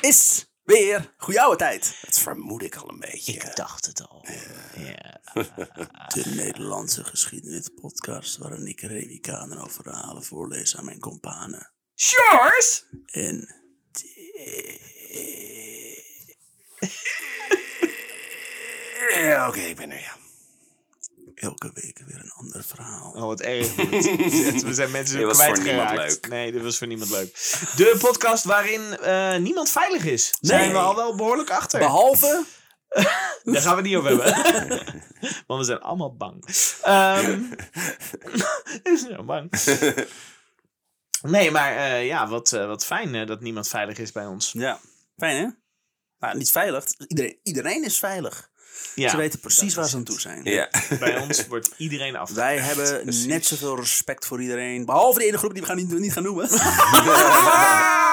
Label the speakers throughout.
Speaker 1: is weer goede tijd. Dat vermoed ik al een beetje.
Speaker 2: Ik dacht het al. Ja.
Speaker 3: De Nederlandse geschiedenispodcast waarin ik Remy Kaner over verhalen voorlees aan mijn kompanen.
Speaker 1: Sjors!
Speaker 3: En
Speaker 1: Ja, Oké, ik ben er, ja.
Speaker 3: elke week weer een ander verhaal.
Speaker 2: Oh, wat erg. dit. We zijn mensen
Speaker 1: Dit was voor
Speaker 2: kwijtgeraakt.
Speaker 1: niemand leuk.
Speaker 2: Nee, dit was voor niemand leuk. De podcast waarin eh, niemand veilig is. Zijn
Speaker 3: Nee.
Speaker 2: we al wel behoorlijk achter.
Speaker 3: Behalve
Speaker 2: Daar gaan we het niet over hebben. Want we zijn allemaal bang. Ehm we zijn allemaal bang. Nee, maar eh, ja, wat, eh, wat fijn eh, dat niemand veilig is bij ons.
Speaker 3: Ja, fijn hè? Nou, niet veilig. Iedereen, iedereen is veilig.
Speaker 2: Ja,
Speaker 3: ze weten precies
Speaker 2: dat
Speaker 3: waar
Speaker 2: is
Speaker 3: ze aan
Speaker 2: het.
Speaker 3: toe zijn.
Speaker 1: Ja.
Speaker 2: Bij ons wordt iedereen af.
Speaker 3: Wij hebben net zoveel respect voor iedereen. Behalve de ene groep die we gaan niet, niet gaan noemen.
Speaker 2: Ah!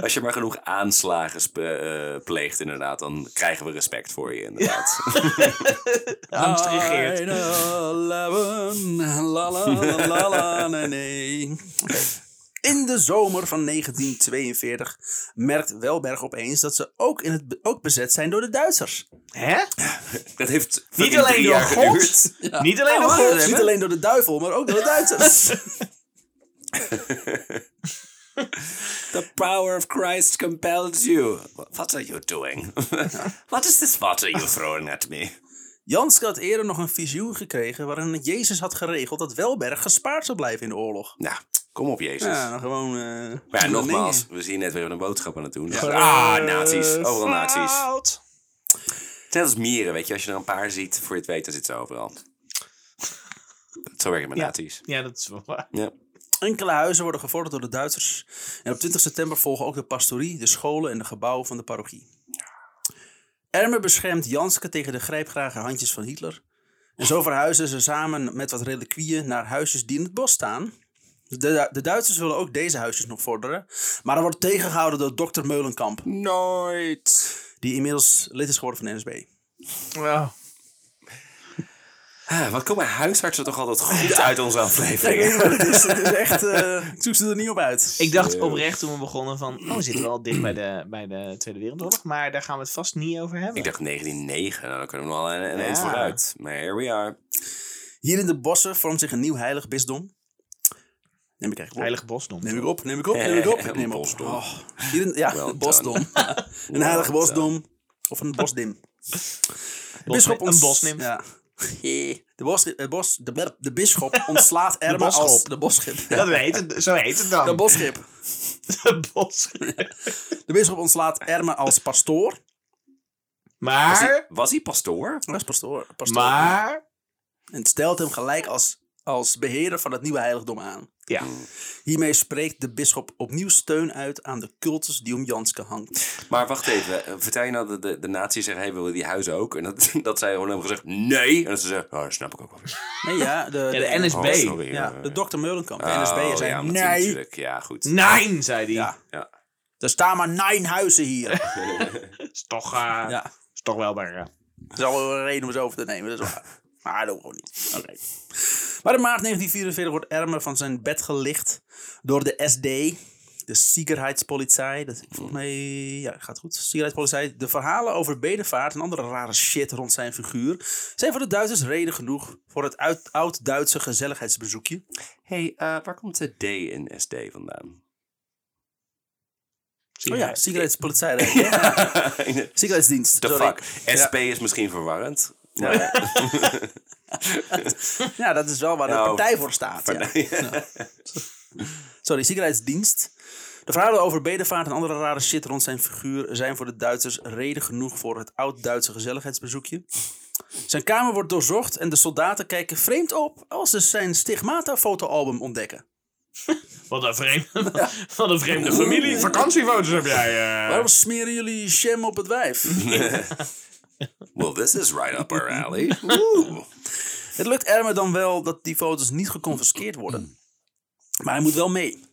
Speaker 1: Als je maar genoeg aanslagen spe- eh, pleegt, inderdaad, dan krijgen we respect voor je, inderdaad.
Speaker 2: Angst regeert.
Speaker 3: I know eleven, la, la, la, la, la, nee, nee. Oké. In de zomer van 1942 merkt Welberg opeens dat ze ook, in het, be- ook bezet zijn door de Duitsers.
Speaker 2: Hè?
Speaker 1: Dat heeft
Speaker 2: Niet
Speaker 1: fucking
Speaker 2: alleen
Speaker 1: drie
Speaker 2: door
Speaker 1: jaar geduurd. Oh,
Speaker 2: God. Niet alleen door God.
Speaker 3: Oh, Niet alleen door de duivel, maar ook door de Duitsers.
Speaker 1: The power of Christ compels you. What are you doing? What is this water you throwing at me?
Speaker 3: Janske had eerder nog een visioen gekregen waarin Jezus had geregeld dat Welberg gespaard zou blijven in de oorlog.
Speaker 1: Nou, kom op, Jezus.
Speaker 3: Ja, dan gewoon... eh,
Speaker 1: Maar ja,
Speaker 3: doen we
Speaker 1: nogmaals,
Speaker 3: dingen.
Speaker 1: we zien net weer een boodschap aan het doen. Ah, nazi's. Overal nazi's.
Speaker 2: Fout.
Speaker 1: Net als mieren, weet je. Als je er een paar ziet, voor je het weet, dan zit ze overal. Zo werken met
Speaker 2: Ja.
Speaker 1: nazi's.
Speaker 2: Ja, dat is wel waar.
Speaker 1: Ja.
Speaker 3: Enkele huizen worden gevorderd door de Duitsers. En op 20 september volgen ook de pastorie, de scholen en de gebouwen van de parochie. Erme beschermt Janske tegen de grijpgrage handjes van Hitler. En zo verhuizen ze samen met wat reliquieën naar huisjes die in het bos staan. De, de Duitsers willen ook deze huisjes nog vorderen. Maar dat wordt tegengehouden door dokter Meulenkamp,
Speaker 1: Nooit.
Speaker 3: die inmiddels lid is geworden van de NSB.
Speaker 2: Wow.
Speaker 1: Ah, wat komen huisartsen toch altijd goed uit onze afleveringen.
Speaker 3: Het is, het is echt, eh, ik zoek ze er niet op uit.
Speaker 2: Ik dacht oprecht toen we begonnen van, oh, we zitten wel dicht bij de, bij de Tweede Wereldoorlog, maar daar gaan we het vast niet over hebben.
Speaker 1: Ik dacht 1909, nou, dan kunnen we nog wel een, een
Speaker 2: Ja.
Speaker 1: eens vooruit. Maar here we are.
Speaker 3: Hier in de bossen vormt zich een nieuw heilig bisdom. Neem ik eigenlijk op.
Speaker 2: Heilig Bosdom.
Speaker 3: Neem ik op, neem ik op, neem ik op. Ik
Speaker 1: Een
Speaker 3: neem op.
Speaker 1: bosdom.
Speaker 3: Oh, hier een- ja,
Speaker 1: Well
Speaker 3: een bosdom. een heilige bosdom. Of een bosdim. De bisschop
Speaker 2: een bosnimf.
Speaker 3: Ja. De, bos, de, bos, de, ber- de bisschop ontslaat Erma
Speaker 2: bosschop.
Speaker 3: als de bosschip.
Speaker 2: Dat heet het, zo heet het dan.
Speaker 3: De bosschip.
Speaker 2: De bos.
Speaker 3: De bisschop ontslaat Erma als pastoor.
Speaker 1: eh, Was hij,
Speaker 2: Maar,
Speaker 1: was hij pastoor?
Speaker 3: Als pastoor. pastoor.
Speaker 2: maar,
Speaker 3: En stelt hem gelijk als, als beheerder van het nieuwe heiligdom aan.
Speaker 2: ja.
Speaker 3: Hiermee spreekt de bisschop opnieuw steun uit aan de cultus die om Janske hangt.
Speaker 1: Maar wacht even, eh, vertel je nou dat de, de nazi's zeggen, hey, willen we die huizen ook? En dat, dat zij gewoon hebben gezegd, nee. En dat ze zeggen, oh, dat snap ik ook wel weer.
Speaker 3: Nee, ja, de,
Speaker 2: Ja, de
Speaker 1: Oh,
Speaker 2: NSB.
Speaker 1: sorry.
Speaker 3: ja,
Speaker 1: eh.
Speaker 3: de dokter Meulenkamp, de
Speaker 1: Oh,
Speaker 3: NSB'er, zei
Speaker 1: ja,
Speaker 3: nee.
Speaker 1: natuurlijk. Ja, goed.
Speaker 2: Nein, zei hij.
Speaker 3: Ja.
Speaker 1: Ja.
Speaker 3: Er staan maar nine huizen hier.
Speaker 2: Is toch, eh,
Speaker 3: ja,
Speaker 2: is toch wel bij. eh,
Speaker 3: dat is al wel een reden om ze over te nemen. Dat is waar. Maar dat doen we gewoon niet. Oké. Maar in maart 1944 wordt Ermer van zijn bed gelicht door de SD, de Sicherheitspolizei. Dat, volgens mij, ja, gaat goed. Sicherheitspolizei. De verhalen over bedevaart en andere rare shit rond zijn figuur zijn voor de Duitsers reden genoeg voor het uit- oud-Duitse gezelligheidsbezoekje.
Speaker 1: hey, eh, waar komt de D in SD vandaan?
Speaker 2: zie
Speaker 3: Oh
Speaker 2: je.
Speaker 3: ja, Sicherheitspolizei. Sicherheidsdienst.
Speaker 1: The
Speaker 3: sorry.
Speaker 1: fuck. SP is misschien verwarrend. Maar,
Speaker 3: Ja, dat is wel waar de
Speaker 1: Nou,
Speaker 3: partij voor staat. Ja. Sorry, Sicherheidsdienst. De verhalen over bedevaart en andere rare shit rond zijn figuur zijn voor de Duitsers reden genoeg voor het oud-Duitse gezelligheidsbezoekje. Zijn kamer wordt doorzocht en de soldaten kijken vreemd op als ze zijn stigmata-fotoalbum ontdekken.
Speaker 2: Wat een vreemde, wat een vreemde familie. Vakantiefoto's heb jij. eh.
Speaker 3: Waarom smeren jullie sham op het wijf?
Speaker 1: well, this is right up our alley. Oeh.
Speaker 3: Het lukt Erme dan wel dat die foto's niet geconfiskeerd worden. Maar hij moet wel mee.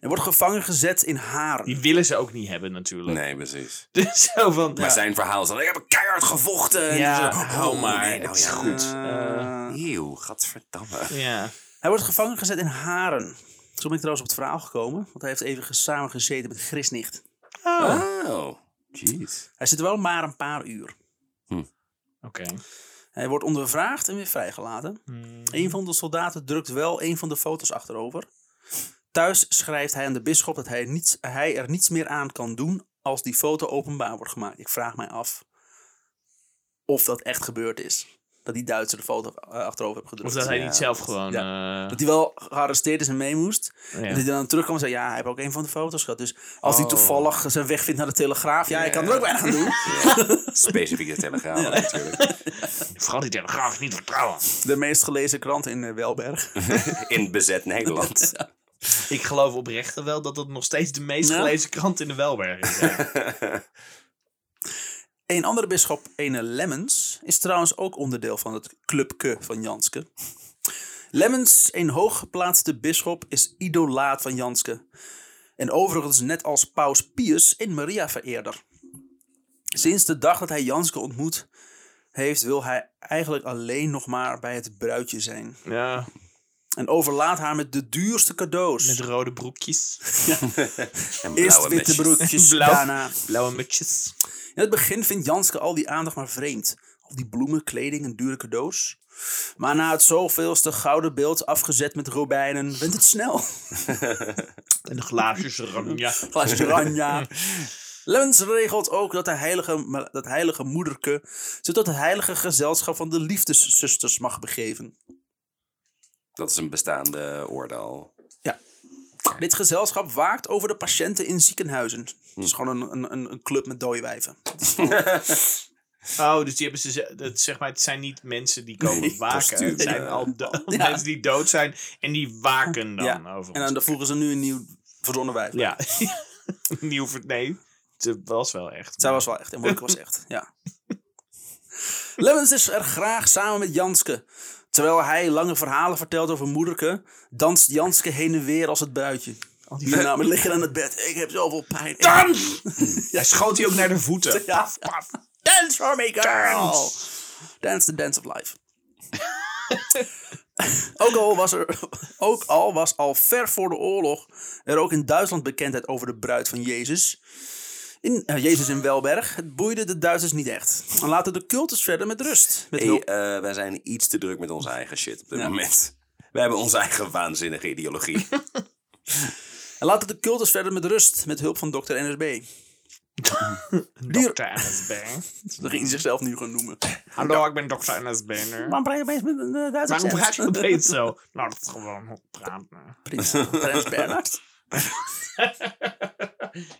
Speaker 3: Hij wordt gevangen gezet in Haren.
Speaker 2: Die willen ze ook niet hebben natuurlijk.
Speaker 1: Nee, precies.
Speaker 2: Dus zo van,
Speaker 1: Maar zijn verhaal is dan, ik heb keihard gevochten.
Speaker 2: Ja,
Speaker 1: En zo,
Speaker 2: hou
Speaker 1: oh,
Speaker 2: maar.
Speaker 1: nee, nou
Speaker 2: Het is
Speaker 1: ja, Eh.
Speaker 2: goed.
Speaker 1: Eeuw, gadverdamme.
Speaker 2: ja.
Speaker 3: Hij wordt gevangen gezet in Haren. Zo ben ik trouwens op het verhaal gekomen, want hij heeft even samen gezeten met Chrisnicht.
Speaker 2: Oh.
Speaker 1: Oh, jeez.
Speaker 3: Hij zit wel maar een paar uur.
Speaker 2: Oké.
Speaker 3: Hij wordt ondervraagd en weer vrijgelaten.
Speaker 2: Hmm.
Speaker 3: Een van de soldaten drukt wel een van de foto's achterover. Thuis schrijft hij aan de bisschop dat hij, niets, hij er niets meer aan kan doen als die foto openbaar wordt gemaakt. Ik vraag mij af of dat echt gebeurd is. Dat die Duitser de foto eh, achterover heeft gedrukt.
Speaker 2: Of dat hij
Speaker 1: Ja,
Speaker 2: niet zelf gewoon... eh,
Speaker 3: Dat hij wel gearresteerd is en mee moest. En
Speaker 2: ja.
Speaker 3: dat hij dan terugkwam en zei, ja, hij heeft ook een van de foto's gehad. Dus als hij
Speaker 1: Oh.
Speaker 3: toevallig zijn weg vindt naar de Telegraaf, ja, ik kan er ook weinig aan doen.
Speaker 1: Specifieke telegraaf natuurlijk.
Speaker 2: Vooral die telegraaf is niet te vertrouwen.
Speaker 3: De meest gelezen krant in eh, Welberg.
Speaker 1: In bezet Nederland.
Speaker 2: Ik geloof oprecht wel dat dat nog steeds de meest
Speaker 3: Ja.
Speaker 2: gelezen krant in de Welberg is. ja.
Speaker 3: Een andere bisschop, ene Lemmens, is trouwens ook onderdeel van het clubke van Janske. Lemmens, een hooggeplaatste bisschop, is idolaat van Janske. En overigens net als paus Pius in Maria vereerder. Sinds de dag dat hij Janske ontmoet heeft, wil hij eigenlijk alleen nog maar bij het bruidje zijn.
Speaker 2: ja.
Speaker 3: En overlaat haar met de duurste cadeaus.
Speaker 2: Met rode broekjes.
Speaker 1: En
Speaker 3: Eerst witte
Speaker 1: blauwe mesjes.
Speaker 3: broekjes,
Speaker 2: Blauw.
Speaker 3: daarna...
Speaker 2: Blauwe mutjes.
Speaker 3: In het begin vindt Janske al die aandacht maar vreemd. Al die bloemen, kleding en dure cadeaus. Maar na het zoveelste gouden beeld afgezet met robijnen, wint het snel.
Speaker 2: En de glaasjes oranje.
Speaker 3: Glaasje oranje. Lens regelt ook dat, de heilige, dat heilige moederke zich tot het heilige gezelschap van de liefdeszusters mag begeven.
Speaker 1: Dat is een bestaande oordeel.
Speaker 3: Dit gezelschap waakt over de patiënten in ziekenhuizen. Het
Speaker 2: Hm.
Speaker 3: is gewoon een, een- een, een club met dode wijven.
Speaker 2: Oh, dus die hebben ze, ze- dat, zeg maar, het zijn niet mensen die komen
Speaker 1: Nee,
Speaker 2: waken.
Speaker 1: kostuum,
Speaker 2: het zijn
Speaker 1: ja.
Speaker 2: al do- mensen die dood zijn en die waken dan
Speaker 3: Ja.
Speaker 2: Nou, over
Speaker 3: En
Speaker 2: ons.
Speaker 3: dan daar voegen ze nu een nieuw verzonnen wijf.
Speaker 2: Ja. Nieuw ver... Nee, het was wel echt.
Speaker 3: Zij was wel echt. En Monika was echt, ja. Lemmens is er graag samen met Janske. Terwijl hij lange verhalen vertelt over moederke, danst Janske heen en weer als het bruidje. Al die namen liggen aan het bed. Ik heb zoveel pijn.
Speaker 2: Dans! Hij schoot hij ook naar de voeten.
Speaker 3: Ja. Dance for me, girl! Dance the dance of life. ook, al was er, ook al was al ver voor de oorlog er ook in Duitsland bekendheid over de bruid van Jezus. In, eh, Jezus in Welberg. Het boeide de Duitsers niet echt. En laten de cultus verder met rust. Met
Speaker 1: Hey,
Speaker 3: hulp-
Speaker 1: eh, wij zijn iets te druk met onze eigen shit op dit moment. Wij hebben onze eigen waanzinnige ideologie.
Speaker 3: En eh, laten de cultus verder met rust. Met hulp van dokter NSB.
Speaker 2: Dokter NSB.
Speaker 3: Dat ging hij zichzelf nu gaan noemen.
Speaker 2: Hallo, ik ben dokter NSB. Waarom
Speaker 3: Waarom praat je opeens met een eh, Duits accent?
Speaker 2: praat je opeens zo? Nou, dat is gewoon hoe ik praat. nou.
Speaker 3: Prins, Prins Bernhard.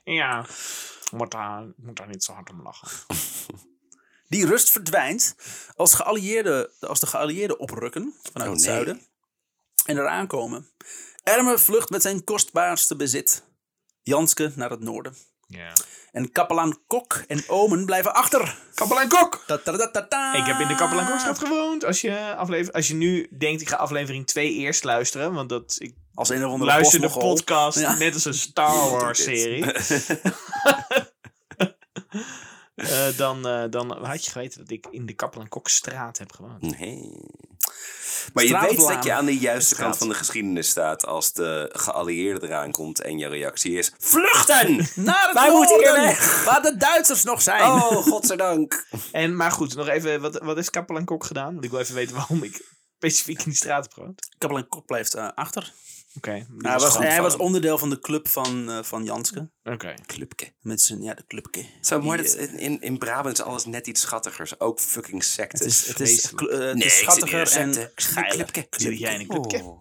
Speaker 2: Ja, moet daar, moet daar niet zo hard om lachen.
Speaker 3: Die rust verdwijnt als, geallieerden, als de geallieerden oprukken vanuit
Speaker 1: Oh,
Speaker 3: het
Speaker 1: nee.
Speaker 3: zuiden en eraan komen. Erme vlucht met zijn kostbaarste bezit, Janske, naar het noorden.
Speaker 2: Ja.
Speaker 3: En kapelaan Kok en Omen blijven achter.
Speaker 2: Kapelaan Kok! Ah.
Speaker 3: Ta-ta-ta-ta-ta.
Speaker 2: Ik heb in de Kapelaan Kokschap gewoond. Als je, aflever, als je nu denkt, ik ga aflevering 2 eerst luisteren. Want dat, ik
Speaker 3: Als een of andere
Speaker 2: luister de
Speaker 3: postmogol.
Speaker 2: podcast
Speaker 3: Ja.
Speaker 2: net als een Star Wars serie. Eh, dan, eh, dan had je geweten dat ik in de Kapelaan Kokstraat heb gewoond.
Speaker 1: Nee. Maar je weet
Speaker 3: Straatbladen.
Speaker 1: dat je aan de juiste
Speaker 2: Straat.
Speaker 1: kant van de geschiedenis staat als de geallieerde eraan komt en je reactie is: Vluchten!
Speaker 3: Naar het
Speaker 1: Wij moeten
Speaker 3: noorden,
Speaker 1: hier weg.
Speaker 3: waar de Duitsers nog zijn.
Speaker 1: Oh, godzijdank.
Speaker 2: En, maar goed, nog even, wat, wat is Kapelaan Kok gedaan? Want ik wil even weten waarom ik specifiek in die straat heb gewoond.
Speaker 3: Kapelaan Kok blijft eh, achter.
Speaker 2: Oké. die
Speaker 3: Hij was,
Speaker 2: gewoon-
Speaker 3: hij was
Speaker 1: van-
Speaker 3: onderdeel van de club van, eh, van Janske.
Speaker 2: Oké.
Speaker 1: Clubke.
Speaker 3: Met zijn, ja, de clubke.
Speaker 1: Zo mooi
Speaker 3: Die,
Speaker 1: dat
Speaker 3: eh,
Speaker 1: in, in Brabant is alles net iets schattigers. Ook fucking sectes.
Speaker 3: Het is, het is,
Speaker 1: Vreselijk.
Speaker 3: kle- eh, het
Speaker 1: Nee,
Speaker 3: is
Speaker 1: ik zit in
Speaker 3: schattiger
Speaker 1: een
Speaker 3: en
Speaker 1: secte. Ik zit in een
Speaker 3: geiler.
Speaker 1: clubke.
Speaker 2: Zit jij in een clubke?
Speaker 1: Oh.
Speaker 3: Oh.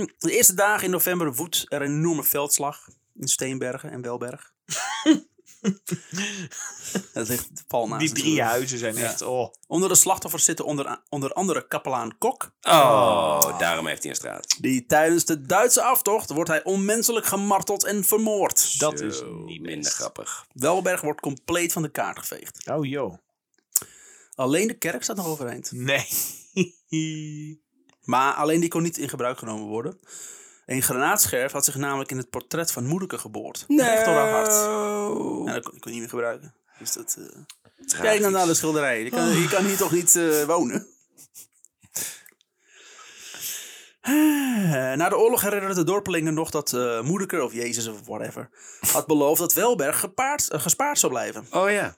Speaker 3: Ehm, de eerste dagen in november woedt er een enorme veldslag in Steenbergen en Welberg. dat ligt pal naast.
Speaker 2: Die drie
Speaker 3: natuurlijk.
Speaker 2: huizen zijn echt, oh.
Speaker 3: Onder de slachtoffers zitten onder, onder andere kapelaan Kok.
Speaker 1: Oh, daarom heeft hij een straat.
Speaker 3: Die tijdens de Duitse aftocht wordt hij onmenselijk gemarteld en vermoord.
Speaker 2: Dat is
Speaker 1: Zo,
Speaker 2: niet
Speaker 1: minder
Speaker 2: best.
Speaker 1: grappig.
Speaker 3: Welberg wordt compleet van de kaart geveegd.
Speaker 2: Oh, joh.
Speaker 3: Alleen de kerk staat nog overeind.
Speaker 2: Nee.
Speaker 3: Maar alleen die kon niet in gebruik genomen worden. Een granaatscherf had zich namelijk in het portret van Moederke geboord. Recht door haar hart. Ja, dat kon ik niet meer gebruiken. Dus dat, eh, Kijk dan naar de schilderij. Je kan, je kan hier toch niet eh, wonen? Eh, na de oorlog herinnerde de dorpelingen nog dat eh Moedeker of Jezus of whatever had beloofd dat Welberg gepaard, eh, gespaard zou blijven.
Speaker 1: Oh ja.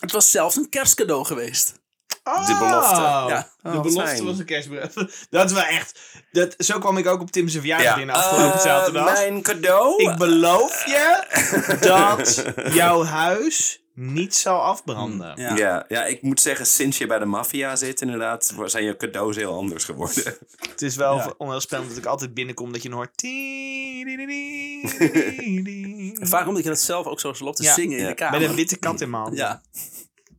Speaker 3: Het was zelfs een kerstcadeau geweest.
Speaker 1: De belofte.
Speaker 2: Oh,
Speaker 3: Ja.
Speaker 2: de
Speaker 1: Oh, wat
Speaker 2: belofte
Speaker 1: fijn.
Speaker 2: was een kerstbrief. Dat was echt. Dat, zo kwam ik ook op Tim's verjaardag in afgelopen
Speaker 1: Eh,
Speaker 2: zaterdag.
Speaker 1: Mijn cadeau.
Speaker 2: Ik beloof je dat jouw huis niet zal afbranden.
Speaker 3: Ja.
Speaker 1: ja, ja, ik moet zeggen, sinds je bij de maffia zit, inderdaad, zijn je cadeaus heel anders geworden.
Speaker 2: Het is wel onheilspellend dat ik altijd binnenkom dat je dan hoort. "Ti, di, di, di, di, di."
Speaker 3: Vaak omdat je dat zelf ook zo loopt te
Speaker 2: Ja.
Speaker 3: zingen in
Speaker 1: Ja.
Speaker 3: de kamer.
Speaker 2: Met een witte kat in mijn hand.
Speaker 3: ja,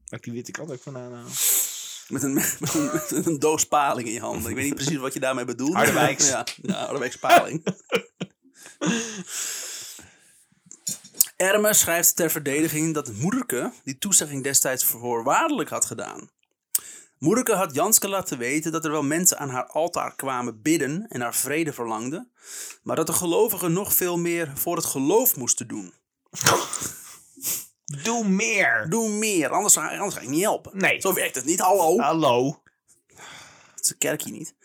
Speaker 2: Waar ik die witte kat ook vandaan haal.
Speaker 3: met een, met een, met een doos paling in je handen. Ik weet niet precies wat je daarmee bedoelt.
Speaker 2: Harderwijks.
Speaker 3: Ja, ja Harderwijks paling. Ermer schrijft ter verdediging dat Moederke die toezegging destijds voorwaardelijk had gedaan. Moederke had Janske laten weten dat er wel mensen aan haar altaar kwamen bidden en haar vrede verlangden, maar dat de gelovigen nog veel meer voor het geloof moesten doen.
Speaker 2: Doe meer.
Speaker 3: Doe meer, anders ga, anders ga ik niet helpen.
Speaker 2: Nee.
Speaker 3: Zo werkt het niet, hallo.
Speaker 2: Hallo.
Speaker 3: Het is een kerkje niet.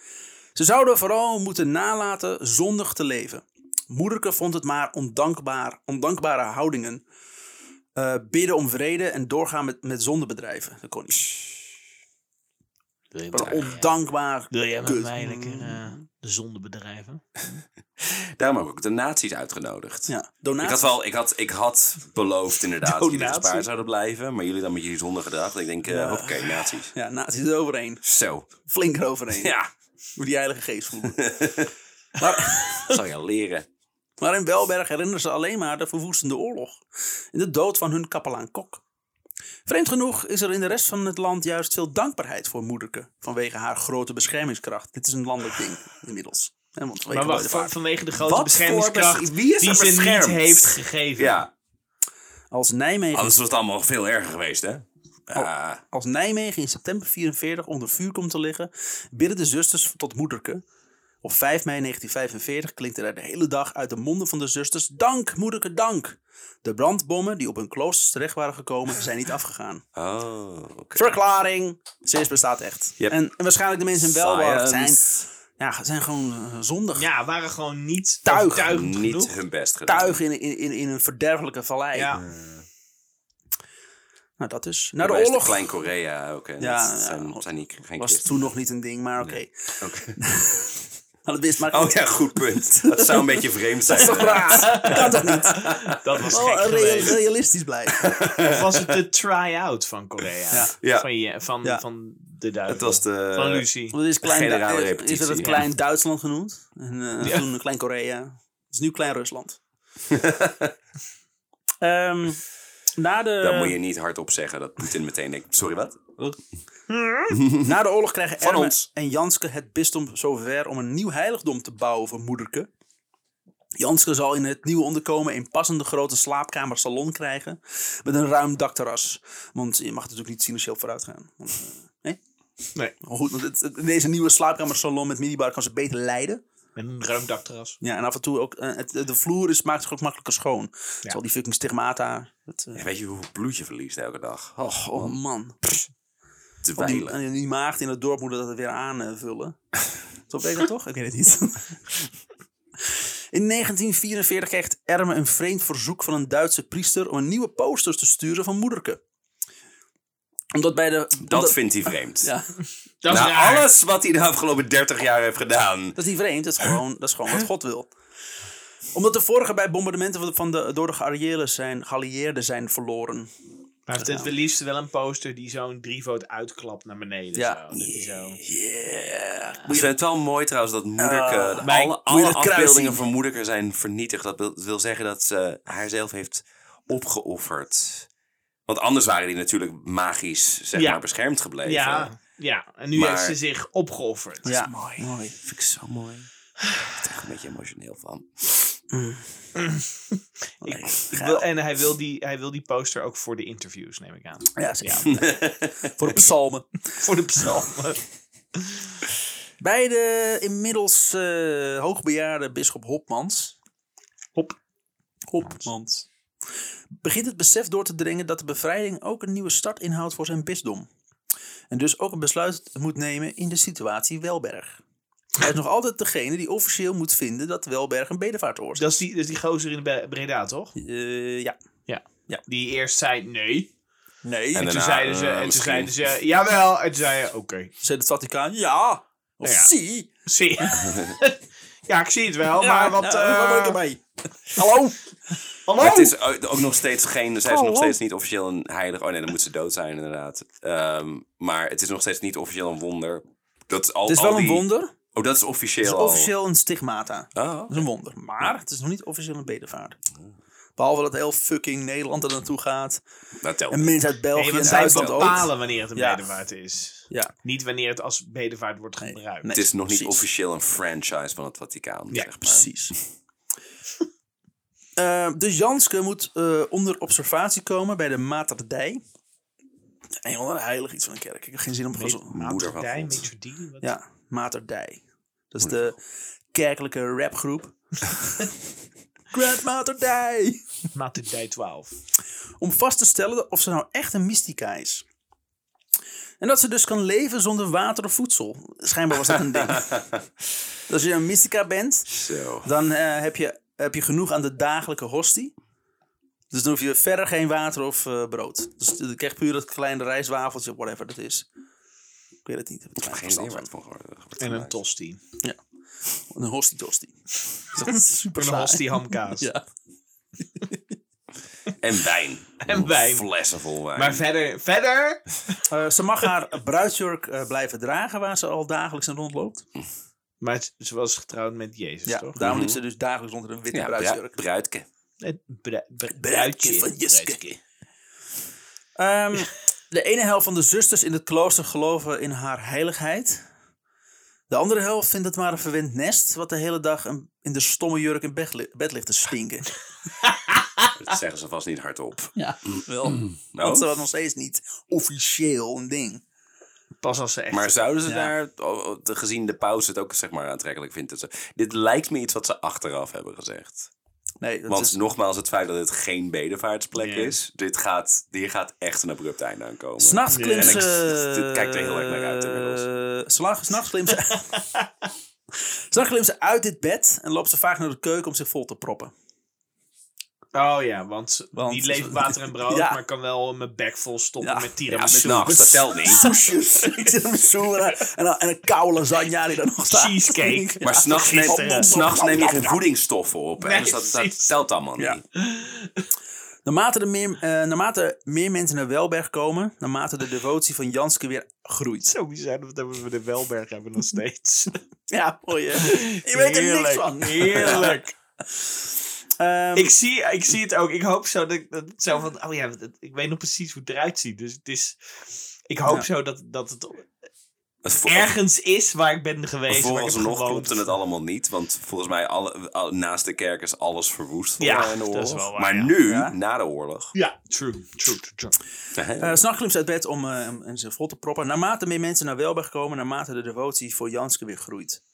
Speaker 3: Ze zouden vooral moeten nalaten zondig te leven. Moederke vond het maar ondankbaar, ondankbare houdingen. Eh, bidden om vrede en doorgaan met, met zondebedrijven. Dat kon niet. Maar ondankbaar.
Speaker 2: Wil jij met
Speaker 3: Kut.
Speaker 2: mij lekker eh, de zonde bedrijven?
Speaker 1: Daarom heb ik ook de nazi's uitgenodigd.
Speaker 3: Ja,
Speaker 1: Ik
Speaker 3: donaties.
Speaker 1: had, wel, ik, had, ik had beloofd inderdaad dat jullie
Speaker 2: Donatie.
Speaker 1: gespaard zouden blijven. Maar jullie dan met jullie zonde gedacht. Ik denk, eh, oké, nazi's.
Speaker 3: Ja, nazi's eroverheen.
Speaker 1: Zo.
Speaker 3: Flink eroverheen.
Speaker 1: Ja,
Speaker 3: Hoe die heilige geest voelen. maar,
Speaker 1: dat zal je leren.
Speaker 3: maar in Welberg herinneren ze alleen maar de verwoestende oorlog. En de dood van hun kapelaan Kok. Vreemd genoeg is er in de rest van het land juist veel dankbaarheid voor moederke. Vanwege haar grote beschermingskracht. Dit is een landelijk ding inmiddels. Hè, want vanwege
Speaker 2: Maar wacht,
Speaker 3: Bodevaart.
Speaker 2: van, vanwege de grote
Speaker 1: Wat voor
Speaker 2: beschermingskracht
Speaker 1: bes- wie is
Speaker 2: die
Speaker 1: er
Speaker 2: ze niet
Speaker 1: beschermd?
Speaker 2: heeft gegeven.
Speaker 1: Ja,
Speaker 3: Als Nijmegen,
Speaker 1: anders was het allemaal veel erger geweest,
Speaker 3: Oh.
Speaker 1: hè? Ah, Ja.
Speaker 3: als Nijmegen in september 44 onder vuur komt te liggen, bidden de zusters tot moederke. Op 5 mei 1945 klinkt er de hele dag uit de monden van de zusters: Dank, moederke, dank! De brandbommen die op hun kloosters terecht waren gekomen, zijn niet afgegaan.
Speaker 1: Oh, oké.
Speaker 3: Verklaring! Sinds bestaat echt.
Speaker 1: Yep.
Speaker 3: En, en waarschijnlijk de mensen in Welwaard zijn,
Speaker 1: Science.
Speaker 3: ja, zijn gewoon eh, zondig.
Speaker 2: Ja, waren gewoon niet
Speaker 3: Tuig.
Speaker 1: Niet
Speaker 2: overtuigend genoeg.
Speaker 1: hun best gedaan.
Speaker 3: Tuigen in, in, in, in een verderfelijke vallei.
Speaker 2: Ja.
Speaker 3: Nou, dat dus. Na de
Speaker 1: Daarbij is
Speaker 3: oorlog
Speaker 1: Klein Korea ook. hè.
Speaker 3: Ja, ja.
Speaker 1: dat zijn, zijn niet, geen
Speaker 3: was
Speaker 1: christen.
Speaker 3: toen nog niet een ding, maar oké.
Speaker 1: Oké.
Speaker 3: Maar dat wist maar
Speaker 1: Oh ja, goed punt. Dat zou een beetje vreemd zijn.
Speaker 3: Dat is toch raar? Ah, Dat kan toch niet?
Speaker 2: Dat
Speaker 1: Oh,
Speaker 2: was gek
Speaker 3: Wel eh, real-
Speaker 2: geweest.
Speaker 3: realistisch blijven.
Speaker 2: Of was het de try-out van Korea?
Speaker 1: Ja.
Speaker 2: Van, je, van,
Speaker 3: Ja.
Speaker 2: van de duivel.
Speaker 1: Het was de... eh,
Speaker 2: Van Lucy.
Speaker 3: Want het is, klein
Speaker 1: Generale
Speaker 3: eh, is
Speaker 1: repetitie,
Speaker 3: dat het
Speaker 1: ja.
Speaker 3: Klein Duitsland genoemd? En, eh,
Speaker 2: Ja.
Speaker 3: Toen Klein Korea. Het is nu Klein Rusland. Ehm, na,
Speaker 1: Dat moet
Speaker 2: Eh,
Speaker 3: de,
Speaker 1: je niet hardop zeggen. Dat Poetin meteen denkt, sorry wat?
Speaker 3: na de oorlog krijgen
Speaker 1: Van
Speaker 3: Erme
Speaker 1: ons.
Speaker 3: en Janske het bisdom zover om een nieuw heiligdom te bouwen voor moederke. Janske zal in het nieuwe onderkomen een passende grote slaapkamer salon krijgen. Met een ruim dakterras. Want je mag natuurlijk niet financieel vooruit gaan. Want, eh,
Speaker 2: Nee.
Speaker 3: Maar goed, want het- het- deze nieuwe slaapkamersalon met minibar kan ze beter leiden.
Speaker 2: Met een ruim dakterras.
Speaker 3: Ja, en af en toe ook, eh, het, de vloer is, maakt zich ook makkelijker schoon. Terwijl die fucking stigmata. Het, eh,
Speaker 1: Ja, weet je hoeveel bloed je verliest elke dag?
Speaker 3: oh, oh man.
Speaker 1: Te
Speaker 3: En die,
Speaker 1: weilen.
Speaker 3: en die maagd in het dorp moet dat weer aanvullen. Zo weet ik dat toch? Ik weet het niet. In 1944 krijgt Erme een vreemd verzoek van een Duitse priester om een nieuwe posters te sturen van moederke. Omdat bij de...
Speaker 1: Dat vindt hij vreemd.
Speaker 3: Ja,
Speaker 2: Dat is
Speaker 1: Na
Speaker 2: raar.
Speaker 1: alles wat hij de afgelopen 30 jaar heeft gedaan.
Speaker 3: Dat is niet vreemd, dat is gewoon, dat is gewoon wat God wil. Omdat de vorige bij bombardementen van de, van de, door de geallieerden zijn, geallieerden zijn verloren.
Speaker 2: Maar het het liefst wel een poster die zo'n drievoot uitklapt naar beneden.
Speaker 3: Ja.
Speaker 2: Zo. Dat die zo.
Speaker 3: Yeah.
Speaker 1: Ik vind het wel mooi trouwens dat Moederke... de-
Speaker 2: Eh,
Speaker 1: alle
Speaker 2: mijn-
Speaker 3: moet je
Speaker 1: alle
Speaker 3: dat kruis
Speaker 1: afbeeldingen
Speaker 3: zien?
Speaker 1: van Moederke zijn vernietigd. Dat wil, wil zeggen dat ze haarzelf heeft opgeofferd. Want anders waren die natuurlijk magisch, zeg
Speaker 2: Ja.
Speaker 1: maar, beschermd gebleven.
Speaker 2: Ja, ja, en nu
Speaker 1: Maar-
Speaker 2: heeft ze zich opgeofferd.
Speaker 3: Ja,
Speaker 1: mooi. Vind ik zo mooi. Ik word er echt een beetje emotioneel van.
Speaker 2: Ik wil, en hij wil, die, hij wil die poster ook voor de interviews, neem ik aan.
Speaker 3: Ja, zeker. Voor de psalmen.
Speaker 2: Voor de psalmen.
Speaker 3: Bij de inmiddels eh, hoogbejaarde bisschop Hopmans.
Speaker 2: Hop.
Speaker 3: Hopmans. Begint het besef door te dringen dat de bevrijding ook een nieuwe start inhoudt voor zijn bisdom. En dus ook een besluit moet nemen in de situatie Welberg. Hij is nog altijd degene die officieel moet vinden dat Welberg een bedevaartoor is.
Speaker 2: Dat is die, dat is die gozer in Be- Breda, toch?
Speaker 3: Eh, ja.
Speaker 2: Die eerst zei nee.
Speaker 3: Nee.
Speaker 1: En
Speaker 2: En toen
Speaker 1: daarna,
Speaker 2: zeiden ze,
Speaker 1: eh,
Speaker 2: en toen
Speaker 1: misschien.
Speaker 2: zeiden ze jawel. En toen zei je, oké.
Speaker 3: Zei het Vaticaan, ja. Of
Speaker 2: Nou ja.
Speaker 3: zie.
Speaker 2: Zie ja, ik zie het wel, maar
Speaker 3: ja,
Speaker 2: wat...
Speaker 3: Nou, wat
Speaker 2: eh,
Speaker 3: wil ik erbij? Hallo?
Speaker 2: hallo?
Speaker 1: Maar het is o- ook nog steeds geen. Zij is nog
Speaker 2: Hallo.
Speaker 1: steeds niet officieel een heilig. Oh nee, dan moet ze dood zijn, inderdaad. Ehm, maar het is nog steeds niet officieel een wonder. Dat is al,
Speaker 3: Het is
Speaker 1: al
Speaker 3: wel een
Speaker 1: die-
Speaker 3: wonder. Het
Speaker 1: Oh, dat is officieel.
Speaker 3: is
Speaker 1: al.
Speaker 3: officieel een stigmata.
Speaker 1: Oh,
Speaker 3: Dat is een wonder. Maar het is nog niet officieel een bedevaart. Behalve dat heel fucking Nederland er naartoe gaat.
Speaker 1: dat telt.
Speaker 3: En mensen uit België
Speaker 2: Nee, want
Speaker 3: en
Speaker 2: zij
Speaker 3: Duitsland ook.
Speaker 2: bepalen wanneer het een
Speaker 3: Ja.
Speaker 2: bedevaart is.
Speaker 3: Ja.
Speaker 2: Niet wanneer het als bedevaart wordt
Speaker 3: Nee.
Speaker 2: gebruikt.
Speaker 3: Nee.
Speaker 1: het is nog niet
Speaker 3: precies.
Speaker 1: officieel een franchise van het Vaticaan.
Speaker 2: Ja,
Speaker 1: zeg maar.
Speaker 3: Precies. Eh, de Janske moet eh, onder observatie komen bij de materdij. Een of ander heilig iets van een kerk. Ik heb geen zin om
Speaker 2: Weet-
Speaker 3: gewoon zo-
Speaker 1: Moeder van
Speaker 2: Materdij,
Speaker 1: God.
Speaker 2: Metrodie, wat-
Speaker 3: Ja, Materdij. Dat is de kerkelijke rapgroep. Grand Materdij!
Speaker 2: Materdij 12.
Speaker 3: Om vast te stellen of ze nou echt een mystica is. En dat ze dus kan leven zonder water of voedsel. Schijnbaar was dat een ding. Dus als je een mystica bent,
Speaker 1: Zo.
Speaker 3: dan eh, heb, je, heb je genoeg aan de dagelijke hostie. Dus dan hoef je verder geen water of eh, brood. Dus je krijgt puur dat kleine rijstwafeltje, whatever dat is. Ik weet het niet. Ik heb er weinig
Speaker 1: Geen idee
Speaker 3: verstand
Speaker 1: waar
Speaker 3: van.
Speaker 1: het van gehoord
Speaker 2: En een tosti.
Speaker 3: Een hostie tosti. Dat is super
Speaker 2: Een
Speaker 3: saai.
Speaker 2: hostie hamkaas.
Speaker 3: Ja.
Speaker 1: En wijn.
Speaker 2: En wijn.
Speaker 1: Flessen vol wijn.
Speaker 2: Maar verder, verder!
Speaker 3: Eh, ze mag haar bruidsjurk eh, blijven dragen waar ze al dagelijks aan rondloopt.
Speaker 2: Maar ze- ze was getrouwd met Jezus,
Speaker 3: Ja,
Speaker 2: toch?
Speaker 3: daarom liep ze dus dagelijks rond in een witte
Speaker 1: ja, bru-
Speaker 3: bruidsjurk.
Speaker 1: bruidke.
Speaker 2: Het bru-
Speaker 3: Bruidje
Speaker 2: bru- bruidje
Speaker 3: van Jeske.
Speaker 2: Bruidje.
Speaker 3: Ehm, de ene helft van de zusters in het klooster geloven in haar heiligheid. De andere helft vindt het maar een verwend nest, wat de hele dag een- in de stomme jurk in bed, li- bed ligt te stinken.
Speaker 1: Dat zeggen ze vast niet hardop.
Speaker 3: Ja, wel.
Speaker 1: Nou,
Speaker 3: Want ze was nog steeds niet officieel een ding.
Speaker 2: Pas als ze echt...
Speaker 1: Maar zouden ze
Speaker 3: Ja.
Speaker 1: daar, oh, oh, de- gezien de pauze, het ook zeg maar aantrekkelijk vinden? Ze- Dit lijkt me iets wat ze achteraf hebben gezegd.
Speaker 3: Nee, dat
Speaker 1: Want
Speaker 3: is,
Speaker 1: nogmaals, het feit dat het geen bedevaartsplek
Speaker 2: Ja.
Speaker 1: is, dit gaat, hier gaat echt een abrupt einde aan komen.
Speaker 3: S'nachts
Speaker 2: Ja.
Speaker 3: klimt
Speaker 2: En
Speaker 1: ik-
Speaker 3: ze...
Speaker 1: dit kijkt er heel erg naar uit inmiddels.
Speaker 3: Eh, slag- S'nachts klimt ze... S'nachts klimt ze uit dit bed en loopt ze vaak naar de keuken om zich vol te proppen.
Speaker 2: Oh ja, want, ze-
Speaker 3: Want-
Speaker 2: die leeft water en brood,
Speaker 3: Ja.
Speaker 2: maar kan wel mijn bek vol stoppen
Speaker 3: Ja.
Speaker 2: met
Speaker 1: Ja,
Speaker 2: tiramisu.
Speaker 1: s'nachts, dat telt niet.
Speaker 3: Soesjes. Ik zit met soera en, dan- en een koude lasagne die daar nog staat.
Speaker 2: Cheesecake.
Speaker 1: Maar s'nachts neem,
Speaker 2: gisteren.
Speaker 1: s'nachts neem je geen voedingsstoffen op. hè?
Speaker 2: Nee,
Speaker 1: dus dat, dat
Speaker 2: precies.
Speaker 1: telt allemaal
Speaker 3: Ja.
Speaker 1: niet.
Speaker 3: Naarmate, er meer, eh, naarmate meer mensen naar Welberg komen, naarmate de devotie van Janske weer groeit.
Speaker 2: Zo bizar dat we de Welberg hebben nog steeds.
Speaker 3: Ja, mooi hè. Je weet er niks van.
Speaker 2: Heerlijk.
Speaker 3: Ehm,
Speaker 2: ik, zie, ik zie het ook. Ik hoop zo dat, dat het zo van... Oh ja, dat- ik weet nog precies hoe het eruit ziet. Dus het is... Ik hoop
Speaker 3: Ja.
Speaker 2: zo dat, dat het
Speaker 1: Het vo-
Speaker 2: ergens is waar ik ben geweest. waar ik heb
Speaker 1: Vooralsnog
Speaker 2: gewoond.
Speaker 1: klopte het allemaal niet, want volgens mij alle, al- naast de kerk is alles verwoest. voor
Speaker 2: Ja,
Speaker 1: mij in de
Speaker 2: dat
Speaker 1: oorlog.
Speaker 2: is wel waar,
Speaker 1: maar
Speaker 2: ja.
Speaker 1: nu,
Speaker 3: Ja.
Speaker 1: na de oorlog.
Speaker 2: Ja, true, true, true, true.
Speaker 3: Eh, S'nachts klimt ze uit bed om eh, hem- en ze vol te proppen. Naarmate meer mensen naar Welberg komen, naarmate de devotie voor Janske weer groeit.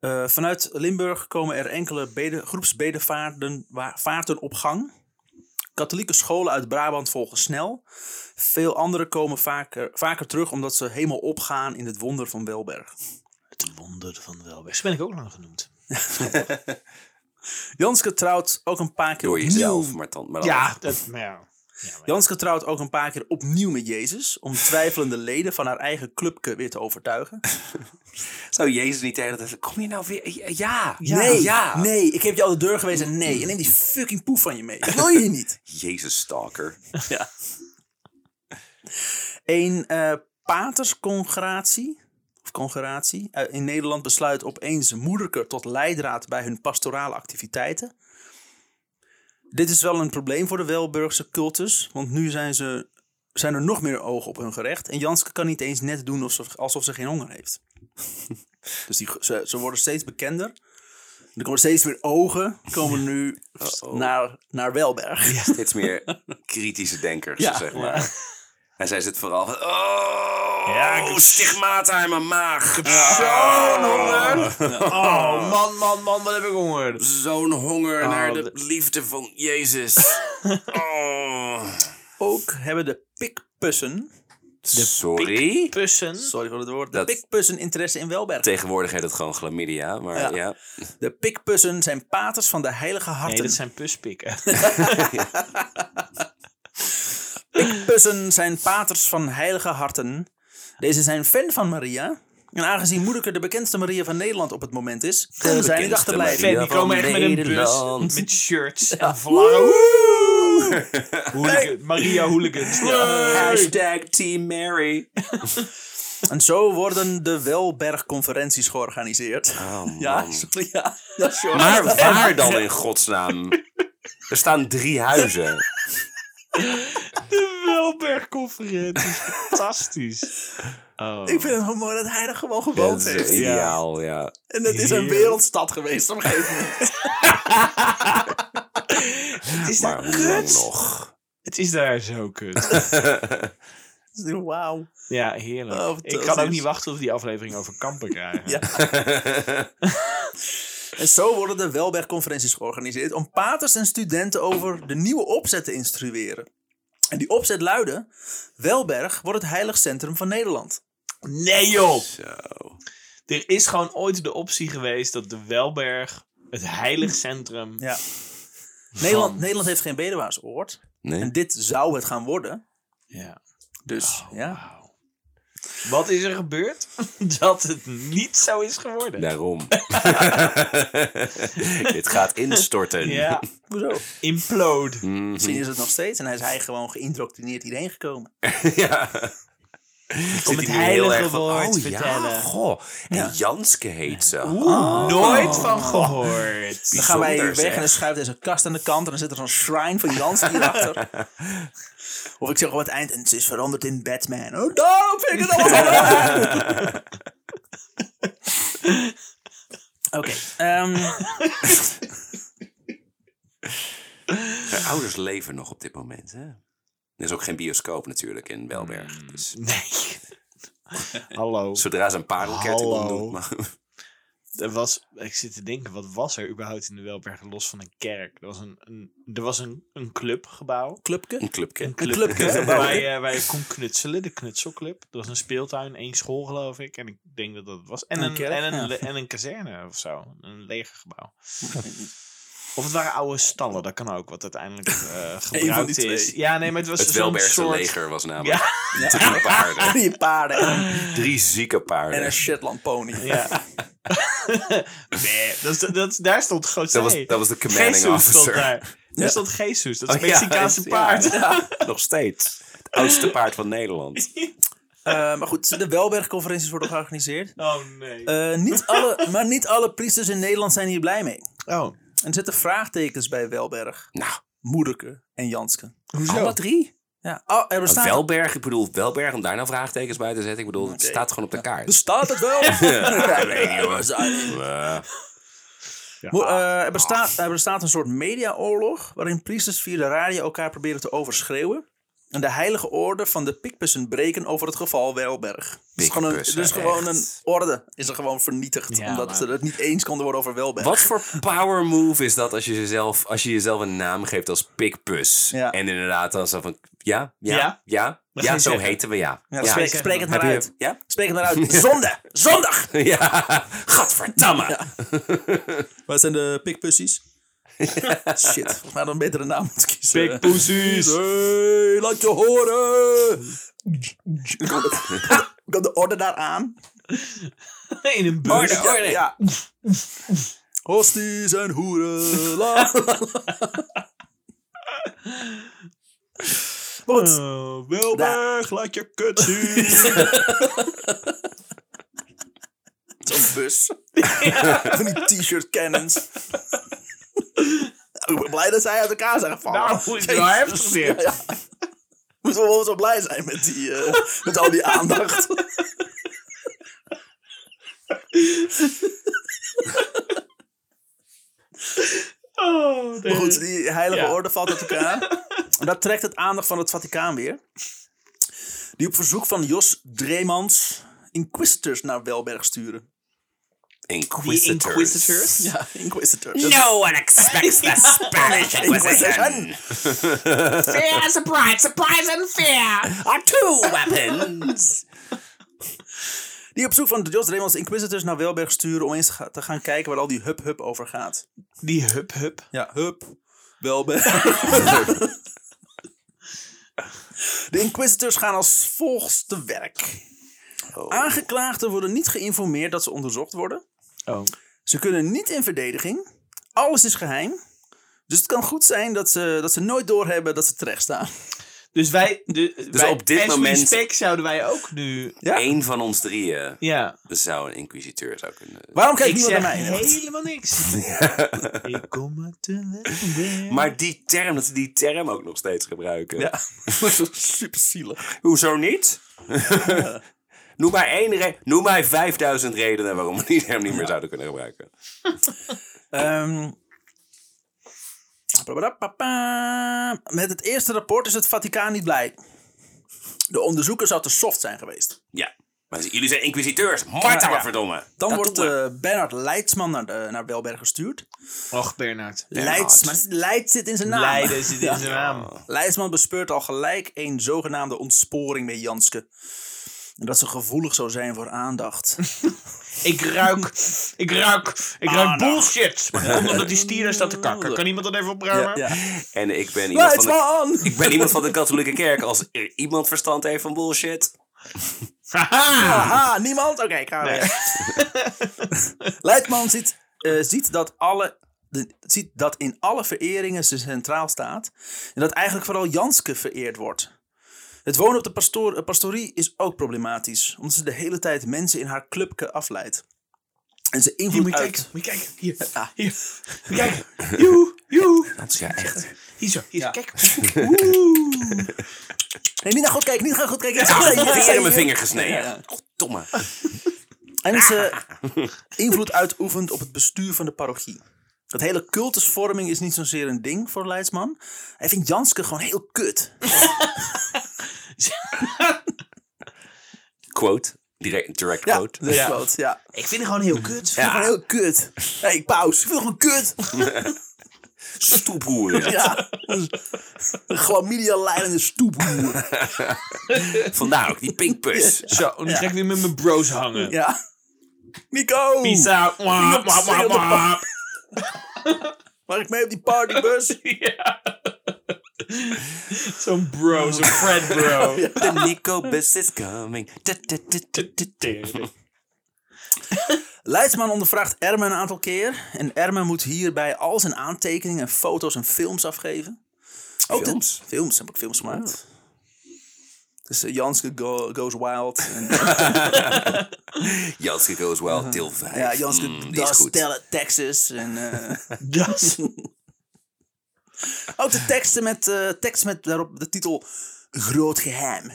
Speaker 3: Eh, vanuit Limburg komen er enkele bede, groepsbedevaarten wa- vaarten op gang. Katholieke scholen uit Brabant volgen snel. Veel anderen komen vaker, vaker terug omdat ze helemaal opgaan in het wonder van Welberg.
Speaker 2: Het wonder van Welberg. Zo ben ik ook lang genoemd.
Speaker 3: Janske trouwt ook een paar keer
Speaker 1: Door
Speaker 3: opnieuw.
Speaker 1: jezelf, maar dan. Maar dan-
Speaker 2: Ja, dat... Maar ja. Ja, maar-
Speaker 3: Janske trouwt ook een paar keer opnieuw met Jezus. Om twijfelende leden van haar eigen clubke weer te overtuigen.
Speaker 1: Zou Jezus niet tegen dat Kom je nou weer? Ja, ja.
Speaker 3: nee,
Speaker 1: ja.
Speaker 3: nee, ik heb je al de deur gewezen. Nee, en neem die fucking poef van je mee. Dat wil je niet.
Speaker 1: Jezus stalker.
Speaker 3: ja. Een eh paterscongratie, of congregatie, eh, in Nederland besluit opeens moederke tot leidraad bij hun pastorale activiteiten. Dit is wel een probleem voor de Welburgse cultus, want nu zijn, ze, zijn er nog meer ogen op hun gerecht. En Janske kan niet eens net doen alsof ze, alsof ze geen honger heeft. dus die, ze, ze worden steeds bekender. Er komen steeds meer ogen, komen nu
Speaker 1: Uh-oh.
Speaker 3: naar, naar Welberg.
Speaker 1: Steeds meer kritische denkers,
Speaker 3: Ja.
Speaker 1: zeg maar. En zij zit vooral van... Oh,
Speaker 2: Ja, ik heb-
Speaker 1: stigmata in mijn maag. Ah.
Speaker 2: Zo'n honger! Oh, man, man, man, wat heb ik honger.
Speaker 1: Zo'n honger naar de
Speaker 2: de-
Speaker 1: liefde van Jezus. oh.
Speaker 3: Ook hebben de pikpussen,
Speaker 1: Sorry?
Speaker 2: Pussen.
Speaker 3: Sorry voor het woord. De
Speaker 1: Dat-
Speaker 3: pikpussen interesse in Welberg.
Speaker 1: Tegenwoordig heet het gewoon chlamydia, maar
Speaker 3: Ja.
Speaker 1: ja.
Speaker 3: De pikpussen zijn paters van de heilige harten.
Speaker 2: Nee, dat zijn puspikken.
Speaker 3: Pikpussen zijn paters van heilige harten. Deze zijn fan van Maria. En aangezien Moederke de bekendste Maria van Nederland op het moment is, kunnen zij niet
Speaker 1: bekendste
Speaker 3: achterblijven.
Speaker 1: Maria.
Speaker 2: Fan, die komen echt met een
Speaker 1: Nederland.
Speaker 2: bus. Met shirts en vlaggen. Hooligan- Maria Hooligans. Ja.
Speaker 1: Hashtag Team Mary.
Speaker 3: En zo worden de Welberg-conferenties georganiseerd.
Speaker 1: Oh, man.
Speaker 3: Ja, sorry, ja. ja sure.
Speaker 1: Maar waar dan in godsnaam? Er staan drie huizen.
Speaker 2: De Welberg-conferentie. Fantastisch. Oh.
Speaker 3: Ik vind het gewoon mooi dat hij er gewoon
Speaker 1: Dat
Speaker 3: gewoond
Speaker 1: is
Speaker 3: heeft.
Speaker 1: ideaal, ja.
Speaker 3: En het is een
Speaker 2: Heerlijk.
Speaker 3: wereldstad geweest op een gegeven moment.
Speaker 2: het is
Speaker 1: Maar
Speaker 2: daar
Speaker 1: hoe lang
Speaker 2: kut.
Speaker 1: nog?
Speaker 2: Het is daar zo kut.
Speaker 3: Wauw.
Speaker 2: Ja, heerlijk.
Speaker 3: Oh,
Speaker 2: ik kan ook
Speaker 3: fantastisch.
Speaker 2: niet wachten tot we die aflevering over kampen krijgen.
Speaker 3: Ja. En zo worden de Welberg-conferenties georganiseerd om paters en studenten over de nieuwe opzet te instrueren. En die opzet luidde: Welberg wordt het heilig centrum van Nederland.
Speaker 2: Nee joh!
Speaker 1: Zo.
Speaker 2: Er is gewoon ooit de optie geweest dat de Welberg het heilig centrum...
Speaker 3: Ja. Nederland, Nederland heeft geen bedewaarsoord.
Speaker 1: Nee?
Speaker 3: En dit zou het gaan worden.
Speaker 2: Ja. Oh,
Speaker 3: Dus ja.
Speaker 2: Wauw. Wat is er gebeurd? dat het niet zo is geworden.
Speaker 1: Daarom. Dit gaat instorten.
Speaker 2: Ja.
Speaker 3: Hoezo?
Speaker 2: Implode.
Speaker 1: Mhm.
Speaker 3: Misschien is het nog steeds. En hij is hij gewoon geïndoctrineerd hierheen gekomen.
Speaker 1: ja. Zit hij
Speaker 2: het
Speaker 1: nu heel
Speaker 2: heilige
Speaker 1: erg van,
Speaker 2: woord
Speaker 1: oh, Ja,
Speaker 2: vertellen.
Speaker 1: goh. En Janske heet ze.
Speaker 3: Oh.
Speaker 2: Nooit van gehoord.
Speaker 3: Dan gaan wij
Speaker 1: Bijzonder,
Speaker 3: weg en dan
Speaker 1: zeg.
Speaker 3: schuift deze kast aan de kant. En dan zit er zo'n shrine van Jans hierachter. Of ik zeg op het eind, en ze is veranderd in Batman. Oh, daarom vind ik het allemaal zo raar. Oké. ehm,
Speaker 1: Haar ouders leven nog op dit moment, hè? Er is ook geen bioscoop natuurlijk in Belberg.
Speaker 2: Hmm.
Speaker 1: Dus
Speaker 2: Mm, Nee. Hallo.
Speaker 1: zodra ze een parelketting
Speaker 2: Hallo.
Speaker 1: omdoet... Maar,
Speaker 2: Er was, ik zit te denken, wat was er überhaupt in de Welberg los van een kerk? Er was een, een, er was een, een clubgebouw.
Speaker 3: clubke?
Speaker 1: een clubje.
Speaker 2: Een club,
Speaker 3: clubclub.
Speaker 2: hè, waar, je, waar je kon knutselen, de knutselclub. Er was een speeltuin, één school geloof ik. En ik denk dat dat het was. En
Speaker 3: Een
Speaker 2: een,
Speaker 3: kerk,
Speaker 2: en een,
Speaker 3: ja.
Speaker 2: le- en een kazerne of zo. Een legergebouw. Of het waren oude stallen, dat kan ook. Wat uiteindelijk eh gebruikt
Speaker 3: die
Speaker 2: is.
Speaker 3: twee.
Speaker 2: Ja, nee, maar het was
Speaker 1: Het
Speaker 2: zo'n
Speaker 1: Welbergse
Speaker 2: soort...
Speaker 1: leger was namelijk
Speaker 2: Ja,
Speaker 1: drie paarden.
Speaker 3: Die paarden.
Speaker 1: Drie zieke paarden.
Speaker 3: En een Shetland pony.
Speaker 2: ja. nee, dat, is- dat, is- daar stond groot
Speaker 1: dat, was, dat was de commanding
Speaker 2: Jesus stond
Speaker 1: officer.
Speaker 2: daar. Daar stond Jesus. Dat is
Speaker 1: Oh,
Speaker 2: een
Speaker 1: ja,
Speaker 2: Mexicaanse
Speaker 1: ja,
Speaker 2: paard.
Speaker 1: ja. nog steeds. Het oudste paard van Nederland.
Speaker 3: Eh, maar goed, de Welberg-conferenties worden georganiseerd.
Speaker 2: Oh nee.
Speaker 3: Eh, niet alle, maar niet alle priesters in Nederland zijn hier blij mee.
Speaker 2: oh.
Speaker 3: En er zitten vraagtekens bij Welberg,
Speaker 1: Nou,
Speaker 3: Moederke en Janske.
Speaker 2: Hoezo?
Speaker 3: Alle drie? Ja, oh, er bestaat,
Speaker 1: Welberg, ik bedoel Welberg, om daar nou vraagtekens bij te zetten. Ik bedoel, het staat gewoon op de
Speaker 2: Dus-
Speaker 1: kaart.
Speaker 3: bestaat het wel? Ja, nee, joh, we zijn-
Speaker 1: Eh,
Speaker 2: Ja.
Speaker 3: Mo-
Speaker 1: Ah.
Speaker 3: eh, er, bestaat, er bestaat een soort mediaoorlog waarin priesters via de radio elkaar proberen te overschreeuwen. En de heilige orde van de pikpussen breken over het geval Welberg. Dus gewoon een,
Speaker 1: Pikpussen,
Speaker 3: dus gewoon een
Speaker 1: echt.
Speaker 3: orde is er gewoon vernietigd.
Speaker 2: Ja,
Speaker 3: omdat
Speaker 2: maar-
Speaker 3: ze het niet eens konden worden over Welberg.
Speaker 1: Wat voor power move is dat als je jezelf, als je jezelf een naam geeft als Pikpus?
Speaker 3: Ja.
Speaker 1: En inderdaad dan zo van, ja, ja,
Speaker 2: Ja.
Speaker 1: ja, ja,
Speaker 2: ga je
Speaker 1: zo
Speaker 2: zeggen.
Speaker 1: heten we, ja.
Speaker 3: Ja, spreek, spreek het maar
Speaker 1: Heb je-
Speaker 3: uit.
Speaker 1: Ja?
Speaker 3: Spreek het maar uit. Zonde! Zondag!
Speaker 1: Ja, gadverdamme.
Speaker 3: Wat zijn de pikpussies? Shit, volgens mij hadden we een betere naam moeten kiezen.
Speaker 2: Big pussies.
Speaker 3: Hey, laat je horen! Komt de orde daar aan?
Speaker 2: In een bus.
Speaker 1: Orde, orde.
Speaker 3: Oh, Ja. Hosties en hoeren. La, la, la. Maar goed,
Speaker 2: Oh, Wilberg, laat je kut zien.
Speaker 3: zo'n bus. Van die t-shirt cannons. Ik ben blij dat zij uit elkaar zijn gevallen.
Speaker 2: Nou, hoe is het nou heftig
Speaker 3: Jezus, ja,
Speaker 2: dit?
Speaker 3: ja. Moeten we wel zo blij zijn met, die, eh, met al die aandacht.
Speaker 2: Oh, nee.
Speaker 3: Maar goed, die heilige
Speaker 2: Ja.
Speaker 3: orde valt uit elkaar. En dat trekt het aandacht van het Vaticaan weer. Die op verzoek van Jos Dremans inquisitors naar Welberg sturen.
Speaker 2: Die
Speaker 1: Inquisitors.
Speaker 2: Inquisitors.
Speaker 3: Ja, Inquisitor.
Speaker 1: No one expects the Spanish Inquisition.
Speaker 4: Fear, surprise, surprise and fear.
Speaker 1: Are two weapons.
Speaker 3: Die op zoek van Jos Remans Inquisitors naar Welberg sturen om eens ga- te gaan kijken waar al die hup-hup over gaat.
Speaker 2: Die hup-hup.
Speaker 3: Ja, hup, Welberg. de Inquisitors gaan als volgt te werk.
Speaker 1: Oh,
Speaker 3: Ah, Aangeklaagden worden niet geïnformeerd dat ze onderzocht worden.
Speaker 2: Oh.
Speaker 3: Ze kunnen niet in verdediging. Alles is geheim. Dus het kan goed zijn dat ze, dat ze nooit doorhebben dat ze terecht staan.
Speaker 2: Dus wij... De,
Speaker 1: Dus
Speaker 2: wij-
Speaker 1: op dit
Speaker 2: as we
Speaker 1: moment-
Speaker 2: speak zouden wij ook nu...
Speaker 3: Ja.
Speaker 1: Eén van ons drieën
Speaker 2: Ja.
Speaker 1: zou een inquisiteur zou kunnen...
Speaker 3: Waarom kijkt
Speaker 2: Ik
Speaker 3: niemand
Speaker 2: zeg
Speaker 3: naar mij?
Speaker 2: helemaal niks. Ik kom uit de wereld.
Speaker 1: Maar die term, dat ze die term ook nog steeds gebruiken.
Speaker 3: Ja, super zielig.
Speaker 1: Hoezo niet? noem, maar één re- noem maar 5000 redenen waarom we die term niet meer zouden kunnen gebruiken.
Speaker 3: Ehm, papadapapa. met het eerste rapport is het Vaticaan niet blij. De onderzoeker zou te soft zijn geweest.
Speaker 1: Ja. Maar jullie zijn inquisiteurs. Marta,
Speaker 3: Ja, ja.
Speaker 1: verdomme.
Speaker 3: Dan
Speaker 1: Dat
Speaker 3: wordt
Speaker 1: doen we.
Speaker 3: eh, Bernard Leidsman naar, de- naar Belberg gestuurd.
Speaker 2: Och, Bernard.
Speaker 3: Leids, maar Leids zit in zijn naam.
Speaker 2: Leiden zit in zijn naam.
Speaker 3: Leidsman bespeurt al gelijk een zogenaamde ontsporing bij Janske. En dat ze gevoelig zou zijn voor aandacht.
Speaker 2: Ik ruik, ik ruik, ik ruik
Speaker 3: Aandacht.
Speaker 2: bullshit. Maar dat komt omdat die stier daar staat te kakken. Kan iemand dat even opruimen?
Speaker 3: eh,
Speaker 1: En ik ben iemand van de...
Speaker 3: Leidsman!
Speaker 1: Ik ben iemand van de katholieke kerk. Als er iemand verstand heeft van bullshit.
Speaker 2: Haha!
Speaker 3: Aha, niemand? Oké, ik ga weer. Leidman ziet, eh, ziet, dat alle, de- ziet dat in alle vereringen ze centraal staat. En dat eigenlijk vooral Janske vereerd wordt. Het wonen op de pastoor, eh, pastorie is ook problematisch. Omdat ze de hele tijd mensen in haar clubke afleidt. En ze
Speaker 2: Hier, moet
Speaker 3: invloed
Speaker 2: je kijken.
Speaker 3: uit...
Speaker 2: Moet je kijken. Hier. Hier. Moet je kijken. Joe, joe.
Speaker 1: Dat is ja echt.
Speaker 2: Hier zo, hier zo.
Speaker 3: Ja.
Speaker 2: Kijk.
Speaker 3: Nee, niet naar goed kijken, niet naar goed kijken.
Speaker 1: Ik
Speaker 3: Ja,
Speaker 1: heb
Speaker 3: ja,
Speaker 1: in mijn
Speaker 3: ja.
Speaker 1: vinger gesneden.
Speaker 3: Ja.
Speaker 1: Goddomme.
Speaker 3: En ze invloed uitoefent op het bestuur van de parochie. Dat hele cultusvorming is niet zozeer een ding voor Leidsman. Hij vindt Janske gewoon heel kut.
Speaker 1: Quote. Direct, direct
Speaker 3: Ja,
Speaker 1: quote.
Speaker 3: dus
Speaker 2: Ja.
Speaker 3: quote, ja. Ik
Speaker 2: Ik vind het gewoon heel kut.
Speaker 3: vind hem gewoon heel kut. Hé, hey, pauze. Ik vind hem gewoon kut.
Speaker 1: Stoephoer.
Speaker 3: Ja. Dus Een chlamydia leidende stoephoer.
Speaker 1: Vandaar ook die pinkpus.
Speaker 2: Zo, en dan ga ik weer met mijn bros hangen.
Speaker 3: Ja. Nico!
Speaker 2: Peace out. Wap, wap, wap, wap.
Speaker 3: Mag ik mee op die partybus?
Speaker 2: Ja. Zo'n bro, zo'n Fred bro.
Speaker 1: The Nico bus is coming. Da, da, da, da, da, da.
Speaker 3: Leidsman ondervraagt Ermen een aantal keer. En Ermen moet hierbij al zijn aantekeningen, foto's en films afgeven. Ook
Speaker 1: Films?
Speaker 3: Oh, De, films, heb ik films gemaakt. Dus eh, Janske go- goes wild. En,
Speaker 1: Janske goes well, deel 5.
Speaker 3: ja, Janske
Speaker 1: Mm, die is
Speaker 3: does
Speaker 1: goed.
Speaker 3: tell it Texas. En, eh,
Speaker 2: Das.
Speaker 3: ook de teksten met, eh, tekst met daarop de titel Groot Geheim.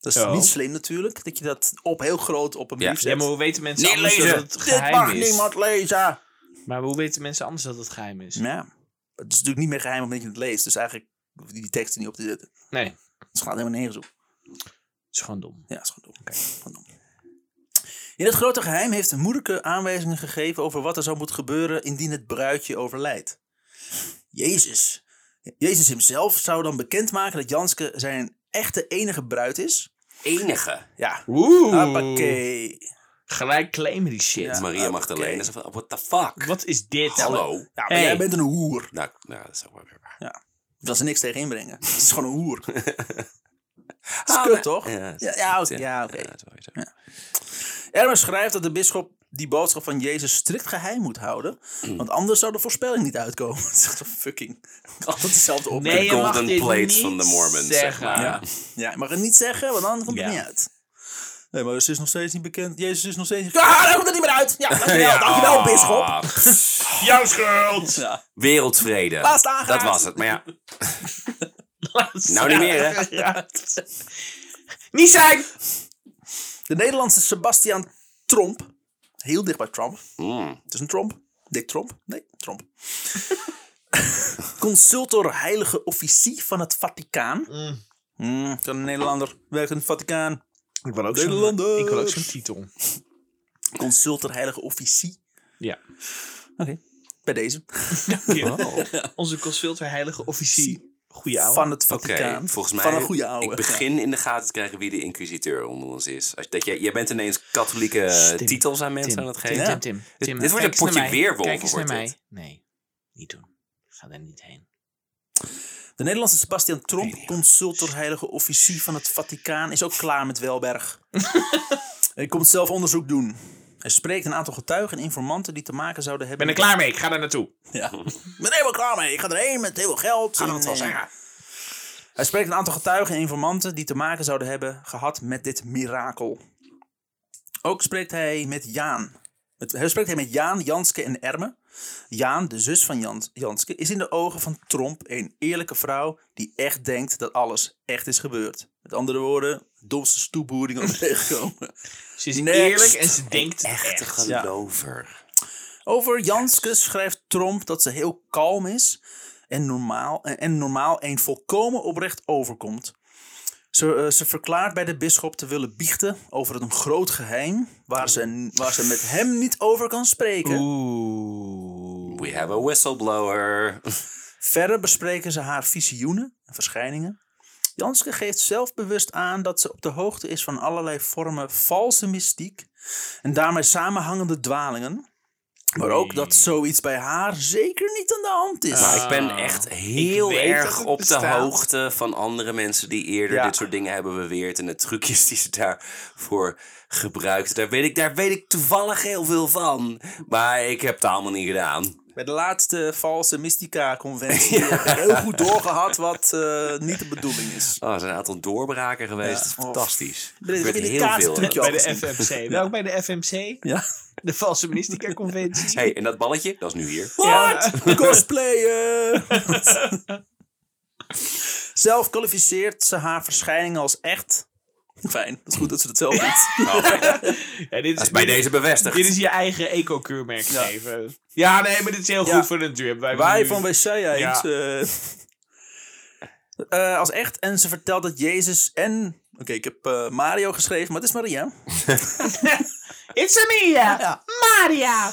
Speaker 3: Dat is
Speaker 2: Oh.
Speaker 3: niet slim natuurlijk, dat je dat op heel groot op een
Speaker 1: Ja.
Speaker 3: brief
Speaker 2: Ja,
Speaker 3: zet.
Speaker 2: maar hoe weten mensen
Speaker 1: Niet
Speaker 2: anders
Speaker 1: lezen.
Speaker 2: dat het
Speaker 3: Dit
Speaker 2: geheim
Speaker 3: mag
Speaker 2: is?
Speaker 3: niemand lezen!
Speaker 2: Maar hoe weten mensen anders dat het geheim is?
Speaker 3: Ja, het is natuurlijk niet meer geheim omdat je het leest. Dus eigenlijk hoef je die teksten niet op te zetten.
Speaker 2: Nee, het
Speaker 3: Het gaat helemaal nergens op.
Speaker 2: is gewoon dom.
Speaker 3: Ja, is goed. dom. Gewoon dom. In het grote geheim heeft moederke aanwijzingen gegeven over wat er zou moeten gebeuren indien het bruidje overlijdt. Jezus. Jezus hemzelf zou dan bekendmaken dat Janske zijn echte enige bruid is.
Speaker 1: Enige.
Speaker 3: Ja.
Speaker 2: Oeh.
Speaker 3: Hoppakee.
Speaker 2: Gelijk claimen die shit.
Speaker 3: Ja. Ah,
Speaker 1: Maria
Speaker 3: oké.
Speaker 1: Magdalena. is van, What the fuck?
Speaker 2: Wat is dit?
Speaker 1: Hallo.
Speaker 3: Ja, Nou, maar
Speaker 2: Hey.
Speaker 3: jij bent een hoer.
Speaker 1: Nou, nou, dat is ook wel weer waar.
Speaker 3: Dat is er niks tegen inbrengen. Het is gewoon een hoer. Het is
Speaker 1: Ah,
Speaker 3: kut,
Speaker 1: maar-
Speaker 3: toch?
Speaker 1: Ja,
Speaker 3: Ja, ja, oké. Ja, oké. Ermer schrijft dat de bisschop die boodschap van Jezus strikt geheim moet houden. Want anders zou de voorspelling niet uitkomen. Het is echt een fucking. Altijd dezelfde op.
Speaker 2: Nee, je mag
Speaker 1: golden
Speaker 2: dit
Speaker 1: plates
Speaker 2: niet
Speaker 1: van de Mormons, zeg
Speaker 2: zeggen.
Speaker 1: maar.
Speaker 3: Ja. ja, je mag het niet zeggen, want dan komt
Speaker 2: Ja.
Speaker 3: het niet uit. Nee, maar ze is nog steeds niet bekend. Jezus is nog steeds niet. Ah, daar komt het niet meer uit! Ja, Ah. dankjewel, dankjewel, bisschop.
Speaker 2: Jouw schuld!
Speaker 3: Ja.
Speaker 1: Wereldvrede.
Speaker 3: Laatst aangeraakt.
Speaker 1: Dat was het, maar ja.
Speaker 2: Nou
Speaker 1: Nou niet meer, hè?
Speaker 2: Niet zijn!
Speaker 3: De Nederlandse Sebastian Tromp. Heel dicht bij Trump.
Speaker 1: Mm.
Speaker 3: Het is een Trump. Dick Trump? Nee, Trump. Consultor heilige officier van het Vaticaan.
Speaker 2: Mm.
Speaker 3: Mm, zo'n Nederlander werkt in het Vaticaan.
Speaker 2: Ik wil ook
Speaker 3: Nederlanders.
Speaker 2: Ik wil ook zo'n titel.
Speaker 3: Consulter heilige officie.
Speaker 2: Ja.
Speaker 3: Oké. Bij deze.
Speaker 2: Ja. Onze consultor heilige officier. Goeie ouwe.
Speaker 3: Van het
Speaker 1: Oké,
Speaker 3: Vaticaan.
Speaker 1: volgens mij.
Speaker 3: Van een goede oude.
Speaker 1: Ik begin in de gaten te krijgen wie de inquisiteur onder ons is. Als, dat jij, jij bent ineens katholieke
Speaker 2: Stim.
Speaker 1: titels aan mensen aan het
Speaker 2: Tim,
Speaker 1: geven.
Speaker 2: Tim, Tim,
Speaker 1: Dit-
Speaker 2: Tim,
Speaker 1: dit wordt
Speaker 2: kijk
Speaker 1: een
Speaker 2: eens naar
Speaker 1: potje
Speaker 2: mij.
Speaker 1: weerwolven,
Speaker 2: Kijk eens naar
Speaker 1: wordt
Speaker 2: mij.
Speaker 1: dit.
Speaker 2: Nee, niet doen. Ga daar niet heen.
Speaker 3: De Nederlandse Sebastian Tromp, consultor heilige officier van het Vaticaan, is ook klaar met Welberg. Hij komt zelf onderzoek doen. Hij spreekt een aantal getuigen en informanten die te maken zouden
Speaker 2: Ik ben
Speaker 3: hebben.
Speaker 2: er klaar mee. Ik ga daar naartoe.
Speaker 3: Ja. Ik ben er helemaal klaar mee. Ik ga erheen met heel veel geld. en, eh, Hij spreekt een aantal getuigen en informanten die te maken zouden hebben gehad met dit mirakel. Ook spreekt hij met Jaan. Met, hij spreekt hij met Jaan, Janske en Erme. Jaan, de zus van Jans, Janske, is in de ogen van Tromp een eerlijke vrouw die echt denkt dat alles echt is gebeurd. Met andere woorden, domste stoepboeringen om tegenkomen.
Speaker 2: Ze is
Speaker 3: Next.
Speaker 2: eerlijk en ze denkt
Speaker 1: Echte
Speaker 2: echt.
Speaker 1: gelover.
Speaker 3: Over Janske schrijft Tromp dat ze heel kalm is en normaal, en normaal een volkomen oprecht overkomt. Ze, eh, ze verklaart bij de bisschop te willen biechten over een groot geheim waar ze, waar ze met hem niet over kan spreken.
Speaker 2: Oeh.
Speaker 1: We have a whistleblower.
Speaker 3: Verder bespreken ze haar visioenen en verschijningen. Janske geeft zelfbewust aan dat ze op de hoogte is van allerlei vormen valse mystiek en daarmee samenhangende dwalingen. Maar ook dat zoiets bij haar zeker niet aan de hand is.
Speaker 1: Maar ik ben echt heel
Speaker 2: ik weet dat
Speaker 1: erg
Speaker 2: het
Speaker 1: op de
Speaker 2: bestaat.
Speaker 1: hoogte van andere mensen die eerder
Speaker 3: Ja.
Speaker 1: dit soort dingen hebben beweerd. En de trucjes die ze daarvoor gebruikten. Daar weet ik, daar weet ik toevallig heel veel van. Maar ik heb het allemaal niet gedaan.
Speaker 3: Bij de laatste valse Mystica-conventie heb ik heel goed doorgehad wat eh, niet de bedoeling is.
Speaker 1: Oh, er zijn een aantal doorbraken geweest. Dat is
Speaker 3: Oh.
Speaker 1: fantastisch.
Speaker 3: Er is
Speaker 1: Er werd
Speaker 3: een
Speaker 1: heel veel.
Speaker 3: kaartentrucje
Speaker 2: Bij de
Speaker 3: Joh.
Speaker 2: FMC. Welk bij de FMC?
Speaker 3: Ja.
Speaker 2: De valse ministerconventie.
Speaker 1: hey, en dat balletje, dat is nu hier.
Speaker 3: What? Cosplayen! zelf kwalificeert ze haar verschijningen als echt. Fijn, dat is goed dat ze dat zelf doet.
Speaker 2: Ja, dit
Speaker 1: Dat is bij
Speaker 2: dit
Speaker 1: deze bevestigd.
Speaker 2: Dit is je eigen eco-keurmerk geven. Ja. nee, maar dit is heel
Speaker 3: Ja.
Speaker 2: goed voor de natuur. Hebben Wij,
Speaker 3: Wij
Speaker 2: nu-
Speaker 3: van WC
Speaker 2: Ja.
Speaker 3: eens. eh. Eh, als echt. En ze vertelt dat Jezus en... Oké, ik heb eh, Mario geschreven, maar het is Maria.
Speaker 4: It's a me,
Speaker 3: Ja.
Speaker 4: Maria.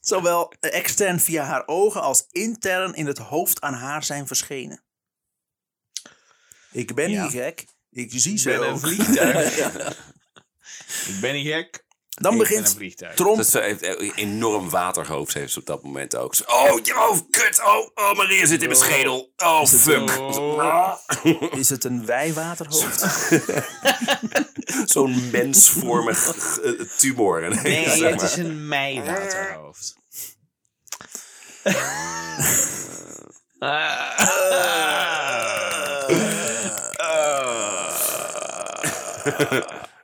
Speaker 3: Zowel extern via haar ogen als intern in het hoofd aan haar zijn verschenen. Ik ben
Speaker 2: Ja.
Speaker 3: niet gek. Ik zie
Speaker 2: Ik
Speaker 3: ze
Speaker 2: ben een
Speaker 3: ook.
Speaker 2: vliegtuig. Ik ben niet gek.
Speaker 3: Dan
Speaker 2: ik ben een
Speaker 3: begint
Speaker 2: vliegtuig.
Speaker 3: Tromp...
Speaker 1: Dat ze heeft eh, enorm waterhoofd heeft ze op dat moment ook. Zo, Oh, ja, oh, kut. Oh, oh, Maria zit in mijn schedel. Oh, fuck. Ah.
Speaker 2: Oh.
Speaker 3: Is het een wijwaterhoofd?
Speaker 1: Zo'n mensvormig eh, tumor. ineens,
Speaker 2: Nee,
Speaker 1: zeg
Speaker 2: het
Speaker 1: maar.
Speaker 2: is een meiwaterhoofd. Ah.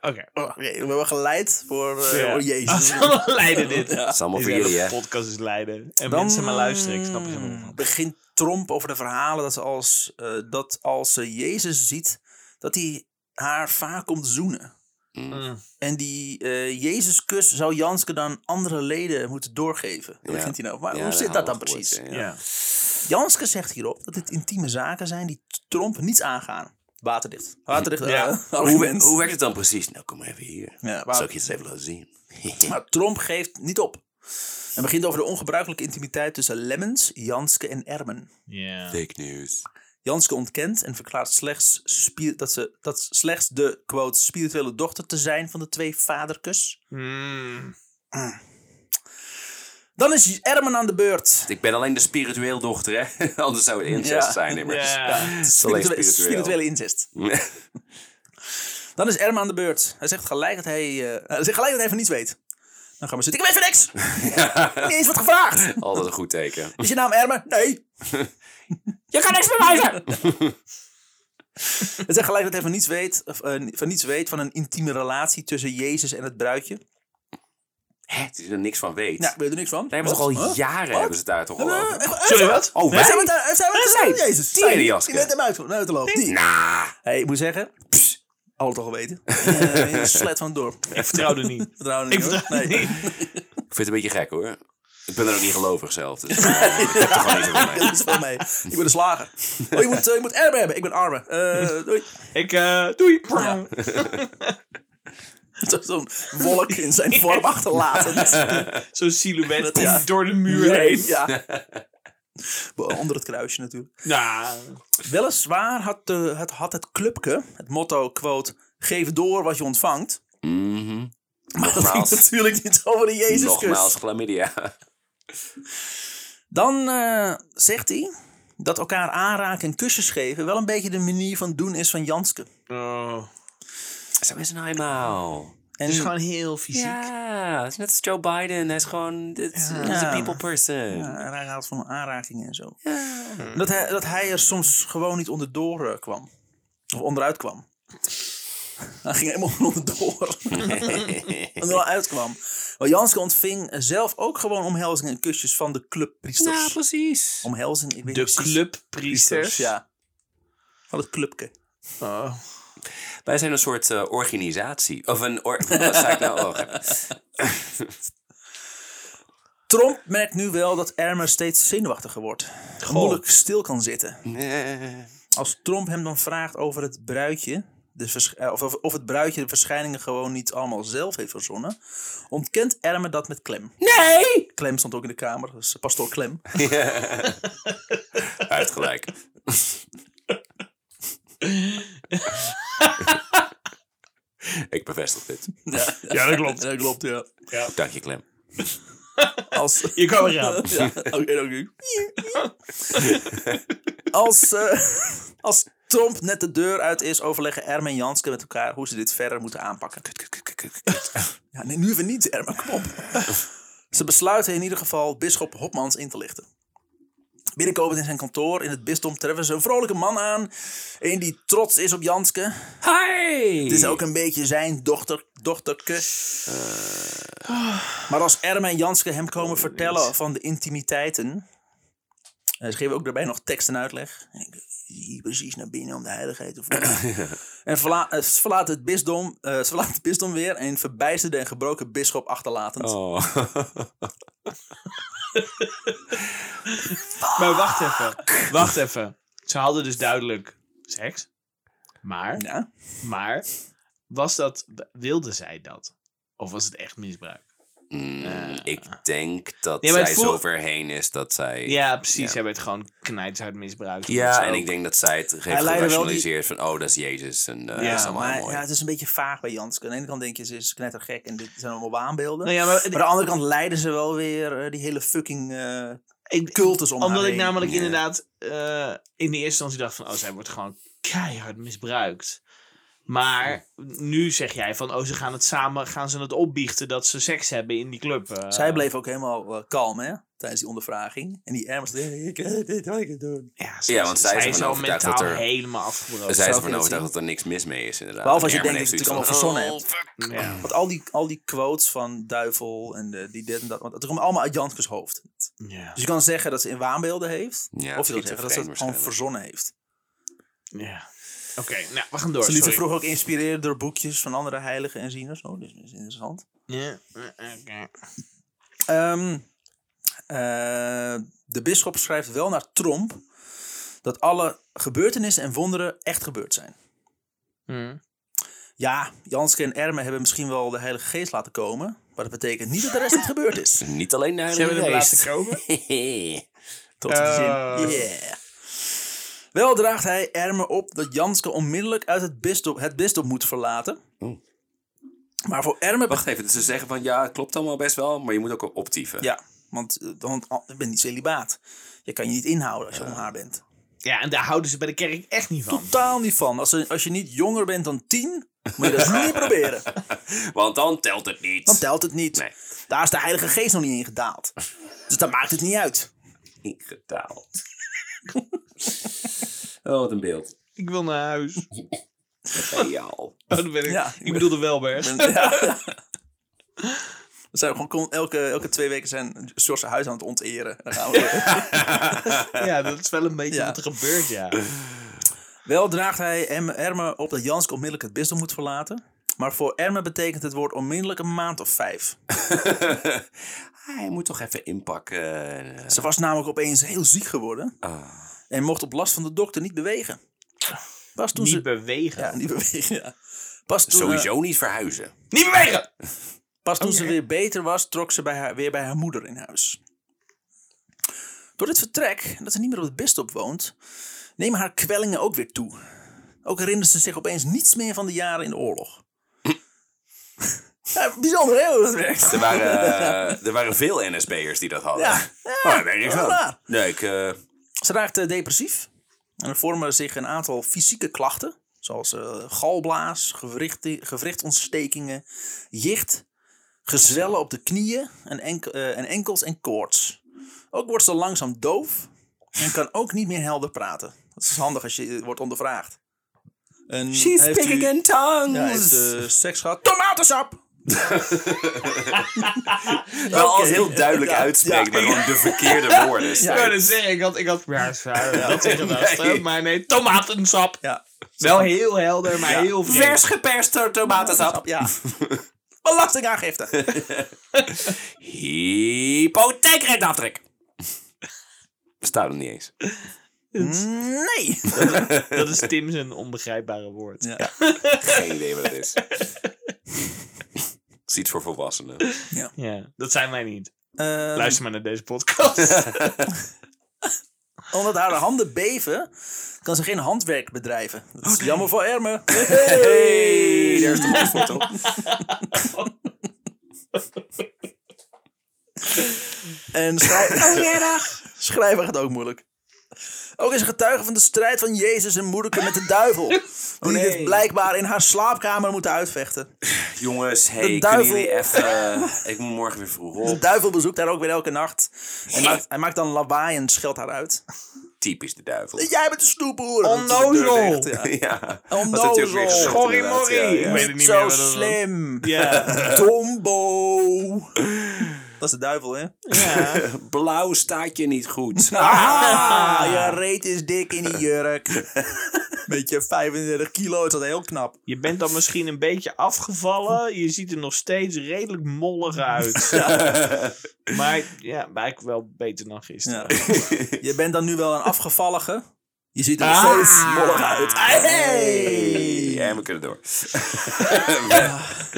Speaker 2: Oké.
Speaker 3: Oh, Oké, we hebben geleid voor... eh,
Speaker 2: Ja.
Speaker 3: Oh, jezus.
Speaker 2: Allemaal leiden dit.
Speaker 1: Het is allemaal
Speaker 2: Deze
Speaker 1: voor jullie,
Speaker 2: hele
Speaker 1: hè?
Speaker 2: podcast is leiden.
Speaker 3: Dan-
Speaker 2: En mensen maar luisteren, ik snap er helemaal niet van.
Speaker 3: begint Tromp over de verhalen dat, ze als, eh, dat als ze Jezus ziet, dat hij haar vaak komt zoenen.
Speaker 2: Mm.
Speaker 3: En die eh Jezuskus zou Janske dan andere leden moeten doorgeven. Dat
Speaker 1: Ja.
Speaker 3: begint hij nou. Maar
Speaker 1: Ja,
Speaker 3: hoe zit dat dan
Speaker 1: hadden we
Speaker 3: precies?
Speaker 1: gehoord,
Speaker 2: Ja.
Speaker 3: Janske zegt hierop dat dit intieme zaken zijn die Tromp niets aangaan. Waterdicht. Waterdicht. eh,
Speaker 2: Ja.
Speaker 1: Hoe,
Speaker 3: argument.
Speaker 1: hoe werkt het dan precies? Nou, kom maar even hier.
Speaker 3: Ja,
Speaker 1: Zal ik
Speaker 3: maar,
Speaker 1: je eens even laten zien?
Speaker 3: maar Tromp geeft niet op. En begint over de ongebruikelijke intimiteit tussen Lemmens, Janske en Ermen.
Speaker 2: Ja.
Speaker 1: Fake news.
Speaker 3: Janske ontkent en verklaart slechts spier- dat ze dat slechts de quote, spirituele dochter te zijn van de twee vaderkes.
Speaker 2: Mm.
Speaker 3: Dan is Ermen aan de beurt.
Speaker 1: Ik ben alleen de spiritueel dochter, hè? Anders zou het incest
Speaker 3: Ja.
Speaker 1: zijn, immers.
Speaker 2: Ja.
Speaker 1: Het is alleen
Speaker 3: Spirituele- spirituele incest. Dan is Erma aan de beurt. Hij zegt gelijk dat hij, eh, hij, zegt gelijk dat hij van niets weet. Dan gaan we zitten. Ik weet van niks. Niet eens wat gevraagd.
Speaker 1: Altijd een goed teken.
Speaker 3: Is je naam Erma? Nee.
Speaker 4: Je kan niks bewijzen.
Speaker 3: Hij zegt gelijk dat hij van niets weet. Of, eh, van niets weet van een intieme relatie tussen Jezus en het bruidje.
Speaker 1: Hè? Die er niks van weet.
Speaker 3: Nou, weet je er niks van?
Speaker 1: Daar hebben ze toch
Speaker 3: Wat?
Speaker 1: al
Speaker 3: Huh?
Speaker 1: jaren hebben ze het daar toch al over.
Speaker 3: Eh, eh,
Speaker 2: Sorry, wat?
Speaker 1: Oh,
Speaker 3: Wij
Speaker 1: wij?
Speaker 3: zijn met, eh, zijn met, zijn met
Speaker 1: Nee.
Speaker 3: Jezus.
Speaker 1: Tierenjaske.
Speaker 3: Zijn- Je bent hem uit, uit de loop. Die.
Speaker 1: Nah.
Speaker 3: Hey, ik moet zeggen, pss, altijd al geweten. Eh, een slet van het dorp.
Speaker 2: Ik vertrouwde niet.
Speaker 3: Vertrouwen
Speaker 2: Ik
Speaker 3: niet, hoor.
Speaker 2: vertrouw
Speaker 3: Nee.
Speaker 2: niet.
Speaker 1: Ik vind het een beetje gek hoor. Ik ben er ook niet gelovig zelf. Dus, eh, ik heb er gewoon niet zoveel mee.
Speaker 3: Dat is wel mee. Ik ben een slager. Oh, je moet, eh, je moet
Speaker 2: eh,
Speaker 3: armen hebben. Ik ben armen. Eh, doei.
Speaker 2: Ik, eh, doei.
Speaker 3: Zo- Zo'n wolk in zijn vorm achterlaten.
Speaker 2: Zo'n silhouet
Speaker 3: Ja.
Speaker 2: komt door de muur heen.
Speaker 3: Ja. Onder het kruisje natuurlijk.
Speaker 2: Ja.
Speaker 3: Weliswaar had, eh, het, had het clubke het motto, quote, geef door wat je ontvangt.
Speaker 1: Mhm.
Speaker 3: Maar dat ging
Speaker 1: Nogmaals.
Speaker 3: natuurlijk niet over de Jezuskus.
Speaker 1: Nogmaals, chlamydia.
Speaker 3: Dan eh, zegt hij dat elkaar aanraken en kusjes geven wel een beetje de manier van doen is van Janske.
Speaker 2: Oh.
Speaker 1: Zo is het nou eenmaal.
Speaker 3: En
Speaker 2: Het is gewoon heel fysiek.
Speaker 1: Ja, het is net als Joe Biden. Hij is gewoon... It's, he's
Speaker 3: Ja.
Speaker 1: a people person.
Speaker 3: Ja, en hij gaat van aanrakingen en zo. Dat, hij, dat hij er soms gewoon niet onderdoor eh, kwam. Of onderuit kwam. Hij ging helemaal onderdoor. en er wel uitkwam. Maar Janske ontving zelf ook gewoon omhelzingen en kusjes van de clubpriesters.
Speaker 1: Ja, precies.
Speaker 3: Omhelzing, ik weet
Speaker 2: De
Speaker 3: niet precies.
Speaker 2: clubpriesters.
Speaker 3: ja. Van het clubke.
Speaker 2: Oh.
Speaker 1: Wij zijn een soort eh, organisatie. Of een... Or wat zei ik nou? Oh, gek.
Speaker 3: Tromp merkt nu wel dat Ermer steeds zenuwachtiger wordt. Moeilijk stil kan zitten.
Speaker 1: Nee.
Speaker 3: Als Tromp hem dan vraagt over het bruidje, de vers- eh, of, of- of het bruidje de verschijningen gewoon niet allemaal zelf heeft verzonnen, ontkent Erme dat met klem.
Speaker 4: Nee!
Speaker 3: Klem stond ook in de kamer, dus pastoor Klem.
Speaker 1: Hij heeft gelijk. ik bevestig dit.
Speaker 3: Ja,
Speaker 2: Ja, dat klopt.
Speaker 3: dat klopt, ja.
Speaker 1: Dank je, Clem.
Speaker 3: Als,
Speaker 2: Je kan weer aan.
Speaker 3: ja, oké, dank u. Als, eh, als Tromp net de deur uit is, overleggen Erme en Janske met elkaar hoe ze dit verder moeten aanpakken. Ja, nee, nu even niet, Erma, kom op. Ze besluiten in ieder geval bisschop Hopmans in te lichten. Binnenkomend in zijn kantoor in het bisdom treffen ze een vrolijke man aan. Een die trots is op Janske.
Speaker 1: Hi!
Speaker 3: Het is ook een beetje zijn dochter, dochterke.
Speaker 1: Eh.
Speaker 3: Maar als Erma en Janske hem
Speaker 1: Oh,
Speaker 3: komen vertellen van de intimiteiten... eh, ze geven ook daarbij nog tekst en uitleg. Ik zie precies naar binnen om de heiligheid te voelen. En verla- eh, ze verlaat het bisdom, eh, ze verlaat het bisdom weer en verbijsterde en gebroken bisschop achterlatend.
Speaker 1: Oh.
Speaker 2: Maar wacht even. Wacht even. Ze hadden dus duidelijk seks. Maar,
Speaker 3: Ja.
Speaker 2: maar, was dat, wilde zij dat? Of was het echt misbruik?
Speaker 1: Mm, ik denk dat
Speaker 2: Nee, maar het
Speaker 1: zij
Speaker 2: voel-
Speaker 1: zo verheen is dat zij...
Speaker 2: Ja, precies.
Speaker 1: Ja.
Speaker 2: Hij werd gewoon knijtshard misbruikt.
Speaker 1: Ja,
Speaker 2: Zo.
Speaker 1: en ik denk dat zij het heeft
Speaker 3: leidde wel die-
Speaker 1: gerationaliseerd van... Oh, dat is Jezus. En eh,
Speaker 2: Ja,
Speaker 1: dat is allemaal
Speaker 3: maar
Speaker 1: mooi.
Speaker 3: ja, het is een beetje vaag bij Janske. Aan de ene kant denk je, ze is knettergek en dit zijn allemaal waanbeelden.
Speaker 2: Nou ja, maar,
Speaker 3: Maar aan de andere kant leiden ze wel weer eh, die hele fucking eh,
Speaker 2: ik,
Speaker 3: cultus om
Speaker 2: Omdat
Speaker 3: haar
Speaker 2: ik
Speaker 3: heen.
Speaker 2: namelijk
Speaker 1: Ja.
Speaker 2: inderdaad eh, in de eerste instantie dacht van... Oh, zij wordt gewoon keihard misbruikt. Maar nu zeg jij van... Oh, ze gaan het samen gaan ze het opbiechten dat ze seks hebben in die club. eh.
Speaker 3: Zij bleef ook helemaal eh, kalm, hè? Tijdens die ondervraging. En die Ermers, eh, ik weet niet wat ik het doen.
Speaker 2: Ja,
Speaker 1: Ja, want zij is ervan
Speaker 2: is al
Speaker 1: overtuigd dat
Speaker 2: mentaal
Speaker 1: er-
Speaker 2: helemaal afgebroken.
Speaker 1: zij is
Speaker 3: zou ik
Speaker 1: ervan
Speaker 3: het
Speaker 1: overtuigd oh, dat er niks mis mee is, inderdaad.
Speaker 3: Behalve als je
Speaker 1: En Herman
Speaker 3: denkt dat je
Speaker 1: heeft
Speaker 3: het
Speaker 1: zoiets
Speaker 3: allemaal
Speaker 1: van, "Oh,
Speaker 2: Ja.
Speaker 3: Want al die, al die quotes van duivel en de, die dit en dat, want het komt allemaal uit Janskes hoofd.
Speaker 2: Ja.
Speaker 3: Dus je kan zeggen dat ze in waanbeelden heeft.
Speaker 1: Ja,
Speaker 3: of je kan
Speaker 1: schizofreen
Speaker 3: zeggen dat ze het gewoon
Speaker 1: waarschijnlijk.
Speaker 3: verzonnen heeft.
Speaker 2: ja. Oké, nou, we gaan door.
Speaker 3: Ze lieten
Speaker 2: sorry.
Speaker 3: vroeg ook inspireren door boekjes van andere heiligen en zieners. Oh, dit is interessant.
Speaker 2: Ja, eh, oké.
Speaker 3: Ehm, eh, de bisschop schrijft wel naar Tromp dat alle gebeurtenissen en wonderen echt gebeurd zijn.
Speaker 2: Hm.
Speaker 3: Ja, Janske en Erme hebben misschien wel de Heilige Geest laten komen, maar dat betekent niet dat de rest niet gebeurd is.
Speaker 1: Dus Niet alleen naar
Speaker 2: Ze hebben hem laten komen.
Speaker 1: komen.
Speaker 3: Tot die zin.
Speaker 2: Eh.
Speaker 3: Yeah. Wel draagt hij Erme op dat Janske onmiddellijk uit het bisdom, het bisdom moet verlaten.
Speaker 1: Oh.
Speaker 3: Maar voor Erme
Speaker 1: Wacht even, dus ze zeggen van ja, het klopt allemaal best wel, maar je moet ook optieven.
Speaker 3: Ja, want eh, want, ah, ik ben niet celibaat. Je kan je niet inhouden als je om haar bent.
Speaker 2: Ja, en daar houden ze bij de kerk echt niet van.
Speaker 3: Totaal niet van. Als, je- als je niet jonger bent dan 10, moet je dat niet proberen.
Speaker 1: Want dan telt het niet.
Speaker 3: Dan telt het niet.
Speaker 1: Nee.
Speaker 3: Daar is de Heilige Geest nog niet in gedaald. Dus dan maakt het niet uit.
Speaker 1: Ingedaald. oh, wat een beeld.
Speaker 2: Ik wil naar huis. Oh,
Speaker 1: Geniaal.
Speaker 2: dat ben ik.
Speaker 3: Ja, ik
Speaker 2: ik bedoel de Welberg.
Speaker 3: Ja, ja. We zijn gewoon kon- elke, elke twee weken zijn George's huis aan het onteren. Dan gaan we weer.
Speaker 2: Ja, dat is wel een beetje
Speaker 3: Ja.
Speaker 2: wat er gebeurt, ja.
Speaker 3: Wel draagt hij Em- Erme op dat Janske onmiddellijk het bisdom moet verlaten. Maar voor Erme betekent het woord onmiddellijk een maand of vijf.
Speaker 1: Hij moet toch even inpakken.
Speaker 3: Ze was namelijk opeens heel ziek geworden. En mocht op last van de dokter niet bewegen. Pas toen
Speaker 2: Niet
Speaker 3: ze...
Speaker 2: bewegen.
Speaker 3: Ja, niet bewegen, ja. Pas toen, eh,
Speaker 1: Sowieso niet verhuizen.
Speaker 2: Niet bewegen!
Speaker 3: Pas toen
Speaker 2: Oh,
Speaker 3: ze
Speaker 2: ja.
Speaker 3: weer beter was, trok ze bij haar, weer bij haar moeder in huis. Door dit vertrek, en dat ze niet meer op het bisdom woont, nemen haar kwellingen ook weer toe. Ook herinnert ze zich opeens niets meer van de jaren in de oorlog. ja, bijzonder hè, hoe dat werkt.
Speaker 1: Er waren, eh, er waren veel NSB'ers die dat hadden.
Speaker 3: Ja,
Speaker 1: Oh, dat denk ik
Speaker 3: dat is
Speaker 1: wel.
Speaker 3: waar.
Speaker 1: Nee, ik, eh,
Speaker 3: Ze raakt eh, depressief. En er vormen zich een aantal fysieke klachten. Zoals eh, galblaas, gewrichti- gewrichtontstekingen, jicht, gezwellen op de knieën en, enk- eh, en enkels en koorts. Ook wordt ze langzaam doof en kan ook niet meer helder praten. Dat is handig als je eh, wordt ondervraagd. En
Speaker 4: She's
Speaker 3: heeft u-
Speaker 4: speaking in tongues.
Speaker 3: Ja, heeft eh, seks gehad. Tomatensap!
Speaker 1: wel als heel
Speaker 3: Oké.
Speaker 1: duidelijk
Speaker 3: Ja,
Speaker 1: uitspreekt,
Speaker 3: ja.
Speaker 1: maar gewoon de verkeerde woorden.
Speaker 2: dus Ik
Speaker 1: Ja,
Speaker 2: wou net zeggen, ik had, ik had ja, sorry, dat tegen dat,
Speaker 1: Nee.
Speaker 2: hè, Maar nee, tomatensap.
Speaker 3: Ja.
Speaker 2: Wel heel helder, maar heel vreemd.
Speaker 4: Vers geperste tomatensap.
Speaker 3: Ja. Belastingaangifte.
Speaker 4: Hypotheekrenteaftrek.
Speaker 1: Bestaat hem niet eens.
Speaker 3: Nee.
Speaker 2: Hm? Dat is Tim zijn onbegrijpbare woord.
Speaker 3: Ja.
Speaker 1: Geen idee wat dat is. Dat is iets voor volwassenen.
Speaker 2: Ja, dat zijn wij niet.
Speaker 3: Ehm,
Speaker 2: Luister maar naar deze podcast.
Speaker 3: Omdat haar handen beven, kan ze geen handwerk bedrijven. Dat is jammer voor Erme.
Speaker 1: Hey, daar is de mooiste
Speaker 3: En schrij-
Speaker 4: Oh, middag.
Speaker 3: schrijven gaat ook moeilijk. Ook is ze getuige van de strijd van Jezus en moederke met de duivel. Die dit blijkbaar in haar slaapkamer moeten uitvechten.
Speaker 1: Jongens, hey, kunnen
Speaker 3: duivel.
Speaker 1: jullie even... eh, ik moet morgen weer vroeg
Speaker 3: De
Speaker 1: op.
Speaker 3: duivel bezoekt haar ook weer elke nacht. Hij maakt, hij maakt dan lawaai en scheldt haar uit.
Speaker 1: Typisch de duivel.
Speaker 3: Jij bent een snoepboer. En dan doet ze de deur
Speaker 2: Onnozel.
Speaker 3: dicht, ja.
Speaker 1: Ja.
Speaker 3: Onnozel.
Speaker 1: Wat had hij ook weer gezegd,
Speaker 2: Schorrie
Speaker 1: inderdaad?
Speaker 2: morrie.
Speaker 1: Ja, ja.
Speaker 2: Ik weet het niet meer
Speaker 3: Zo
Speaker 2: wat dat was.
Speaker 3: slim.
Speaker 2: Ja.
Speaker 3: Tombo. Dat is de duivel, hè?
Speaker 2: ja.
Speaker 1: Blauw staat je niet goed.
Speaker 3: Ah, je reet is dik in die jurk. Beetje 35 kilo, is dat heel knap.
Speaker 2: Je bent dan misschien een beetje afgevallen. Je ziet er nog steeds redelijk mollig uit. Maar ja, maar eigenlijk wel beter dan gisteren.
Speaker 3: Ja. Je bent dan nu wel een afgevallige. Je ziet er nog
Speaker 2: Ah.
Speaker 3: steeds mollig uit. Hey.
Speaker 1: Ja, we kunnen door.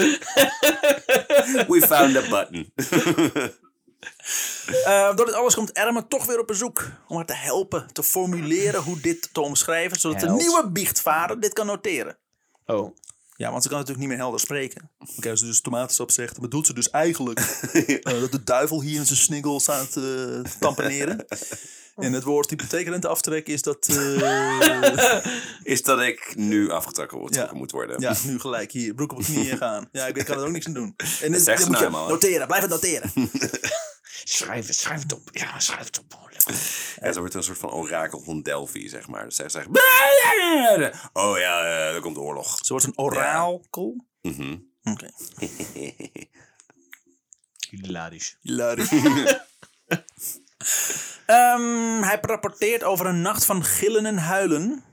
Speaker 1: We found the button.
Speaker 3: Eh, door dit alles komt Erme toch weer op bezoek. Om haar te helpen, te formuleren hoe dit te omschrijven. Zodat de
Speaker 2: Held.
Speaker 3: nieuwe biechtvader dit kan noteren.
Speaker 2: Oh.
Speaker 3: Ja, want ze kan natuurlijk niet meer helder spreken. Oké, als ze dus tomatensap zegt, dan bedoelt ze dus eigenlijk eh, dat de duivel hier in zijn sniggel staat eh, te tamponeren. En het woord hypotheekrente aftrekken is dat... eh,
Speaker 1: Is dat ik nu afgetrokken word-
Speaker 3: Ja.
Speaker 1: moet worden.
Speaker 3: Ja, nu gelijk hier, broek op mijn knieën gaan. Ja, ik weet, kan er ook niks aan doen. En dit, dit
Speaker 1: zegt ze
Speaker 3: moet
Speaker 1: nou
Speaker 3: je
Speaker 1: helemaal, hè?
Speaker 3: noteren, blijf het noteren.
Speaker 2: Schrijf het, schrijf het op. Ja, schrijf het op.
Speaker 1: Ja, ze wordt een soort van orakel van Delphi, zeg maar. Dus zij zegt... Oh ja, eh, er komt de oorlog.
Speaker 3: Ze wordt een orakel.
Speaker 1: Mhm.
Speaker 3: Oké.
Speaker 2: Hilarisch.
Speaker 3: Hilarisch. Ehm, hij rapporteert over een nacht van gillen en huilen.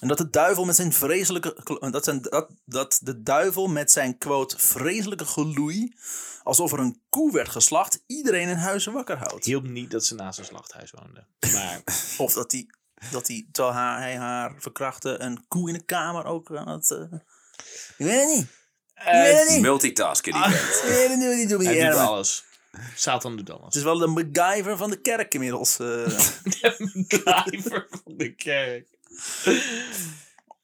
Speaker 3: En dat de duivel met zijn vreselijke. kl- Dat, zijn, dat, dat de duivel met zijn quote vreselijke geloei. alsof er een koe werd geslacht. iedereen in huizen wakker houdt.
Speaker 2: Hielp niet dat ze naast een slachthuis woonde. Maar
Speaker 3: Of dat hij, dat hij terwijl haar- hij haar verkrachtte. een koe in de kamer ook aan het. eh, ik weet het niet. Ik
Speaker 2: eh,
Speaker 3: weet het niet.
Speaker 1: Multitasken die vent.
Speaker 3: Ik weet het niet wat hij doet met
Speaker 2: hij
Speaker 3: die
Speaker 2: doet
Speaker 3: armen.
Speaker 2: alles. Satan doet
Speaker 3: Het
Speaker 2: alles.
Speaker 3: is wel de MacGyver van de kerk inmiddels. eh.
Speaker 2: De driver van de kerk.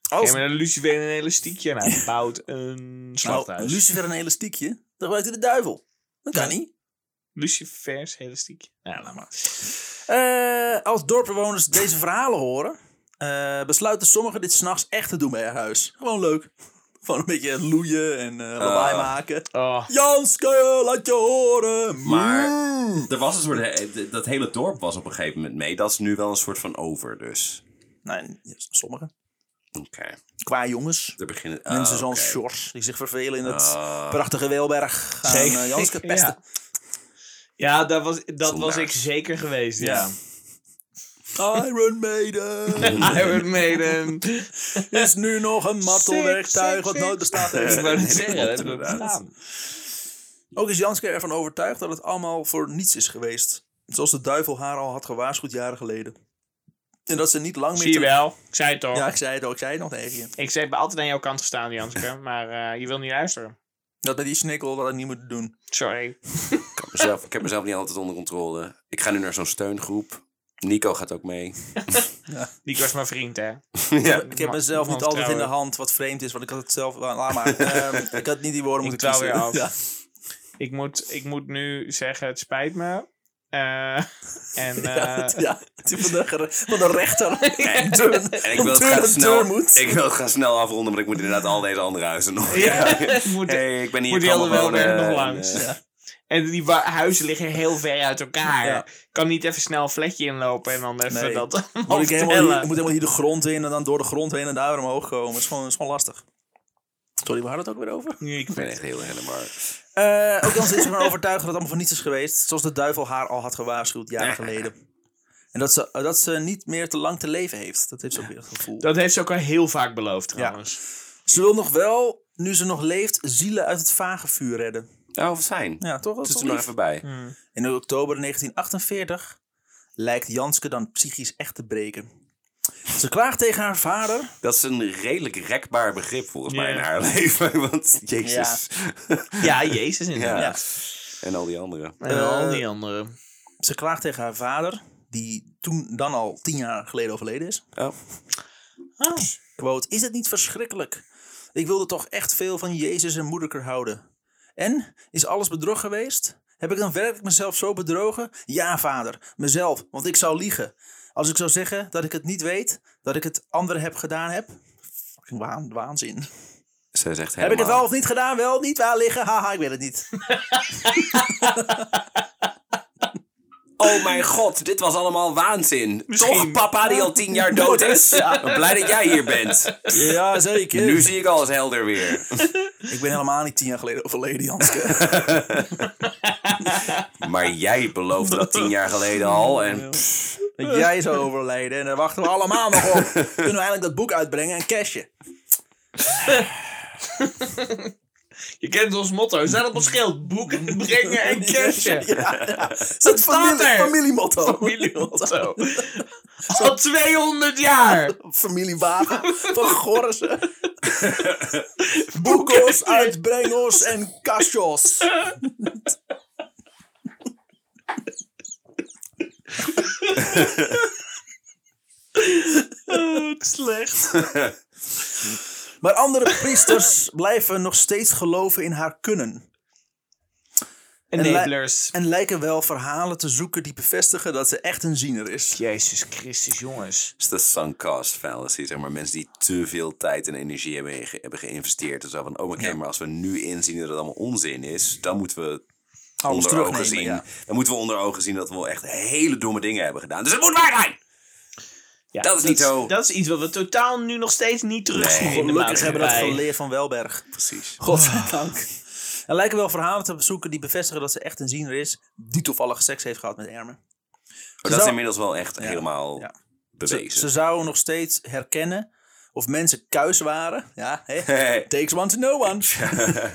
Speaker 3: Als-
Speaker 2: Ja, maar een lucifer en een elastiekje en hij bouwt een
Speaker 3: Nou,
Speaker 2: slachthuis.
Speaker 3: Lucifer een elastiekje, dan gebruikt hij de duivel. Dat kan niet.
Speaker 2: Lucifers elastiekje. Ja, laat maar.
Speaker 3: Eh, als dorpbewoners deze verhalen horen, eh, besluiten sommigen dit s'nachts echt te doen bij haar huis. Gewoon leuk. Gewoon een beetje loeien en eh lawaai
Speaker 1: Ah.
Speaker 3: maken.
Speaker 2: Oh,
Speaker 3: Janske, laat je horen.
Speaker 1: Maar-
Speaker 3: Mm.
Speaker 1: Er was een soort... eh, d- Dat hele dorp was op een gegeven moment mee. Dat is nu wel een soort van over, dus...
Speaker 3: Nee, ja, sommigen.
Speaker 1: Oké.
Speaker 3: Qua jongens.
Speaker 1: Er beginnen... ah,
Speaker 3: Mensen zoals
Speaker 1: oké.
Speaker 3: Sjors, die zich vervelen in het
Speaker 1: Ah.
Speaker 3: prachtige Weelberg. Gaan
Speaker 2: Zeker.
Speaker 3: eh, Janske pesten.
Speaker 2: ja. Ja, dat was, dat was
Speaker 1: Zondaars.
Speaker 2: ik zeker geweest, ja.
Speaker 3: Iron Maiden.
Speaker 2: Iron Maiden.
Speaker 3: is nu nog een martelwerktuig nou, wat
Speaker 2: Sick, sick,
Speaker 3: nooit
Speaker 2: sick.
Speaker 3: bestaat
Speaker 2: Ik
Speaker 3: heeft.
Speaker 2: wou
Speaker 1: Nee,
Speaker 2: het
Speaker 1: dat
Speaker 2: zeggen,
Speaker 1: klopt
Speaker 2: dat hebben we
Speaker 1: inderdaad.
Speaker 2: gedaan.
Speaker 3: Ook is Janske ervan overtuigd dat het allemaal voor niets is geweest. Zoals de duivel haar al had gewaarschuwd jaren geleden. En dat ze niet lang meer...
Speaker 2: Zie je
Speaker 3: terug-
Speaker 2: wel. Ik zei het toch.
Speaker 3: Oh, Ja, ik zei het al, ik zei het nog tegen je.
Speaker 2: Ik zei, heb altijd aan jouw kant gestaan, Janske. Maar eh, je wil niet luisteren.
Speaker 3: Dat met die snikkel dat ik niet moet doen.
Speaker 2: Sorry.
Speaker 1: Ik heb, mezelf, ik heb mezelf niet altijd onder controle. Ik ga nu naar zo'n steungroep. Nico gaat ook mee.
Speaker 2: Die was mijn vriend, hè.
Speaker 1: ja.
Speaker 3: Ik heb
Speaker 2: Mag-
Speaker 3: mezelf
Speaker 2: mag
Speaker 3: niet altijd in de
Speaker 2: trouwen.
Speaker 3: hand, wat vreemd is, want ik had het zelf... Laat maar. Ehm, ik had niet die woorden
Speaker 2: Ik
Speaker 3: moeten
Speaker 2: dwaal
Speaker 3: kiezen.
Speaker 2: weer
Speaker 3: Ja.
Speaker 2: Ik moet, ik moet nu zeggen, het spijt me. Eh, en
Speaker 3: Ja,
Speaker 2: eh,
Speaker 3: het- ja, het is van de, gere- van de rechter. En turn,
Speaker 1: En ik wil,
Speaker 3: turn,
Speaker 1: het graag
Speaker 3: turn
Speaker 1: snel,
Speaker 3: moet.
Speaker 1: ik wil het graag snel afronden, maar ik moet inderdaad al deze andere huizen nog.
Speaker 2: Ja. Ik moet-
Speaker 1: hey, ik ben hier
Speaker 2: moet die
Speaker 1: komen
Speaker 2: andere wel
Speaker 1: wonen
Speaker 2: weer nog
Speaker 1: en,
Speaker 2: langs.
Speaker 1: eh,
Speaker 2: en die wa- huizen liggen heel ver uit elkaar.
Speaker 3: Ja.
Speaker 2: Ik kan niet even snel een flatje inlopen en dan even
Speaker 3: Nee.
Speaker 2: dat
Speaker 3: Moet ik, helemaal hier,
Speaker 2: vertellen.
Speaker 3: ik moet helemaal hier de grond in en dan door de grond heen en daar weer omhoog komen. Het is gewoon, is gewoon lastig. Sorry, we hadden het ook weer over.
Speaker 2: Ik
Speaker 1: Ik ben echt heel helemaal.
Speaker 3: Eh, ook dan is ervan overtuigd dat het allemaal voor niets is geweest. Zoals de duivel haar al had gewaarschuwd jaren geleden. En dat ze, dat ze niet meer te lang te leven heeft. Dat heeft ze ook weer het gevoel.
Speaker 2: Dat heeft ze ook al heel vaak beloofd, trouwens.
Speaker 3: Ze wil nog wel, nu ze nog leeft, zielen uit het vage vuur redden.
Speaker 1: Nou, of zijn.
Speaker 3: Ja, toch? Dat is
Speaker 1: Zit er
Speaker 3: toch
Speaker 1: nog
Speaker 3: lief?
Speaker 1: even bij.
Speaker 3: In oktober 1948 lijkt Janske dan psychisch echt te breken. Ze klaagt tegen haar vader.
Speaker 1: Dat is een redelijk rekbaar begrip volgens mij
Speaker 2: Ja.
Speaker 1: in haar leven. Want jezus.
Speaker 2: Ja, Jezus
Speaker 1: Ja.
Speaker 2: inderdaad.
Speaker 1: En al die anderen.
Speaker 2: En al
Speaker 3: Eh,
Speaker 2: die andere.
Speaker 3: Ze klaagt tegen haar vader, die toen dan al tien jaar geleden overleden is.
Speaker 1: Oh.
Speaker 3: Oh. Quote, is het niet verschrikkelijk? Ik wilde toch echt veel van Jezus en moederker houden. En, is alles bedrog geweest? Heb ik dan werkelijk mezelf zo bedrogen? Ja, vader, mezelf, want ik zou liegen. Als ik zou zeggen dat ik het niet weet, dat ik het anderen heb gedaan heb... Fucking waan, waanzin.
Speaker 1: Ze zegt helemaal.
Speaker 3: Heb ik het wel of niet gedaan? Wel, niet, waar liggen? Haha, ik weet het niet.
Speaker 1: Oh mijn god, dit was allemaal waanzin. Toch
Speaker 2: Misschien.
Speaker 1: papa die al tien jaar dood is? Ik ben Blij dat jij hier bent.
Speaker 3: Ja, zeker.
Speaker 1: Nu zie ik alles helder weer.
Speaker 3: Ik ben helemaal niet tien jaar geleden overleden, Janske.
Speaker 1: Maar jij beloofde dat tien jaar geleden al. En pff,
Speaker 3: dat jij zou overlijden. En daar wachten we allemaal nog op. Kunnen we eindelijk dat boek uitbrengen en cashen.
Speaker 2: Je kent ons motto. Staat op een schild. Boeken, brengen en cashen.
Speaker 3: Ja, ja. Dat
Speaker 2: staat er.
Speaker 3: Familiemotto.
Speaker 2: Familiemotto. Al 200 jaar.
Speaker 3: Familiewagen van Gorsen. Boekos, uitbrengos en kastjos.
Speaker 2: slecht.
Speaker 3: Maar andere priesters blijven nog steeds geloven in haar kunnen.
Speaker 2: Enablers.
Speaker 3: En lijken wel verhalen te zoeken die bevestigen dat ze echt een ziener is.
Speaker 2: Jezus Christus, jongens.
Speaker 1: is de sunk cost fallacy. Zeg maar mensen die te veel tijd en energie hebben, ge- hebben geïnvesteerd. En zo van, oh maar, maar als we nu inzien dat het allemaal onzin is, dan moeten we
Speaker 3: Alles
Speaker 1: onder ogen
Speaker 3: terugnemen,
Speaker 1: zien.
Speaker 3: ja.
Speaker 1: Dan moeten we onder ogen zien dat we wel echt hele domme dingen hebben gedaan. Dus het moet waar zijn!
Speaker 2: Ja,
Speaker 1: Dat is niet zo.
Speaker 2: Dat is iets wat we totaal nu nog steeds niet terugzien
Speaker 1: Nee.
Speaker 2: in de
Speaker 3: Gelukkig hebben we dat
Speaker 2: maatschappij.
Speaker 3: geleerd van Welberg.
Speaker 1: Precies.
Speaker 3: Godzijdank. Er lijken wel verhalen te zoeken die bevestigen dat ze echt een ziener is. die toevallig seks heeft gehad met Ermen.
Speaker 1: Maar dat is
Speaker 3: zou-
Speaker 1: inmiddels wel echt helemaal
Speaker 3: ja. Ze,
Speaker 1: bewezen.
Speaker 3: ze zouden nog steeds herkennen of mensen kuis waren. Ja, hè?
Speaker 1: Hey.
Speaker 3: Takes one to know one.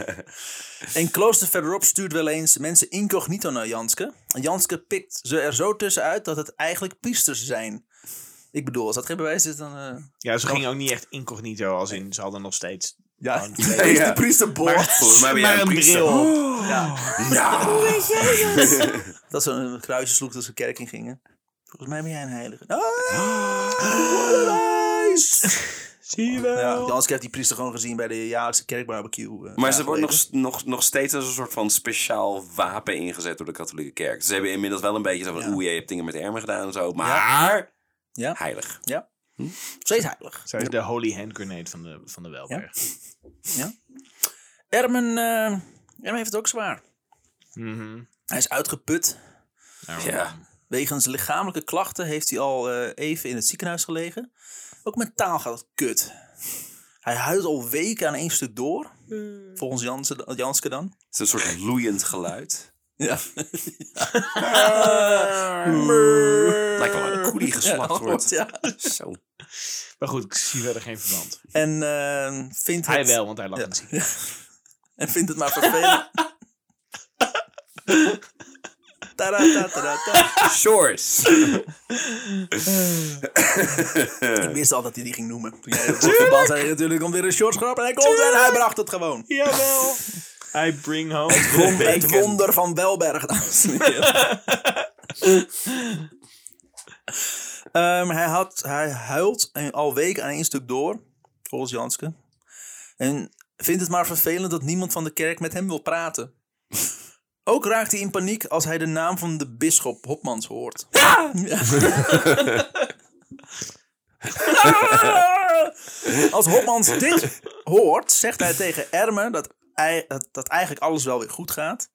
Speaker 3: en klooster verderop stuurt wel eens mensen incognito naar Janske. En Janske pikt ze er zo tussenuit dat het eigenlijk priesters zijn. Ik bedoel, als dat geen bewijs is, dan... eh,
Speaker 2: Ja, ze gingen ook niet echt incognito, als in ze hadden nog steeds.
Speaker 3: ja,
Speaker 1: Ja.
Speaker 3: is de priesterboord.
Speaker 1: Volgens mij ben jij
Speaker 2: Maar
Speaker 1: een
Speaker 2: een
Speaker 1: priester.
Speaker 2: bril.
Speaker 1: Nou.
Speaker 3: Dat ze een kruisje sloeg toen ze de kerk in gingen. Volgens mij ben jij een heilige. Ah,
Speaker 2: Zie je
Speaker 3: ja,
Speaker 2: wel.
Speaker 3: Janske heeft die priester gewoon gezien bij de jaarlijkse kerkbarbecue. eh,
Speaker 1: Maar
Speaker 3: ja,
Speaker 1: ze wordt nog,
Speaker 3: geleden.
Speaker 1: s- nog, nog steeds als een soort van speciaal wapen ingezet door de katholieke kerk. Ze hebben inmiddels wel een beetje zo van, oeh, jij hebt dingen met ermen gedaan en zo. Maar
Speaker 3: Ja.
Speaker 1: heilig.
Speaker 3: Ja. Steeds heilig.
Speaker 2: Zij is de holy hand grenade van de, van de Welberg.
Speaker 3: Ermen, eh, Ermen heeft het ook zwaar.
Speaker 2: Mhm.
Speaker 3: Hij is uitgeput.
Speaker 2: Nou,
Speaker 1: Ja.
Speaker 3: Wegens lichamelijke klachten heeft hij al eh, even in het ziekenhuis gelegen. Ook mentaal gaat het kut. Hij huilt al weken aan één stuk door.
Speaker 2: Hmm.
Speaker 3: Volgens Jansen, Janske dan.
Speaker 1: Het is een soort loeiend geluid.
Speaker 3: Ja.
Speaker 1: Lijkt wel een koelie geslacht wordt.
Speaker 3: Ja.
Speaker 1: Zo.
Speaker 2: Maar goed, ik zie verder geen verband.
Speaker 3: En, eh, vindt
Speaker 2: Hij
Speaker 3: het,
Speaker 2: wel, want hij lag in het ziekenhuis.
Speaker 3: en vindt het maar vervelend. Taratatata.
Speaker 1: Shores.
Speaker 3: Ik wist al dat hij die ging noemen. Toen jij dat de bal zei, natuurlijk om weer een short grap. En hij komt en hij bracht het gewoon.
Speaker 2: Jawel. I bring home
Speaker 3: Won-
Speaker 2: the
Speaker 3: het
Speaker 2: bacon.
Speaker 3: wonder van Welberg, dames en heren. Ehm, hij, had, hij huilt een- al weken aan één stuk door, volgens Janske. En vindt het maar vervelend dat niemand van de kerk met hem wil praten. Ook raakt hij in paniek als hij de naam van de bisschop Hopmans hoort. Als Hopmans dit hoort, zegt hij tegen Ermen dat, ei- dat, dat eigenlijk alles wel weer goed gaat.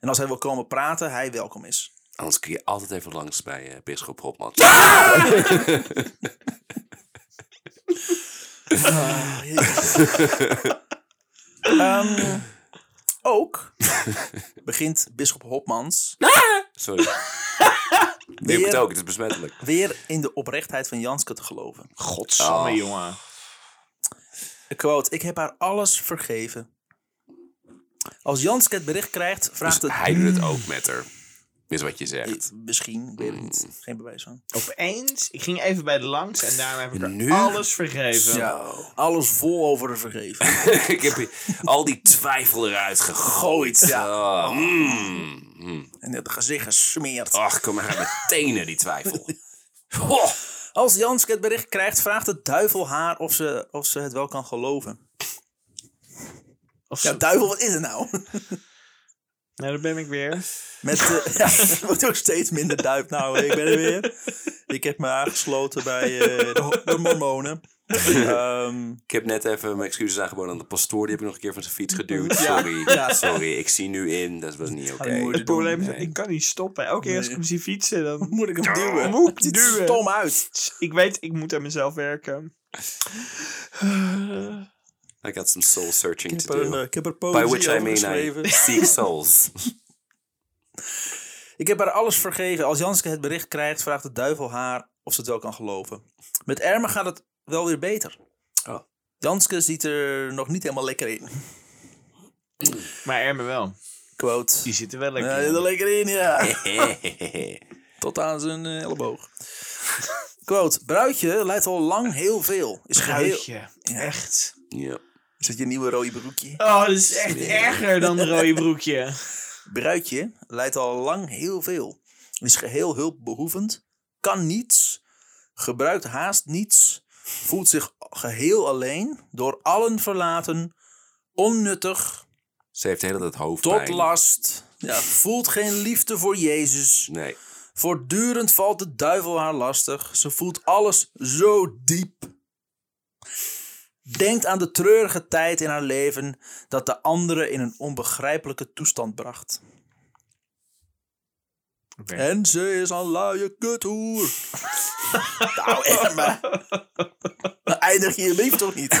Speaker 3: En als hij wil komen praten, hij welkom is.
Speaker 1: Anders kun je altijd even langs bij eh, Bisschop Hopman.
Speaker 3: Ehm, ook begint bisschop Hopmans
Speaker 1: Sorry. Nee, ik moet ook, het is besmettelijk.
Speaker 3: weer in de oprechtheid van Janske te geloven.
Speaker 2: Godsamme,
Speaker 1: Oh.
Speaker 2: jongen.
Speaker 3: Ik quote, ik heb haar alles vergeven. Als Janske het bericht krijgt, vraagt
Speaker 1: Dus
Speaker 3: het...
Speaker 1: hij doet het ook met haar. Is wat je zegt.
Speaker 3: Misschien, ik weet het niet. Geen bewijs van.
Speaker 2: Opeens, ik ging even bij de langs en daarna heb ik er
Speaker 1: Nu?
Speaker 2: alles vergeven.
Speaker 3: Alles vol over de vergeven.
Speaker 1: ik heb hier al die twijfel eruit gegooid. Oh, mm, mm.
Speaker 3: En het gezicht gesmeerd.
Speaker 1: Ach, kom maar uit mijn tenen, die twijfel. Oh, Goh.
Speaker 3: Als Janske het bericht krijgt, vraagt de duivel haar of ze, of ze het wel kan geloven.
Speaker 2: Of
Speaker 3: Ja,
Speaker 2: zo.
Speaker 3: duivel, wat is het nou?
Speaker 2: Nou, daar ben ik weer.
Speaker 3: Met, eh, ja, het wordt ook steeds minder duip. Nou, ik ben er weer. Ik heb me aangesloten bij eh, de, ho- de mormonen. Ehm,
Speaker 1: Ik heb net even mijn excuses aangeboden aan de pastoor. Die heb ik nog een keer van zijn fiets geduwd.
Speaker 3: Ja.
Speaker 1: Sorry,
Speaker 3: Ja.
Speaker 1: sorry. Ik zie nu in. Dat was niet oké.
Speaker 3: Hij moet-
Speaker 2: Het probleem is,
Speaker 1: nee.
Speaker 2: ik kan niet stoppen. Elke keer als ik
Speaker 3: Nee.
Speaker 2: hem zie fietsen, dan...
Speaker 3: moet ik hem duwen?
Speaker 2: Moet ik
Speaker 3: Het ziet er
Speaker 2: duwen?
Speaker 3: stom uit.
Speaker 2: Ik weet, ik moet aan mezelf werken.
Speaker 1: I got some soul searching
Speaker 3: Ik
Speaker 1: to
Speaker 3: heb er, een, eh,
Speaker 1: do.
Speaker 3: ik heb er
Speaker 1: By
Speaker 3: poëzie
Speaker 1: which I
Speaker 3: over
Speaker 1: mean
Speaker 3: geschreven.
Speaker 1: I seek souls.
Speaker 3: Ik heb haar alles vergeven. Als Janske het bericht krijgt, vraagt de duivel haar of ze het wel kan geloven. Met Erma gaat het wel weer beter.
Speaker 1: Oh.
Speaker 3: Janske ziet er nog niet helemaal lekker in.
Speaker 2: Maar Erme wel.
Speaker 3: Quote.
Speaker 2: Die zitten wel
Speaker 3: Ja,
Speaker 2: lekker.
Speaker 3: hij zit
Speaker 2: in.
Speaker 3: er lekker in, ja. Tot aan zijn eh, elleboog. Quote. Bruidje lijkt al lang heel veel. Is geheel...
Speaker 2: Ruitje. Echt.
Speaker 1: ja.
Speaker 3: Is dat je nieuwe rode broekje?
Speaker 2: Oh, dat is echt erger dan een rode broekje.
Speaker 3: Bruidje lijkt al lang heel veel. Is geheel hulpbehoevend. Kan niets. Gebruikt haast niets. Voelt zich geheel alleen. Door allen verlaten. Onnuttig.
Speaker 1: Ze heeft de hele tijd
Speaker 3: Tot
Speaker 1: hoofdpijn.
Speaker 3: last. Ja, voelt geen liefde voor Jezus.
Speaker 1: Nee.
Speaker 3: Voortdurend valt de duivel haar lastig. Ze voelt alles zo diep. Denkt aan de treurige tijd in haar leven dat de anderen in een onbegrijpelijke toestand bracht.
Speaker 2: Oké.
Speaker 3: En ze is een luie kuthoer. nou, Emma. Dan eindig je je brief toch niet?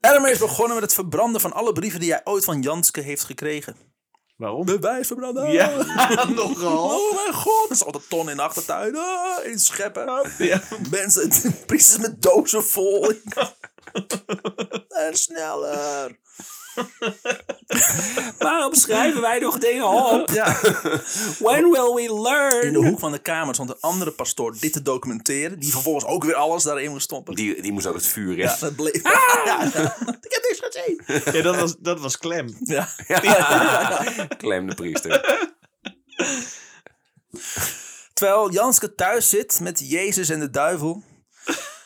Speaker 3: Erma is begonnen met het verbranden van alle brieven die hij ooit van Janske heeft gekregen.
Speaker 2: Waarom?
Speaker 3: Bewijs verbranden.
Speaker 2: Ja, nogal.
Speaker 3: Oh mijn god, er zat een ton in de achtertuin. Ah, in scheppen.
Speaker 2: Ja.
Speaker 3: Mensen, priesters met dozen vol. en sneller.
Speaker 4: Waarom schrijven wij nog dingen op?
Speaker 3: Ja.
Speaker 4: When will we
Speaker 3: In de
Speaker 4: learn?
Speaker 3: hoek van de kamer stond een andere pastoor dit te documenteren. Die vervolgens ook weer alles daarin moest stoppen.
Speaker 1: Die, die moest ook het vuur in.
Speaker 3: Ja, dat bleef.
Speaker 4: Ah!
Speaker 3: Ja, ja. Ik heb niks gezien.
Speaker 2: Ja, dat was, dat was klem.
Speaker 3: Ja.
Speaker 1: Klem de priester.
Speaker 3: Terwijl Janske thuis zit met Jezus en de duivel,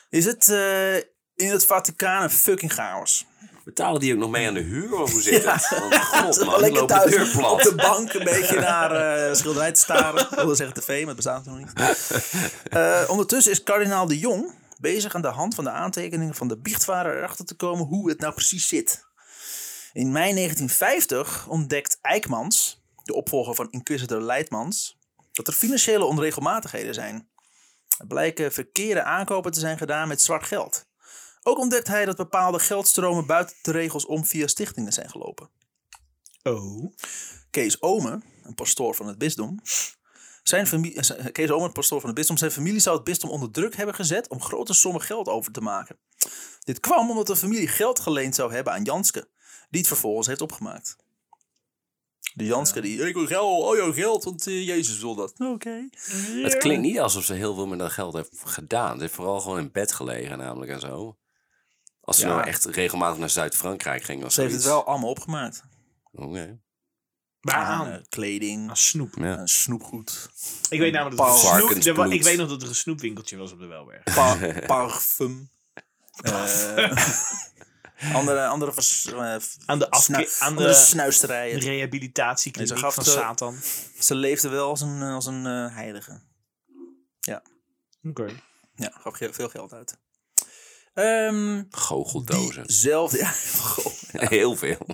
Speaker 3: is het eh, in het Vaticaan een fucking chaos.
Speaker 1: Betalen die ook nog mee aan de huur? Of hoe zit het? Want god man,
Speaker 3: lekker
Speaker 1: loopt de
Speaker 3: thuis
Speaker 1: deur
Speaker 3: op de
Speaker 1: plat.
Speaker 3: bank een beetje naar eh, schilderij te staren. Ik wilde zeggen tv, maar het bestaat nog niet. Eh, ondertussen is kardinaal de Jong bezig aan de hand van de aantekeningen van de biechtvader erachter te komen hoe het nou precies zit. In mei 1950 ontdekt Eijkmans, de opvolger van inquisitor Leidmans, dat er financiële onregelmatigheden zijn. Er blijken verkeerde aankopen te zijn gedaan met zwart geld. Ook ontdekt hij dat bepaalde geldstromen buiten de regels om via stichtingen zijn gelopen.
Speaker 2: Oh.
Speaker 3: Kees Omen, een pastoor van het bisdom. Zijn familie, eh, zijn- Kees Omen, pastoor van het bisdom, zijn familie zou het bisdom onder druk hebben gezet om grote sommen geld over te maken. Dit kwam omdat de familie geld geleend zou hebben aan Janske, die het vervolgens heeft opgemaakt. De Janske die, ik wil geld, oh jouw geld, want eh, Jezus wil dat. Oké.
Speaker 1: Het klinkt niet alsof ze heel veel met dat geld heeft gedaan. Ze heeft vooral gewoon in bed gelegen namelijk en zo. Als ze
Speaker 2: Ja.
Speaker 1: nou echt regelmatig naar Zuid-Frankrijk ging of
Speaker 3: Ze heeft het
Speaker 1: zoiets.
Speaker 3: wel allemaal opgemaakt.
Speaker 1: Oké.
Speaker 2: Waaraan?
Speaker 3: Aan, eh, kleding,
Speaker 2: Aan snoep.
Speaker 1: Ja.
Speaker 3: aan snoepgoed,
Speaker 2: Ik weet namelijk dat er een
Speaker 1: Varkensbloed.
Speaker 2: snoep, er wa- ik weet nog dat er een snoepwinkeltje was op de Welberg.
Speaker 3: pa- parfum. eh, andere andere vers, eh,
Speaker 2: Aan de, afke-
Speaker 3: snu-
Speaker 2: aan
Speaker 3: andere
Speaker 2: de
Speaker 3: snuisterijen.
Speaker 2: rehabilitatiekliniek
Speaker 3: En ze gaf
Speaker 2: van
Speaker 3: de-
Speaker 2: Satan.
Speaker 3: Ze leefde wel als een, als een eh, heilige.
Speaker 2: Oké.
Speaker 3: Ja, gaf ge- veel geld uit. Ehm
Speaker 1: Goocheldozen.
Speaker 3: diezelfde, ja, goh.
Speaker 1: Heel veel.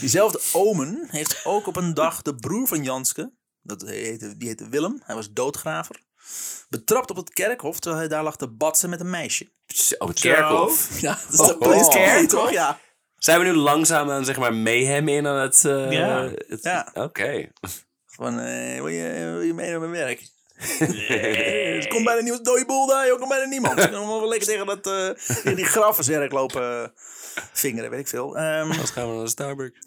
Speaker 3: diezelfde omen heeft ook op een dag de broer van Janske, dat heette, die heette Willem, hij was doodgraver, betrapt op het kerkhof terwijl hij daar lag te batsen met een meisje.
Speaker 1: Oh, het kerkhof.
Speaker 3: Ja, dat is
Speaker 1: Oh,
Speaker 3: de police
Speaker 1: oh.
Speaker 3: story, toch? Ja.
Speaker 1: Zijn we nu langzaam aan zeg maar mayhem in aan het... eh,
Speaker 2: Ja.
Speaker 1: het-
Speaker 3: Ja.
Speaker 1: Oké.
Speaker 3: Van, eh, wil, je, wil je mee naar mijn werk? Eh, kom bij de nieuwe dode boel daar, joh. Kom bij de niemand. Dan gaan we wel lekker tegen, dat, eh, tegen die grafenzwerk lopen eh, vingeren, weet ik veel. Ehm,
Speaker 1: Dan gaan we naar de Starbucks.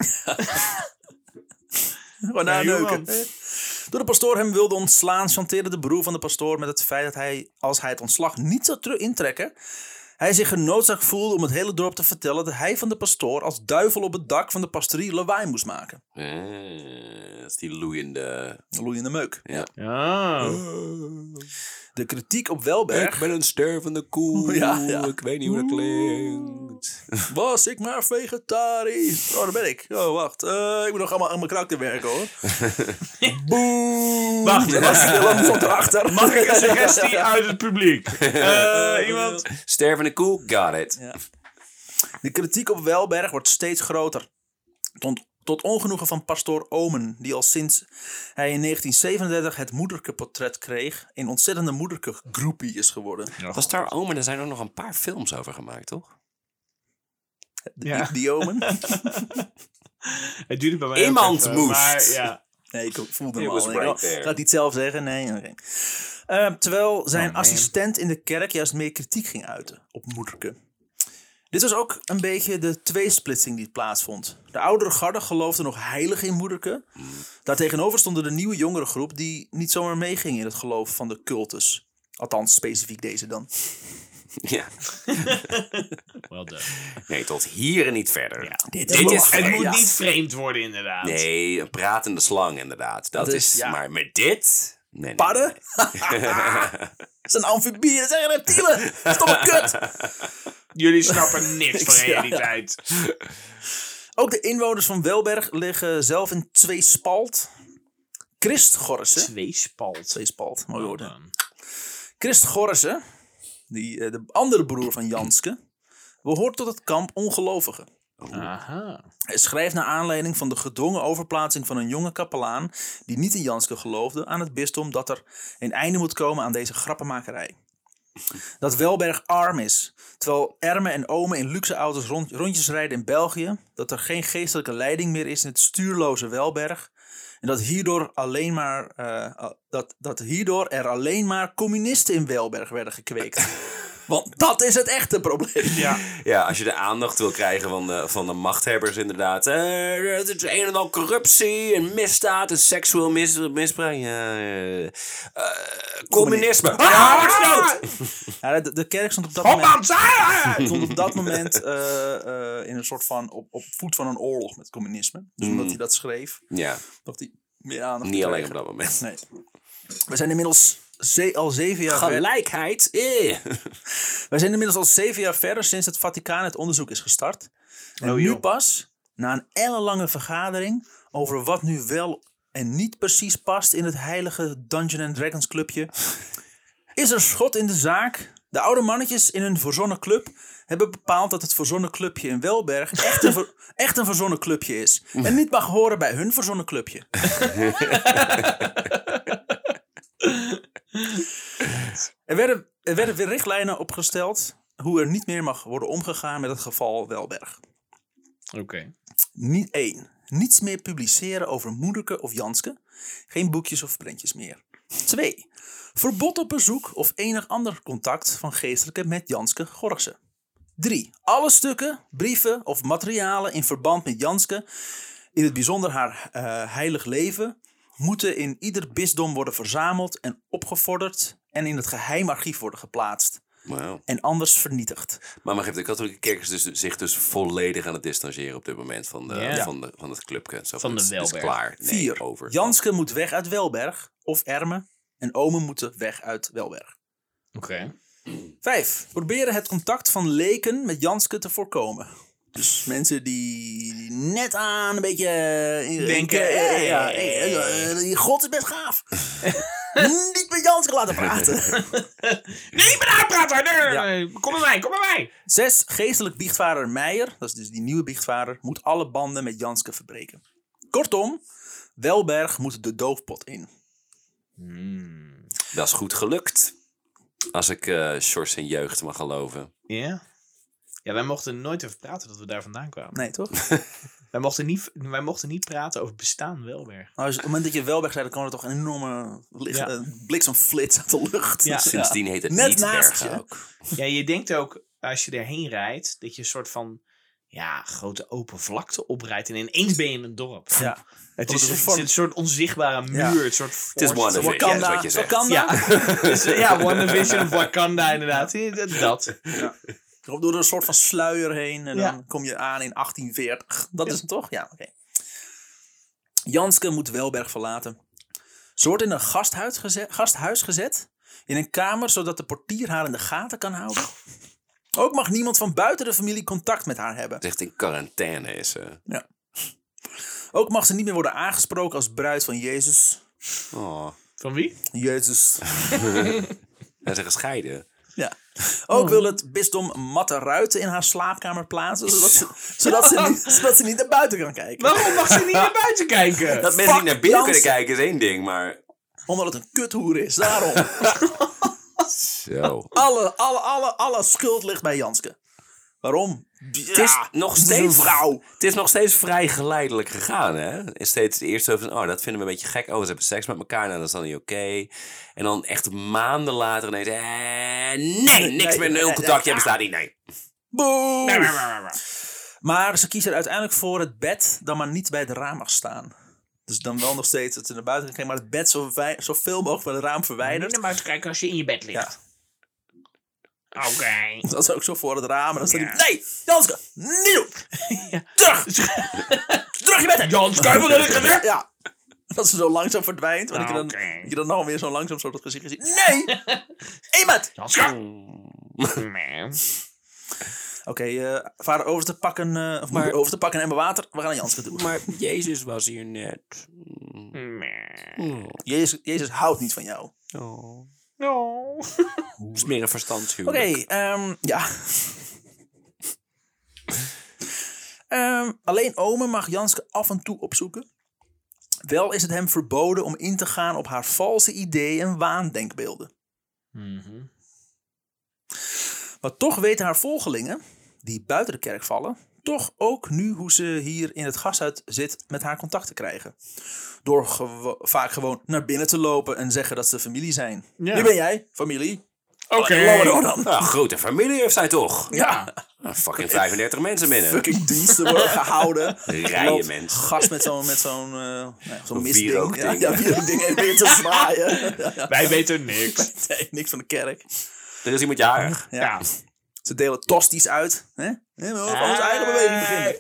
Speaker 3: Gewoon naar
Speaker 2: Ja, joh,
Speaker 3: neuken.
Speaker 2: man.
Speaker 3: Door de pastoor hem wilde ontslaan, chanteerde de broer van de pastoor met het feit dat hij, als hij het ontslag niet zou terug intrekken, hij zich genoodzaakt voelde om het hele dorp te vertellen dat hij van de pastoor als duivel op het dak van de pastorie lawaai moest maken.
Speaker 1: Eh, dat is die loeiende...
Speaker 3: Een Loeiende meuk.
Speaker 1: Ja.
Speaker 2: Oh.
Speaker 3: De kritiek op Welberg
Speaker 1: ben een stervende koe.
Speaker 3: Ja, ja.
Speaker 1: Ik weet niet hoe dat klinkt.
Speaker 3: was ik maar vegetarisch. Oh, daar ben ik. Oh, wacht. Eh, ik moet nog allemaal aan mijn karakter werken hoor. Boem.
Speaker 2: Wacht,
Speaker 3: Dat was Willem stond erachter.
Speaker 2: Mag ik een suggestie uit het publiek? Eh, iemand?
Speaker 1: Stervende koe? Got it.
Speaker 3: De kritiek op Welberg wordt steeds groter. Tot, tot ongenoegen van pastoor Omen, die al sinds hij in 1937 het moederkeportret kreeg, een ontzettende moederke-groepie is geworden.
Speaker 1: Was daar Omen? Er zijn er nog een paar films over gemaakt, toch?
Speaker 3: De,
Speaker 2: Ja.
Speaker 3: die Omen?
Speaker 2: Het duurde bij mij ook
Speaker 1: Iemand
Speaker 2: even,
Speaker 1: moest.
Speaker 2: Maar, ja.
Speaker 3: Nee, ik voelde
Speaker 1: It
Speaker 3: hem
Speaker 1: was
Speaker 3: al. Ik
Speaker 1: right
Speaker 3: dacht,
Speaker 1: there.
Speaker 3: Gaat hij het zelf zeggen? Nee, oké. Eh, terwijl zijn
Speaker 1: Oh,
Speaker 2: man.
Speaker 3: assistent in de kerk juist meer kritiek ging uiten op moederke. Dit was ook een beetje de tweesplitsing die plaatsvond. De oudere garde geloofde nog heilig in moederke. Daartegenover stonden de nieuwe jongere groep die niet zomaar meeging in het geloof van de cultus. Althans, specifiek deze dan.
Speaker 1: Ja.
Speaker 2: Wel done.
Speaker 1: Nee, tot hier en niet verder.
Speaker 3: Dit
Speaker 1: is
Speaker 2: Het
Speaker 1: belachelijk.
Speaker 2: moet
Speaker 3: Ja.
Speaker 2: niet vreemd worden, inderdaad.
Speaker 1: Nee, een pratende slang inderdaad. Dat
Speaker 3: Dus,
Speaker 1: is,
Speaker 3: ja.
Speaker 1: maar met dit... Nee, nee,
Speaker 3: Padden?
Speaker 1: nee.
Speaker 3: Dat zijn amfibieën, dat zijn reptielen! Stomme kut!
Speaker 2: Jullie snappen niks van
Speaker 3: Ja, ja.
Speaker 2: realiteit.
Speaker 3: Ook de inwoners van Welberg liggen zelf in twee spalt. Christgorsen.
Speaker 2: Twee spalt.
Speaker 3: Twee spalt, mooi woord. hè?
Speaker 2: Ah.
Speaker 3: Christ Gorsen, die, eh, de andere broer van Janske, behoort tot het kamp ongelovigen.
Speaker 2: Oh. Aha.
Speaker 3: Hij schrijft naar aanleiding van de gedwongen overplaatsing van een jonge kapelaan die niet in Janske geloofde aan het bisdom dat er een einde moet komen aan deze grappenmakerij. Dat Welberg arm is, terwijl ermen en omen in luxe auto's rond, rondjes rijden in België, dat er geen geestelijke leiding meer is in het stuurloze Welberg en dat hierdoor, alleen maar, eh, dat, dat hierdoor er alleen maar communisten in Welberg werden gekweekt. Want dat is het echte probleem.
Speaker 2: Ja.
Speaker 1: Ja, als je de aandacht wil krijgen van de, van de machthebbers inderdaad. Eh, het is een en al corruptie en misdaad en seksueel mis, misbruik. Ja, eh, eh, communisme. Ah, wat is dat?
Speaker 3: Ja, de, de kerk stond op dat moment...
Speaker 2: Hopman, zei-
Speaker 3: stond op dat moment eh, eh, in een soort van op, op voet van een oorlog met communisme. Dus omdat hij dat schreef,
Speaker 1: Ja,
Speaker 3: dacht hij meer aandacht.
Speaker 1: Hmm. niet
Speaker 3: te
Speaker 1: alleen op
Speaker 3: krijgen.
Speaker 1: dat moment.
Speaker 3: Nee. We zijn inmiddels ze- al zeven jaar verder.
Speaker 1: Gelijkheid. eh.
Speaker 3: Wij zijn inmiddels al zeven jaar verder sinds het Vaticaan het onderzoek is gestart. En
Speaker 2: Oh,
Speaker 3: nu
Speaker 2: joh.
Speaker 3: pas, na een ellenlange vergadering over wat nu wel en niet precies past in het heilige Dungeon and Dragons clubje, is er schot in de zaak. De oude mannetjes in hun verzonnen club hebben bepaald dat het verzonnen clubje in Welberg echt een, ver- echt een verzonnen clubje is. En niet mag horen bij hun verzonnen clubje. Er werden, er werden weer richtlijnen opgesteld hoe er niet meer mag worden omgegaan met het geval Welberg.
Speaker 2: Oké.
Speaker 3: Niet één. Niets meer publiceren over Moederke of Janske. Geen boekjes of prentjes meer. Twee. Verbod op bezoek of enig ander contact van geestelijke met Janske Gorgse. 3. Alle stukken, brieven of materialen in verband met Janske in het bijzonder haar eh, heilig leven, moeten in ieder bisdom worden verzameld en opgevorderd en in het geheim archief worden geplaatst
Speaker 1: Wauw.
Speaker 3: en anders vernietigd.
Speaker 1: Maar maar geeft de katholieke kerk is dus, zich dus volledig aan het distancieren op dit moment van, de,
Speaker 2: Ja.
Speaker 1: van, de, van het clubje. Zo
Speaker 2: Van de
Speaker 1: het is- het is
Speaker 2: Welberg.
Speaker 1: klaar. Nee,
Speaker 3: Vier.
Speaker 1: Over.
Speaker 3: Janske moet weg uit Welberg of Ermen en Omen moeten weg uit Welberg.
Speaker 2: Oké.
Speaker 3: Vijf. Proberen het contact van leken met Janske te voorkomen. Dus mensen die net aan een beetje... eh,
Speaker 2: Denken,
Speaker 3: eh, eh,
Speaker 2: eh,
Speaker 3: ja,
Speaker 2: eh,
Speaker 3: eh, eh, eh, die God is best gaaf. Niet met Janske laten praten.
Speaker 2: Nee, maar daar praten! Nee, nee, Kom bij mij, kom bij mij!
Speaker 3: Zes. Geestelijk biechtvader Meijer, dat is dus die nieuwe biechtvader, moet alle banden met Janske verbreken. Kortom, Welberg moet de doofpot in.
Speaker 1: Dat is goed gelukt. Als ik eh Sjors en jeugd mag geloven.
Speaker 2: Ja? Ja, wij mochten nooit over praten dat we daar vandaan kwamen.
Speaker 3: Nee, toch?
Speaker 2: Wij, mochten niet, wij mochten niet praten over bestaan Welberg.
Speaker 3: Nou, dus op het moment dat je Welberg zei, dan kwam er toch een enorme licht,
Speaker 2: Ja.
Speaker 3: eh, bliksemflits uit de lucht.
Speaker 2: Ja.
Speaker 3: Dus,
Speaker 1: Sindsdien heet het
Speaker 3: Net
Speaker 1: niet
Speaker 3: naast
Speaker 1: Bergen
Speaker 3: je.
Speaker 1: ook.
Speaker 2: Ja, je denkt ook, als je erheen rijdt, dat je een soort van... Ja, grote open vlakte oprijdt en ineens ben je in een dorp.
Speaker 3: Ja.
Speaker 2: Het
Speaker 3: Wat
Speaker 2: is,
Speaker 3: een
Speaker 2: het is
Speaker 3: vorm-
Speaker 2: een soort onzichtbare muur.
Speaker 3: Ja.
Speaker 2: Het, soort
Speaker 1: Het is
Speaker 2: force.
Speaker 1: one of it, ja, is wat je zegt.
Speaker 3: Wakanda.
Speaker 2: Ja, dus, eh, ja WandaVision of Wakanda inderdaad. Dat. dat.
Speaker 3: Of Door een soort van sluier heen en
Speaker 2: Ja.
Speaker 3: dan kom je aan in 1840. Dat is het toch? Ja, oké. Janske moet Welberg verlaten. Ze wordt in een gasthuis gezet, gasthuis gezet. In een kamer, zodat de portier haar in de gaten kan houden. Ook mag niemand van buiten de familie contact met haar hebben.
Speaker 1: Het is echt in quarantaine is ze.
Speaker 3: Ook mag ze niet meer worden aangesproken als bruid van Jezus.
Speaker 1: Oh.
Speaker 2: Van wie?
Speaker 3: Jezus.
Speaker 1: En ze gescheiden.
Speaker 3: Ja.
Speaker 1: Oh.
Speaker 3: Ook wil het bisdom matte ruiten in haar slaapkamer plaatsen, zodat ze, zodat ze, niet, zodat ze niet naar buiten kan kijken.
Speaker 2: Waarom mag ze niet naar buiten kijken?
Speaker 1: Dat mensen niet naar binnen
Speaker 3: Jansen.
Speaker 1: kunnen kijken is één ding, maar...
Speaker 3: Omdat het een kuthoer is, daarom.
Speaker 1: Zo.
Speaker 3: alle, alle, alle, alle schuld ligt bij Janske. Waarom?
Speaker 1: Het is nog
Speaker 3: het is een
Speaker 1: steeds
Speaker 3: vrouw.
Speaker 1: Het is nog steeds vrij geleidelijk gegaan, hè? Is Steeds eerst zo van, oh, dat vinden we een beetje gek. Oh, ze hebben seks met elkaar, nou, dat is dan niet oké. En dan echt maanden later ineens, eh, nee, niks
Speaker 3: nee,
Speaker 1: meer,
Speaker 3: nee,
Speaker 1: nul
Speaker 3: nee,
Speaker 1: contactje, bestaat niet, nee.
Speaker 3: Boe! Maar ze kiest er uiteindelijk voor het bed dan maar niet bij het raam mag staan. Dus dan wel nog steeds dat ze naar buiten kan kijken, maar het bed zo, vei- zo veel mogelijk van het raam
Speaker 2: Niet
Speaker 3: verwijderd.
Speaker 2: naar buiten kijken als je in je bed ligt. Oké.
Speaker 3: Dat is ook zo voor het raam. En dan staat
Speaker 2: Ja.
Speaker 3: hij, nee, Janske, niet doen! Terug! Terug je bed in!
Speaker 2: Jan Schuifel dat ik het heb.
Speaker 3: Ja. Dat ze zo langzaam verdwijnt. En dat je dan,
Speaker 2: Oké.
Speaker 3: dat je dan nog weer zo langzaam zo dat gezicht ziet. Nee! Iemand!
Speaker 2: Jan
Speaker 3: Ah.
Speaker 2: Schuifel. Nee.
Speaker 3: Oké, eh vader over te pakken. eh of moeder over te pakken en water. We gaan naar Janske toe.
Speaker 4: Maar Jezus was hier net.
Speaker 2: Nee.
Speaker 3: Jezus, Jezus houdt niet van jou. Oké,
Speaker 4: Oh.
Speaker 2: No.
Speaker 4: Het is meer een verstandshuwelijk.
Speaker 3: ehm, ja. Ehm, alleen Omen mag Janske af en toe opzoeken. Wel is het hem verboden om in te gaan op haar valse ideeën en waandenkbeelden.
Speaker 2: Mhm.
Speaker 3: Maar toch weten haar volgelingen, die buiten de kerk vallen, toch ook nu hoe ze hier in het gasthuis zit met haar contact te krijgen. Door gewo- vaak gewoon naar binnen te lopen en zeggen dat ze familie zijn.
Speaker 2: Ja.
Speaker 3: Hier ben jij, familie.
Speaker 2: Oké.
Speaker 3: Laat maar door dan.
Speaker 1: Nou, grote familie heeft zij toch?
Speaker 3: Ja,
Speaker 1: Nou, fucking 35 mensen binnen.
Speaker 3: fucking diensten worden gehouden.
Speaker 1: Rijen
Speaker 3: Loopt
Speaker 1: mensen.
Speaker 3: Gast met zo'n met zo'n eh, nou ja, zo'n misding. Ja,
Speaker 1: wierookding.
Speaker 3: ja, wierookding en weer te zwaaien. Ja,
Speaker 2: Wij weten niks.
Speaker 3: nee, niks van de kerk.
Speaker 1: Er is iemand Dus jarig.
Speaker 3: Ja.
Speaker 2: Ja.
Speaker 3: Ze delen tosties uit. Hè? Hè, we mogen onze eigen
Speaker 2: Ah.
Speaker 3: beweging beginnen.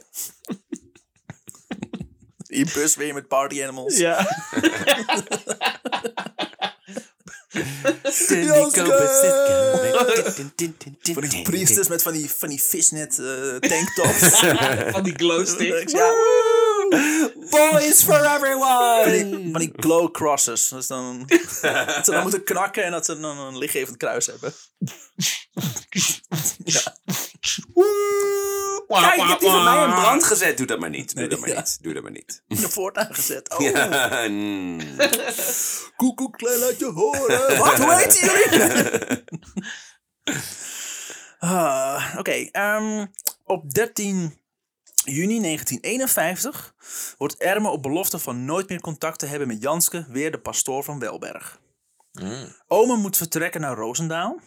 Speaker 3: In bus weer met party animals.
Speaker 2: Ja.
Speaker 3: Van die priesters met van die, van die fishnet eh, tanktops.
Speaker 2: Van die glow sticks.
Speaker 3: ja.
Speaker 4: Boys for
Speaker 3: Van
Speaker 4: everyone!
Speaker 3: die, van die glow crosses. Dat, is dan, dat ze dan moeten knakken en dat ze dan een lichtgevend kruis hebben.
Speaker 4: Kijk, je hebt die van mij in brand.
Speaker 1: Brand gezet, doe dat maar niet. Doe dat maar
Speaker 3: Ja.
Speaker 1: niet. Doe dat maar niet.
Speaker 3: De voort aangezet. Oh,
Speaker 1: Ja, mm.
Speaker 3: koekoek, klein laat je horen. Wat, hoe heet jullie? Ah, Oké, ehm, op 13 juni 1951 wordt Erme op belofte van nooit meer contact te hebben met Janske weer de pastoor van Welberg. Omen moet vertrekken naar Roosendaal.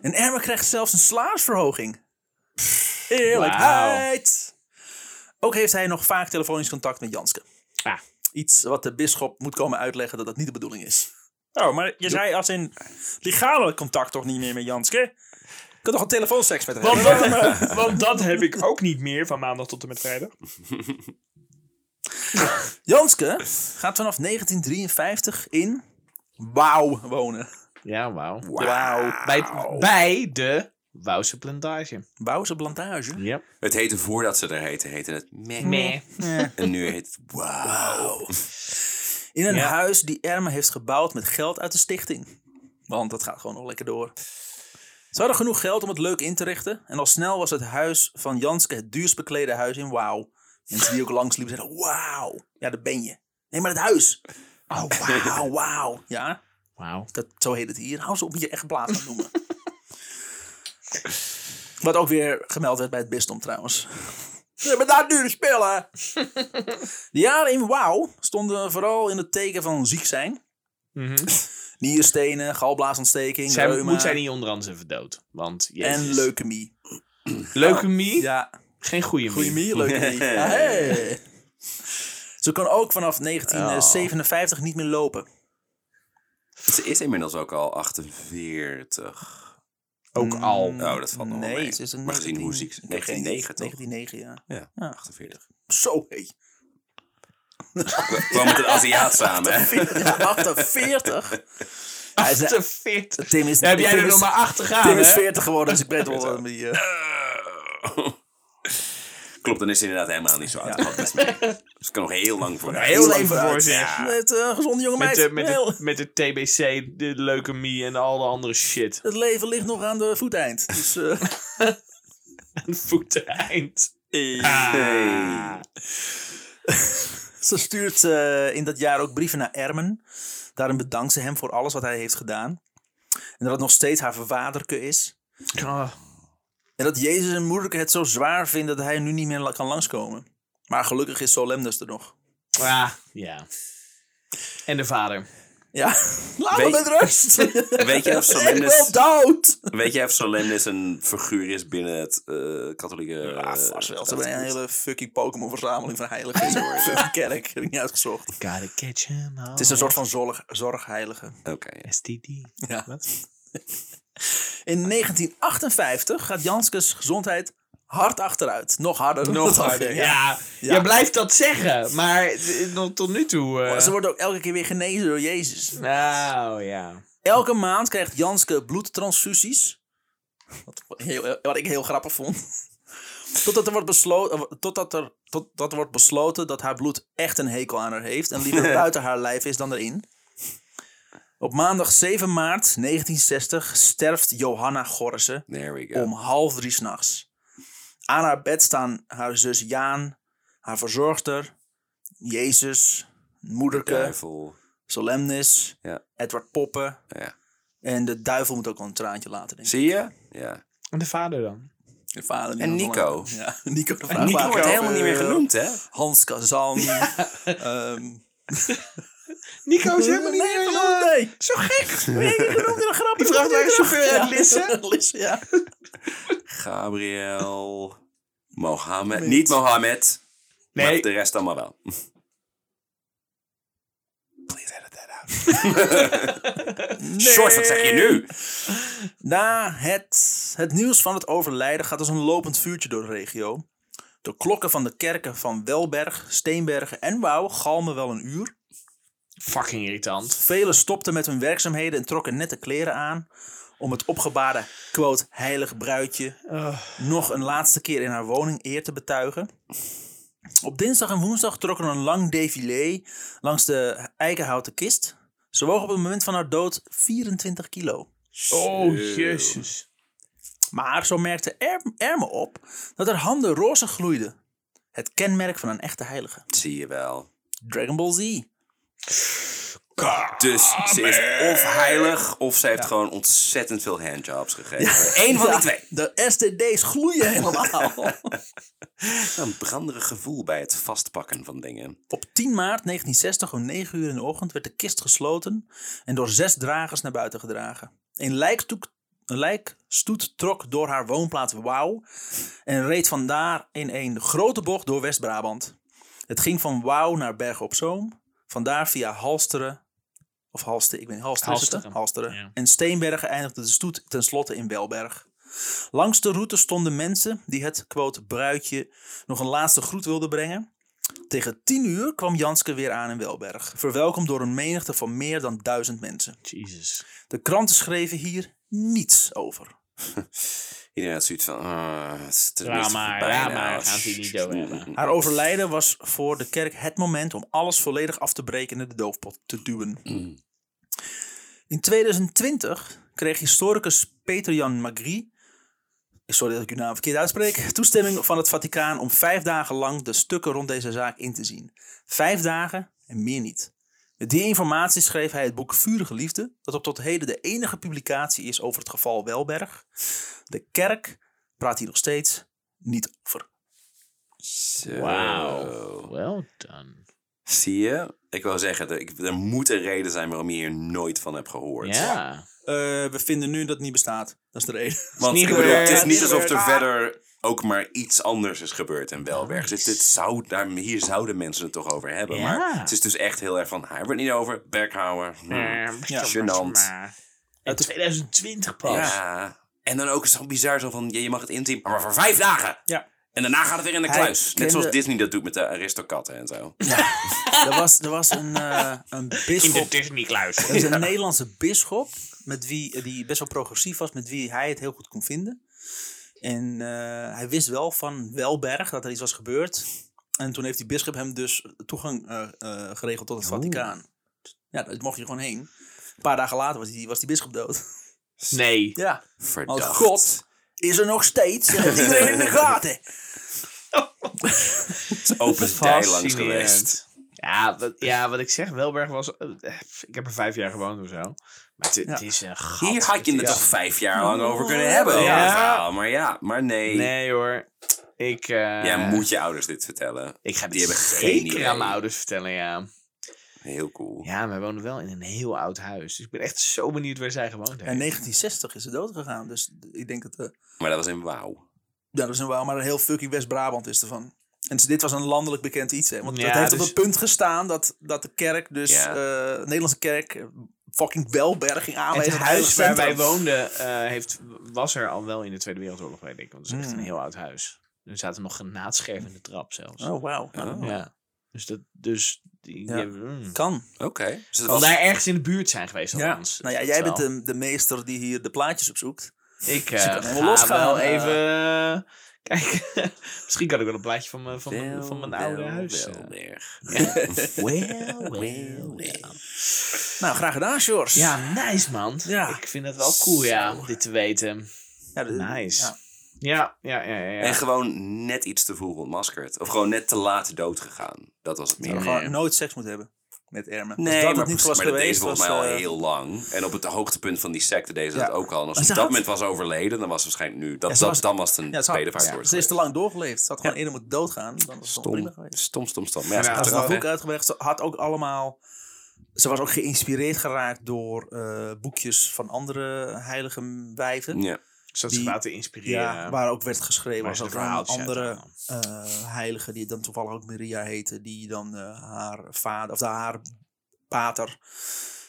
Speaker 3: En Erme krijgt zelfs een salarisverhoging. Eerlijkheid! Ook heeft hij nog vaak telefonisch contact met Janske.
Speaker 2: Ah.
Speaker 3: Iets wat de bisschop moet komen uitleggen dat dat niet de bedoeling is.
Speaker 4: Oh, maar je zei als in legale contact toch niet meer met Janske?
Speaker 3: Ik kan toch een telefoonseks met hem
Speaker 2: Want
Speaker 3: hebben?
Speaker 2: dat, want dat heb ik ook niet meer van maandag tot en met vrijdag.
Speaker 3: Janske gaat vanaf 1953 in Wauw wonen.
Speaker 2: Ja, wauw.
Speaker 3: Wauw.
Speaker 2: Bij, bij de Wouwse plantage.
Speaker 3: Wouwse plantage.
Speaker 2: Ja.
Speaker 1: Het heette voordat ze er heette, heette het meh.
Speaker 2: Nee.
Speaker 1: En nu heet het wauw.
Speaker 3: In een
Speaker 2: Ja.
Speaker 3: huis die Erme heeft gebouwd met geld uit de stichting. Want dat gaat gewoon nog lekker door. Ze hadden genoeg geld om het leuk in te richten. En al snel was het huis van Janske het duurst beklede huis in Wauw. Mensen die ook langsliepen zeiden, wauw. Ja, daar ben je. Nee, maar het huis. Oh, wauw, wauw. Ja,
Speaker 2: Wauw.
Speaker 3: dat, zo heet het hier. Hou ze op je echt plaats te noemen. Wat ook weer gemeld werd bij het bisdom trouwens. We hebben daar dure spullen. De jaren in Wauw stonden vooral in het teken van ziek zijn. Mhm. Nierstenen, galblaasontsteking,
Speaker 2: Zij
Speaker 3: reuma
Speaker 2: moet zij niet onderhand zijn verdood. Want jezus.
Speaker 3: en leukemie.
Speaker 2: leukemie,
Speaker 3: Ja,
Speaker 2: geen goede
Speaker 3: goede
Speaker 2: mie.
Speaker 3: mier, leukemie. Ja, hey. Ze kon ook vanaf 1957 niet meer lopen.
Speaker 1: Ze is inmiddels ook al 48.
Speaker 2: Ook al.
Speaker 1: Oh, dat valt nog wel mee.
Speaker 3: Mm. Nee, ze is een
Speaker 1: Maar gezien hoe ziek ze... 1909 toch?
Speaker 3: 1909, ja.
Speaker 1: Ja,
Speaker 3: Ja.
Speaker 1: 48.
Speaker 3: Zo, hé.
Speaker 1: We kwam met een Aziat samen, hè?
Speaker 3: 48? Hij is,
Speaker 2: 48.
Speaker 3: Tim is,
Speaker 2: Daar heb jij
Speaker 3: Tim
Speaker 2: er
Speaker 3: is-
Speaker 2: nog maar achter
Speaker 3: Tim
Speaker 2: gaan,
Speaker 3: is
Speaker 2: hè?
Speaker 3: 40 geworden, dus ik weet wel wat die... eh,
Speaker 1: Klopt, dan is ze inderdaad helemaal niet zo oud. Dat valt best mee. Dus ik kan nog heel lang voor
Speaker 3: heel
Speaker 2: lang
Speaker 3: even
Speaker 2: voor
Speaker 3: uit.
Speaker 2: zich.
Speaker 3: Ja. Met eh, een gezonde jonge
Speaker 2: Met
Speaker 3: meid.
Speaker 2: de, met,
Speaker 3: Heel-
Speaker 2: de, met de TBC, de leukemie en al de andere shit.
Speaker 3: Het leven ligt nog aan de voeteind. Dus, eh,
Speaker 2: Een voeteneind.
Speaker 1: Hey.
Speaker 3: ze stuurt eh, in dat jaar ook brieven naar Ermen. Daarin bedankt ze hem voor alles wat hij heeft gedaan. En dat het nog steeds haar verwaderke is.
Speaker 2: Ah.
Speaker 3: En dat Jezus en moederke het zo zwaar vinden dat hij nu niet meer la- kan langskomen. Maar gelukkig is Solemnus er nog.
Speaker 2: Ah, ja. En de vader.
Speaker 3: Ja, laat me
Speaker 1: Weet-
Speaker 3: met rust.
Speaker 1: Weet jij of
Speaker 3: Ik wil
Speaker 1: Solemnis,
Speaker 3: dood.
Speaker 1: weet jij of Solemnis een figuur is binnen het eh, katholieke...
Speaker 3: Ah,
Speaker 1: eh,
Speaker 3: vast wel. Ze hebben een hele fucking Pokémon-verzameling van heiligen. Sorry, fucking kerk. Heb ik niet uitgezocht. Oh,
Speaker 2: Gotta catch him all.
Speaker 3: Het is een soort van zorg, zorgheilige.
Speaker 1: Oké, ja.
Speaker 2: STD.
Speaker 3: Ja.
Speaker 2: Wat?
Speaker 3: In 1958 gaat Janskes gezondheid hard achteruit. Nog harder. dan dat
Speaker 2: harder.
Speaker 3: ging.
Speaker 2: Ja.
Speaker 3: Ja.
Speaker 2: je blijft dat zeggen, maar t- nog tot nu toe... eh,
Speaker 3: Ze wordt ook elke keer weer genezen door Jezus.
Speaker 2: Nou, ja.
Speaker 3: Elke maand krijgt Janske bloedtransfusies. Wat, heel, wat ik heel grappig vond. Totdat er, wordt besloten, totdat, er, totdat er wordt besloten dat haar bloed echt een hekel aan haar heeft. En liever buiten haar lijf is dan erin. Op maandag 7 maart 1960 sterft Johanna Gorrissen
Speaker 1: There we go.
Speaker 3: om half drie s'nachts. Aan haar bed staan haar zus Jaan, haar verzorgster, Jezus, moederke,
Speaker 1: Duivel.
Speaker 3: Solemnis,
Speaker 1: Ja.
Speaker 3: Edward Poppen.
Speaker 1: Ja.
Speaker 3: En de duivel moet ook wel een traantje laten, denk ik.
Speaker 1: Zie je? Ja.
Speaker 2: En de vader dan?
Speaker 3: De vader die
Speaker 1: En
Speaker 3: nog
Speaker 1: Nico.
Speaker 3: lang- Ja, Nico de
Speaker 1: Nico
Speaker 3: vraagbaar.
Speaker 1: wordt helemaal niet meer
Speaker 3: Eh,
Speaker 1: genoemd, hè?
Speaker 3: Hans Kazan. ehm,
Speaker 2: Nico is helemaal niet
Speaker 3: nee,
Speaker 2: meer...
Speaker 3: genoemd,
Speaker 2: eh,
Speaker 3: nee.
Speaker 2: Zo gek!
Speaker 3: Nee, ik noemde een grapje.
Speaker 2: Die vraagt
Speaker 3: Kom weer
Speaker 2: waar de
Speaker 3: terug.
Speaker 2: chauffeur uit
Speaker 3: Ja,
Speaker 2: Lisse.
Speaker 3: Lisse, ja.
Speaker 1: Gabriel. Mohammed. Niet Mohammed. Nee.
Speaker 2: Nee.
Speaker 1: Maar de rest allemaal wel. Short, wat zeg je nu?
Speaker 3: Na het, het nieuws van het overlijden gaat als een lopend vuurtje door de regio. De klokken van de kerken van Welberg, Steenbergen en Wouw galmen wel een uur.
Speaker 2: Fucking irritant.
Speaker 3: Velen stopten met hun werkzaamheden en trokken nette kleren aan om het opgebaarde, quote, heilig bruidje
Speaker 2: Oh.
Speaker 3: nog een laatste keer in haar woning eer te betuigen. Op dinsdag en woensdag trokken een lang défilé langs de eikenhouten kist. Ze woog op het moment van haar dood 24 kilo.
Speaker 2: Oh, jezus.
Speaker 3: Maar zo merkte er Erme op dat haar handen roze gloeiden. Het kenmerk van een echte heilige.
Speaker 1: Zie je wel.
Speaker 3: Dragon Ball Z.
Speaker 1: Dus ze is of heilig, of ze heeft gewoon ontzettend veel handjobs gegeven. Eén van
Speaker 3: Ja,
Speaker 1: die twee.
Speaker 3: De STD's gloeien helemaal.
Speaker 1: Een branderig gevoel bij het vastpakken van dingen.
Speaker 3: Op 10 maart 1960 om 9 uur in de ochtend werd de kist gesloten en door zes dragers naar buiten gedragen. Een lijktoek, Een lijkstoet trok door haar woonplaats Wouw en reed vandaar in een grote bocht door West-Brabant. Het ging van Wouw naar Bergen op Zoom, vandaar via Halsteren, of Halsten, ik weet niet, Halsteren, is het, hè?
Speaker 2: Halsteren.
Speaker 3: Halsteren.
Speaker 2: Ja.
Speaker 3: en Steenbergen eindigde de stoet tenslotte in Welberg. Langs de route stonden mensen die het, quote, bruidje nog een laatste groet wilden brengen. Tegen tien uur kwam Janske weer aan in Welberg, verwelkomd door een menigte van meer dan duizend mensen.
Speaker 2: Jezus.
Speaker 3: De kranten schreven hier niets over.
Speaker 1: Iedereen had zoiets van... ah, het is tenminste
Speaker 2: Drama,
Speaker 1: voorbij
Speaker 2: ja,
Speaker 1: nou.
Speaker 2: maar gaan ze hier niet over hebben.
Speaker 3: Haar overlijden was voor de kerk het moment om alles volledig af te breken en in de doofpot te duwen. In 2020 kreeg historicus Peter-Jan Magri, sorry dat ik uw naam verkeerd uitspreek, toestemming van het Vaticaan om vijf dagen lang de stukken rond deze zaak in te zien. Vijf dagen en meer niet. Met die informatie schreef hij het boek Vurige Liefde, dat op tot heden de enige publicatie is over het geval Welberg. De kerk praat hier nog steeds niet over.
Speaker 1: Zo.
Speaker 2: Wauw. Well done.
Speaker 1: Zie je? Ik wil zeggen, er, ik- er moet een reden zijn waarom je hier nooit van hebt gehoord.
Speaker 2: Ja.
Speaker 3: Eh, we vinden nu dat het niet bestaat. Dat is de reden.
Speaker 1: Want
Speaker 2: Is
Speaker 1: ik
Speaker 2: niet
Speaker 1: bedoel,
Speaker 2: gebeurd.
Speaker 1: het is
Speaker 2: Is
Speaker 1: niet
Speaker 2: niet
Speaker 1: alsof er
Speaker 2: gebeurd.
Speaker 1: verder ook maar iets anders is gebeurd in Welberg. Dus dit zou, daar, hier zouden mensen het toch over hebben.
Speaker 2: Ja.
Speaker 1: Maar het is dus echt heel erg van, hij wordt niet over, Berghouwer. Hm.
Speaker 2: Ja.
Speaker 1: Gênant.
Speaker 2: In 2020 pas.
Speaker 1: Ja. En dan ook zo bizar zo van, ja, je mag het inzien, maar voor vijf dagen.
Speaker 3: Ja.
Speaker 1: En daarna gaat het weer in de
Speaker 3: Hij
Speaker 1: kluis. Net
Speaker 3: kende-
Speaker 1: zoals Disney dat doet met de aristokatten en zo.
Speaker 2: Oh,
Speaker 3: Er was, er was een, eh een
Speaker 2: In de
Speaker 3: bisschop.
Speaker 2: Disney-kluis.
Speaker 3: Er is een Nederlandse bisschop. Met wie, die best wel progressief was. Met wie hij het heel goed kon vinden. En eh, hij wist wel van Welberg dat er iets was gebeurd. En toen heeft die bisschop hem dus toegang eh, eh, geregeld tot het
Speaker 2: Oh.
Speaker 3: Vaticaan. Ja, dat mocht je gewoon heen. Een paar dagen later was die, was die bisschop dood.
Speaker 2: Nee.
Speaker 3: Ja. Want
Speaker 1: Verdacht.
Speaker 3: God is er nog steeds. En heeft iedereen in de gaten.
Speaker 1: Open dij langs
Speaker 2: Fascinerend.
Speaker 1: geweest.
Speaker 2: Ja wat, ja, wat ik zeg, Welberg was... eh, ik heb er vijf jaar gewoond of zo. Maar het, het is een gat.
Speaker 1: Hier had je het
Speaker 2: Ja.
Speaker 1: toch vijf jaar lang over kunnen hebben.
Speaker 2: Ja.
Speaker 1: over het verhaal. Maar ja, maar nee.
Speaker 2: Nee hoor. Ik, eh
Speaker 1: Ja, moet je ouders dit vertellen?
Speaker 2: ik ga
Speaker 1: die
Speaker 2: dit
Speaker 1: hebben geen idee.
Speaker 2: zeker aan mijn ouders vertellen, ja.
Speaker 1: Heel cool.
Speaker 2: Ja, wij wonen wel in een heel oud huis. Dus ik ben echt zo benieuwd waar zij gewoond
Speaker 3: En
Speaker 2: hebben.
Speaker 3: 1960 is ze dood gegaan. Dus ik denk dat... eh,
Speaker 1: Maar dat was in Wauw.
Speaker 3: Ja, dat is een wel, maar een heel fucking West-Brabant is ervan. En dus dit was een landelijk bekend iets. Hè? Want
Speaker 2: Ja,
Speaker 3: het heeft op
Speaker 2: dus-
Speaker 3: het punt gestaan dat, dat de kerk, dus
Speaker 1: Ja.
Speaker 3: eh, de Nederlandse kerk, eh, fucking Welberg ging
Speaker 2: Het
Speaker 3: aanwijzen. op
Speaker 2: huis waar wij
Speaker 3: centrum.
Speaker 2: woonden eh, heeft, was er al wel in de Tweede Wereldoorlog, weet ik. Want het is
Speaker 3: Hmm.
Speaker 2: echt een heel oud huis. Er zaten nog granaatscherven in de trap zelfs.
Speaker 3: Oh, wauw.
Speaker 1: Oh,
Speaker 2: Ja. Dus dat... Dus die,
Speaker 3: Ja.
Speaker 2: die hebben- mm.
Speaker 3: Kan.
Speaker 1: Oké. Dus het
Speaker 2: Kan
Speaker 1: was...
Speaker 2: daar ergens in de buurt zijn geweest althans.
Speaker 3: Nou ja,
Speaker 2: Dat
Speaker 3: jij
Speaker 2: wel.
Speaker 3: bent de, de meester die hier de plaatjes opzoekt.
Speaker 2: Ik eh
Speaker 3: je kan
Speaker 2: ga
Speaker 3: helemaal losgaan,
Speaker 2: wel
Speaker 3: eh.
Speaker 2: even... Kijk, misschien kan ik wel een plaatje van mijn, van mijn, van mijn oude huis. eh.
Speaker 1: Welberg.
Speaker 2: Well, well, well.
Speaker 3: Nou, graag gedaan, Sjors.
Speaker 2: Ja, nice man.
Speaker 3: Ja.
Speaker 2: Ik vind het wel cool, ja, om dit te weten.
Speaker 3: Ja, de-
Speaker 2: Nice.
Speaker 3: ja.
Speaker 2: Ja, ja, ja, ja. ja.
Speaker 1: En gewoon net iets te vroeg ontmaskerd. Of gewoon net te laat dood gegaan. Dat was het
Speaker 3: We
Speaker 1: meer.
Speaker 3: hadden gewoon nooit seks moeten hebben met Ermen. Als
Speaker 1: Nee,
Speaker 3: dat het
Speaker 1: maar,
Speaker 3: niet
Speaker 1: precies,
Speaker 3: was
Speaker 1: maar dat
Speaker 3: geweest,
Speaker 1: deed ze volgens mij
Speaker 3: was,
Speaker 1: al
Speaker 3: eh,
Speaker 1: heel lang. En op het hoogtepunt van die secte deed ze
Speaker 3: Ja.
Speaker 1: dat ook al. En als
Speaker 3: Maar
Speaker 1: ze
Speaker 3: ze
Speaker 1: op dat
Speaker 3: had-
Speaker 1: moment was overleden, dan was ze waarschijnlijk nu... Dat,
Speaker 3: Ja, ze
Speaker 1: dat,
Speaker 3: was-
Speaker 1: dan was het een
Speaker 3: Ja, ze,
Speaker 1: tweede vaart
Speaker 3: had, ja, ze is te lang doorgeleefd. Ze had gewoon eerder moeten doodgaan. Dan was het prima
Speaker 1: Stom,
Speaker 3: geweest.
Speaker 1: stom, stom, stom. Maar Ja, ze
Speaker 2: Ja.
Speaker 1: had
Speaker 3: Had
Speaker 1: er
Speaker 3: ze
Speaker 1: al-
Speaker 3: dat boek uitgebracht. Ze had ook allemaal. Ze was ook geïnspireerd geraakt door eh, boekjes van andere heilige wijven.
Speaker 1: Ja.
Speaker 2: Zodat ze
Speaker 3: die-
Speaker 2: laten inspireren.
Speaker 3: Ja, waar ook werd geschreven
Speaker 2: Waar
Speaker 3: als
Speaker 2: ze
Speaker 3: ook
Speaker 2: de
Speaker 3: een
Speaker 2: verhaaltjes
Speaker 3: andere
Speaker 2: uit
Speaker 3: eh heilige, die dan toevallig ook Maria heette, die dan eh, haar vader, of haar pater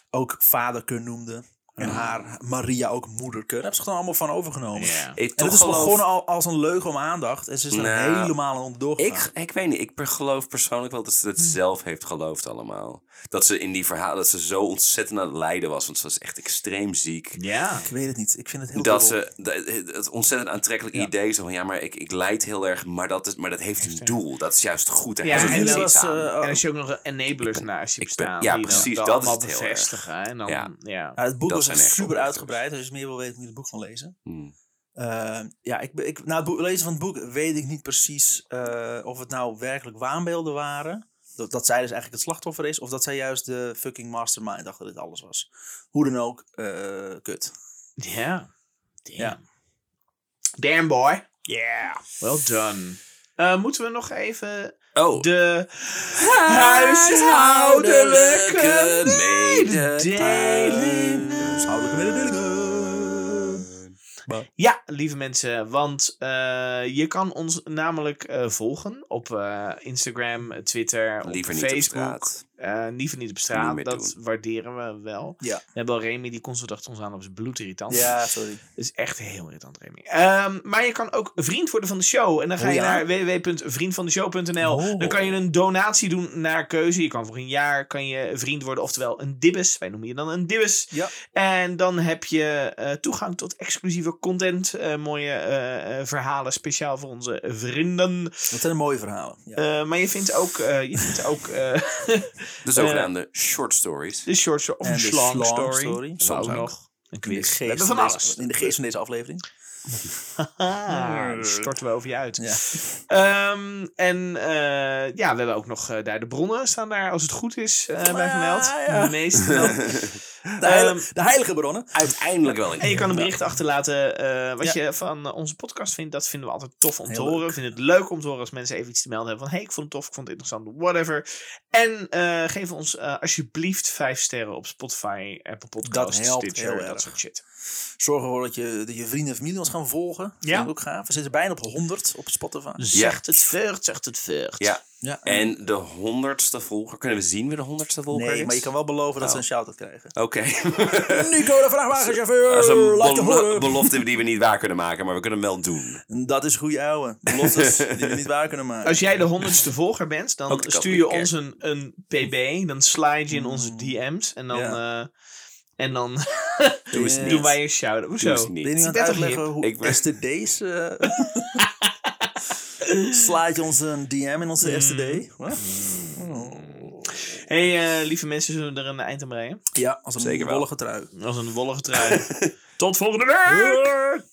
Speaker 3: ook vaderke noemde. En haar Maria ook moederke. Daar hebben ze gewoon allemaal van overgenomen.
Speaker 2: Ja.
Speaker 1: Ik
Speaker 3: En
Speaker 1: toch
Speaker 3: het is
Speaker 1: geloof-
Speaker 3: begonnen al, als een leugen om aandacht. En ze is er
Speaker 1: Nou,
Speaker 3: helemaal aan onderdoor
Speaker 1: Ik, ik weet niet, ik per- geloof persoonlijk wel dat ze het
Speaker 3: Hmm.
Speaker 1: zelf heeft geloofd allemaal. Dat ze in die verhaal, dat ze zo ontzettend aan het lijden was, want ze was echt extreem ziek.
Speaker 2: Ja.
Speaker 3: Ik weet het niet. Ik vind het heel
Speaker 1: Dat
Speaker 3: dubbel.
Speaker 1: ze, dat- het ontzettend aantrekkelijk
Speaker 3: Ja.
Speaker 1: idee zo van, ja, maar ik, ik lijd heel erg, maar dat, is, maar dat heeft een doel. Dat is juist goed. Daar
Speaker 2: Ja,
Speaker 1: heeft
Speaker 2: en
Speaker 1: het
Speaker 2: dat
Speaker 1: iets
Speaker 3: was,
Speaker 1: aan.
Speaker 3: eh,
Speaker 2: En als je ook nog een enablers naast je
Speaker 1: Oh. ik
Speaker 2: bestaan.
Speaker 1: ben- ja,
Speaker 2: die dan
Speaker 1: precies,
Speaker 2: dat
Speaker 1: dat
Speaker 2: allemaal
Speaker 1: is het heel erg.
Speaker 2: bevestigen. En dan,
Speaker 1: Ja.
Speaker 2: ja.
Speaker 3: Ja, Nou, het boek
Speaker 1: Dat
Speaker 3: was
Speaker 1: zijn
Speaker 3: echt
Speaker 1: echt
Speaker 3: super
Speaker 1: goede
Speaker 3: uitgebreid. Dus als je meer wil weten, moet je het boek gaan lezen.
Speaker 1: Hmm.
Speaker 3: Eh, ja, ik, ben- ik, na het boek- lezen van het boek weet ik niet precies eh, of het nou werkelijk waanbeelden waren. Dat, dat zij dus eigenlijk het slachtoffer is. Of dat zij juist de fucking mastermind achter dit alles was. Hoe dan ook, eh, kut.
Speaker 2: Ja. Damn.
Speaker 3: Ja.
Speaker 2: Damn boy.
Speaker 4: Yeah.
Speaker 2: Well done. Eh, moeten we nog even
Speaker 1: Oh,
Speaker 2: de
Speaker 1: huishoudelijke mededelingen.
Speaker 2: mededelingen.
Speaker 3: Dus Huishoudelijke mededelingen. beschikbaar.
Speaker 2: Ja, lieve mensen, want eh, je kan ons namelijk eh, volgen op eh, Instagram, Twitter, op
Speaker 1: Liever niet op
Speaker 2: Facebook.
Speaker 1: straat.
Speaker 2: Eh, liever niet op
Speaker 1: Niet
Speaker 2: straat,
Speaker 1: meer
Speaker 2: dat waarderen we wel.
Speaker 3: Ja.
Speaker 2: We hebben al Remy, die constant achter ons aan, dat is bloedirritant.
Speaker 3: Ja, sorry.
Speaker 2: Dat is echt heel irritant, Remy. Ehm, maar je kan ook vriend worden van de show. En dan ga je
Speaker 3: Oh, ja?
Speaker 2: naar www.vriendvandeshow.nl.
Speaker 3: Oh.
Speaker 2: Dan kan je een donatie doen naar keuze. Je kan voor een jaar kan je vriend worden, oftewel een dibbes. Wij noemen je dan een dibbes.
Speaker 3: Ja.
Speaker 2: En dan heb je eh, toegang tot exclusieve content. eh, mooie eh, eh, verhalen speciaal voor onze vrienden.
Speaker 3: Dat zijn mooie verhalen. Ja.
Speaker 2: Eh, maar je vindt ook, eh, je vindt ook eh,
Speaker 1: De zogenaamde short stories.
Speaker 2: de short story of
Speaker 3: En
Speaker 2: een
Speaker 3: de
Speaker 2: slang
Speaker 3: slang
Speaker 2: story.
Speaker 3: story.
Speaker 2: Zo
Speaker 1: Soms ook.
Speaker 2: nog. Een
Speaker 3: In de
Speaker 2: quiz. We
Speaker 3: geest
Speaker 2: hebben van
Speaker 3: deze-
Speaker 2: alles.
Speaker 3: In de geest van deze aflevering.
Speaker 2: Ah, daar storten we over je uit.
Speaker 3: Ja.
Speaker 2: Ehm, en eh, ja, we hebben ook nog eh, daar de bronnen staan daar, als het goed is, eh, bij vermeld.
Speaker 3: Ah, ja.
Speaker 2: De meeste dan. Ehm,
Speaker 3: De, heilige, de heilige bronnen.
Speaker 1: Uiteindelijk wel een
Speaker 2: En je
Speaker 1: keer.
Speaker 2: kan een bericht achterlaten eh, wat
Speaker 3: Ja.
Speaker 2: je van eh, onze podcast vindt. Dat vinden we altijd tof om te
Speaker 3: Heel
Speaker 2: horen.
Speaker 3: leuk.
Speaker 2: We vinden het leuk om te horen als mensen even iets te melden hebben. Van, hey, ik vond het tof, ik vond het interessant, whatever. En eh, geef ons eh, alsjeblieft vijf sterren op Spotify, Apple Podcasts,
Speaker 3: Dat helpt
Speaker 2: Stitcher,
Speaker 3: heel
Speaker 2: dat
Speaker 3: erg.
Speaker 2: soort shit.
Speaker 3: Zorg ervoor dat je, dat je vrienden en familie ons gaan volgen. Dat
Speaker 2: Ja.
Speaker 3: vind ik ook gaaf. We zitten bijna op 100 op Spotify.
Speaker 2: Zegt het veurt, zegt het veurt.
Speaker 1: Ja.
Speaker 3: Ja.
Speaker 1: En de honderdste volger. Kunnen we zien wie de honderdste volger
Speaker 3: Nee,
Speaker 1: is?
Speaker 3: maar je kan wel beloven dat ze
Speaker 1: Oh.
Speaker 3: een shout-out krijgen.
Speaker 1: Oké.
Speaker 3: Nico, de vrachtwagenchauffeur,
Speaker 1: Dat is een
Speaker 3: laat je
Speaker 1: belo-
Speaker 3: horen.
Speaker 1: belofte die we niet waar kunnen maken, maar we kunnen hem wel doen.
Speaker 3: Dat is goeie ouwe. Beloftes die we niet waar kunnen maken.
Speaker 2: Als jij de honderdste volger bent, dan
Speaker 1: Dus- Ook de
Speaker 2: stuur je
Speaker 1: katholieke Mm.
Speaker 2: ons een, een pb. Dan slide je in onze DM's. En dan, eh, en dan
Speaker 3: Doe
Speaker 1: Eh,
Speaker 3: eens
Speaker 2: doen
Speaker 3: niet.
Speaker 2: wij een shout-out.
Speaker 1: Doe eens
Speaker 2: Hoezo?
Speaker 1: niet.
Speaker 3: Ben je nu aan
Speaker 2: Ik
Speaker 3: het
Speaker 2: ben toch
Speaker 3: uitleggen hoe
Speaker 1: Ik
Speaker 3: ik
Speaker 1: ben-
Speaker 3: STD's... eh slaat je ons een DM in onze STD? Wat?
Speaker 2: hey, eh, lieve mensen, zullen we er een eind aan breien?
Speaker 3: Ja, als een
Speaker 1: Zeker wel.
Speaker 3: wollige trui.
Speaker 2: Als een wollige trui. Tot volgende week!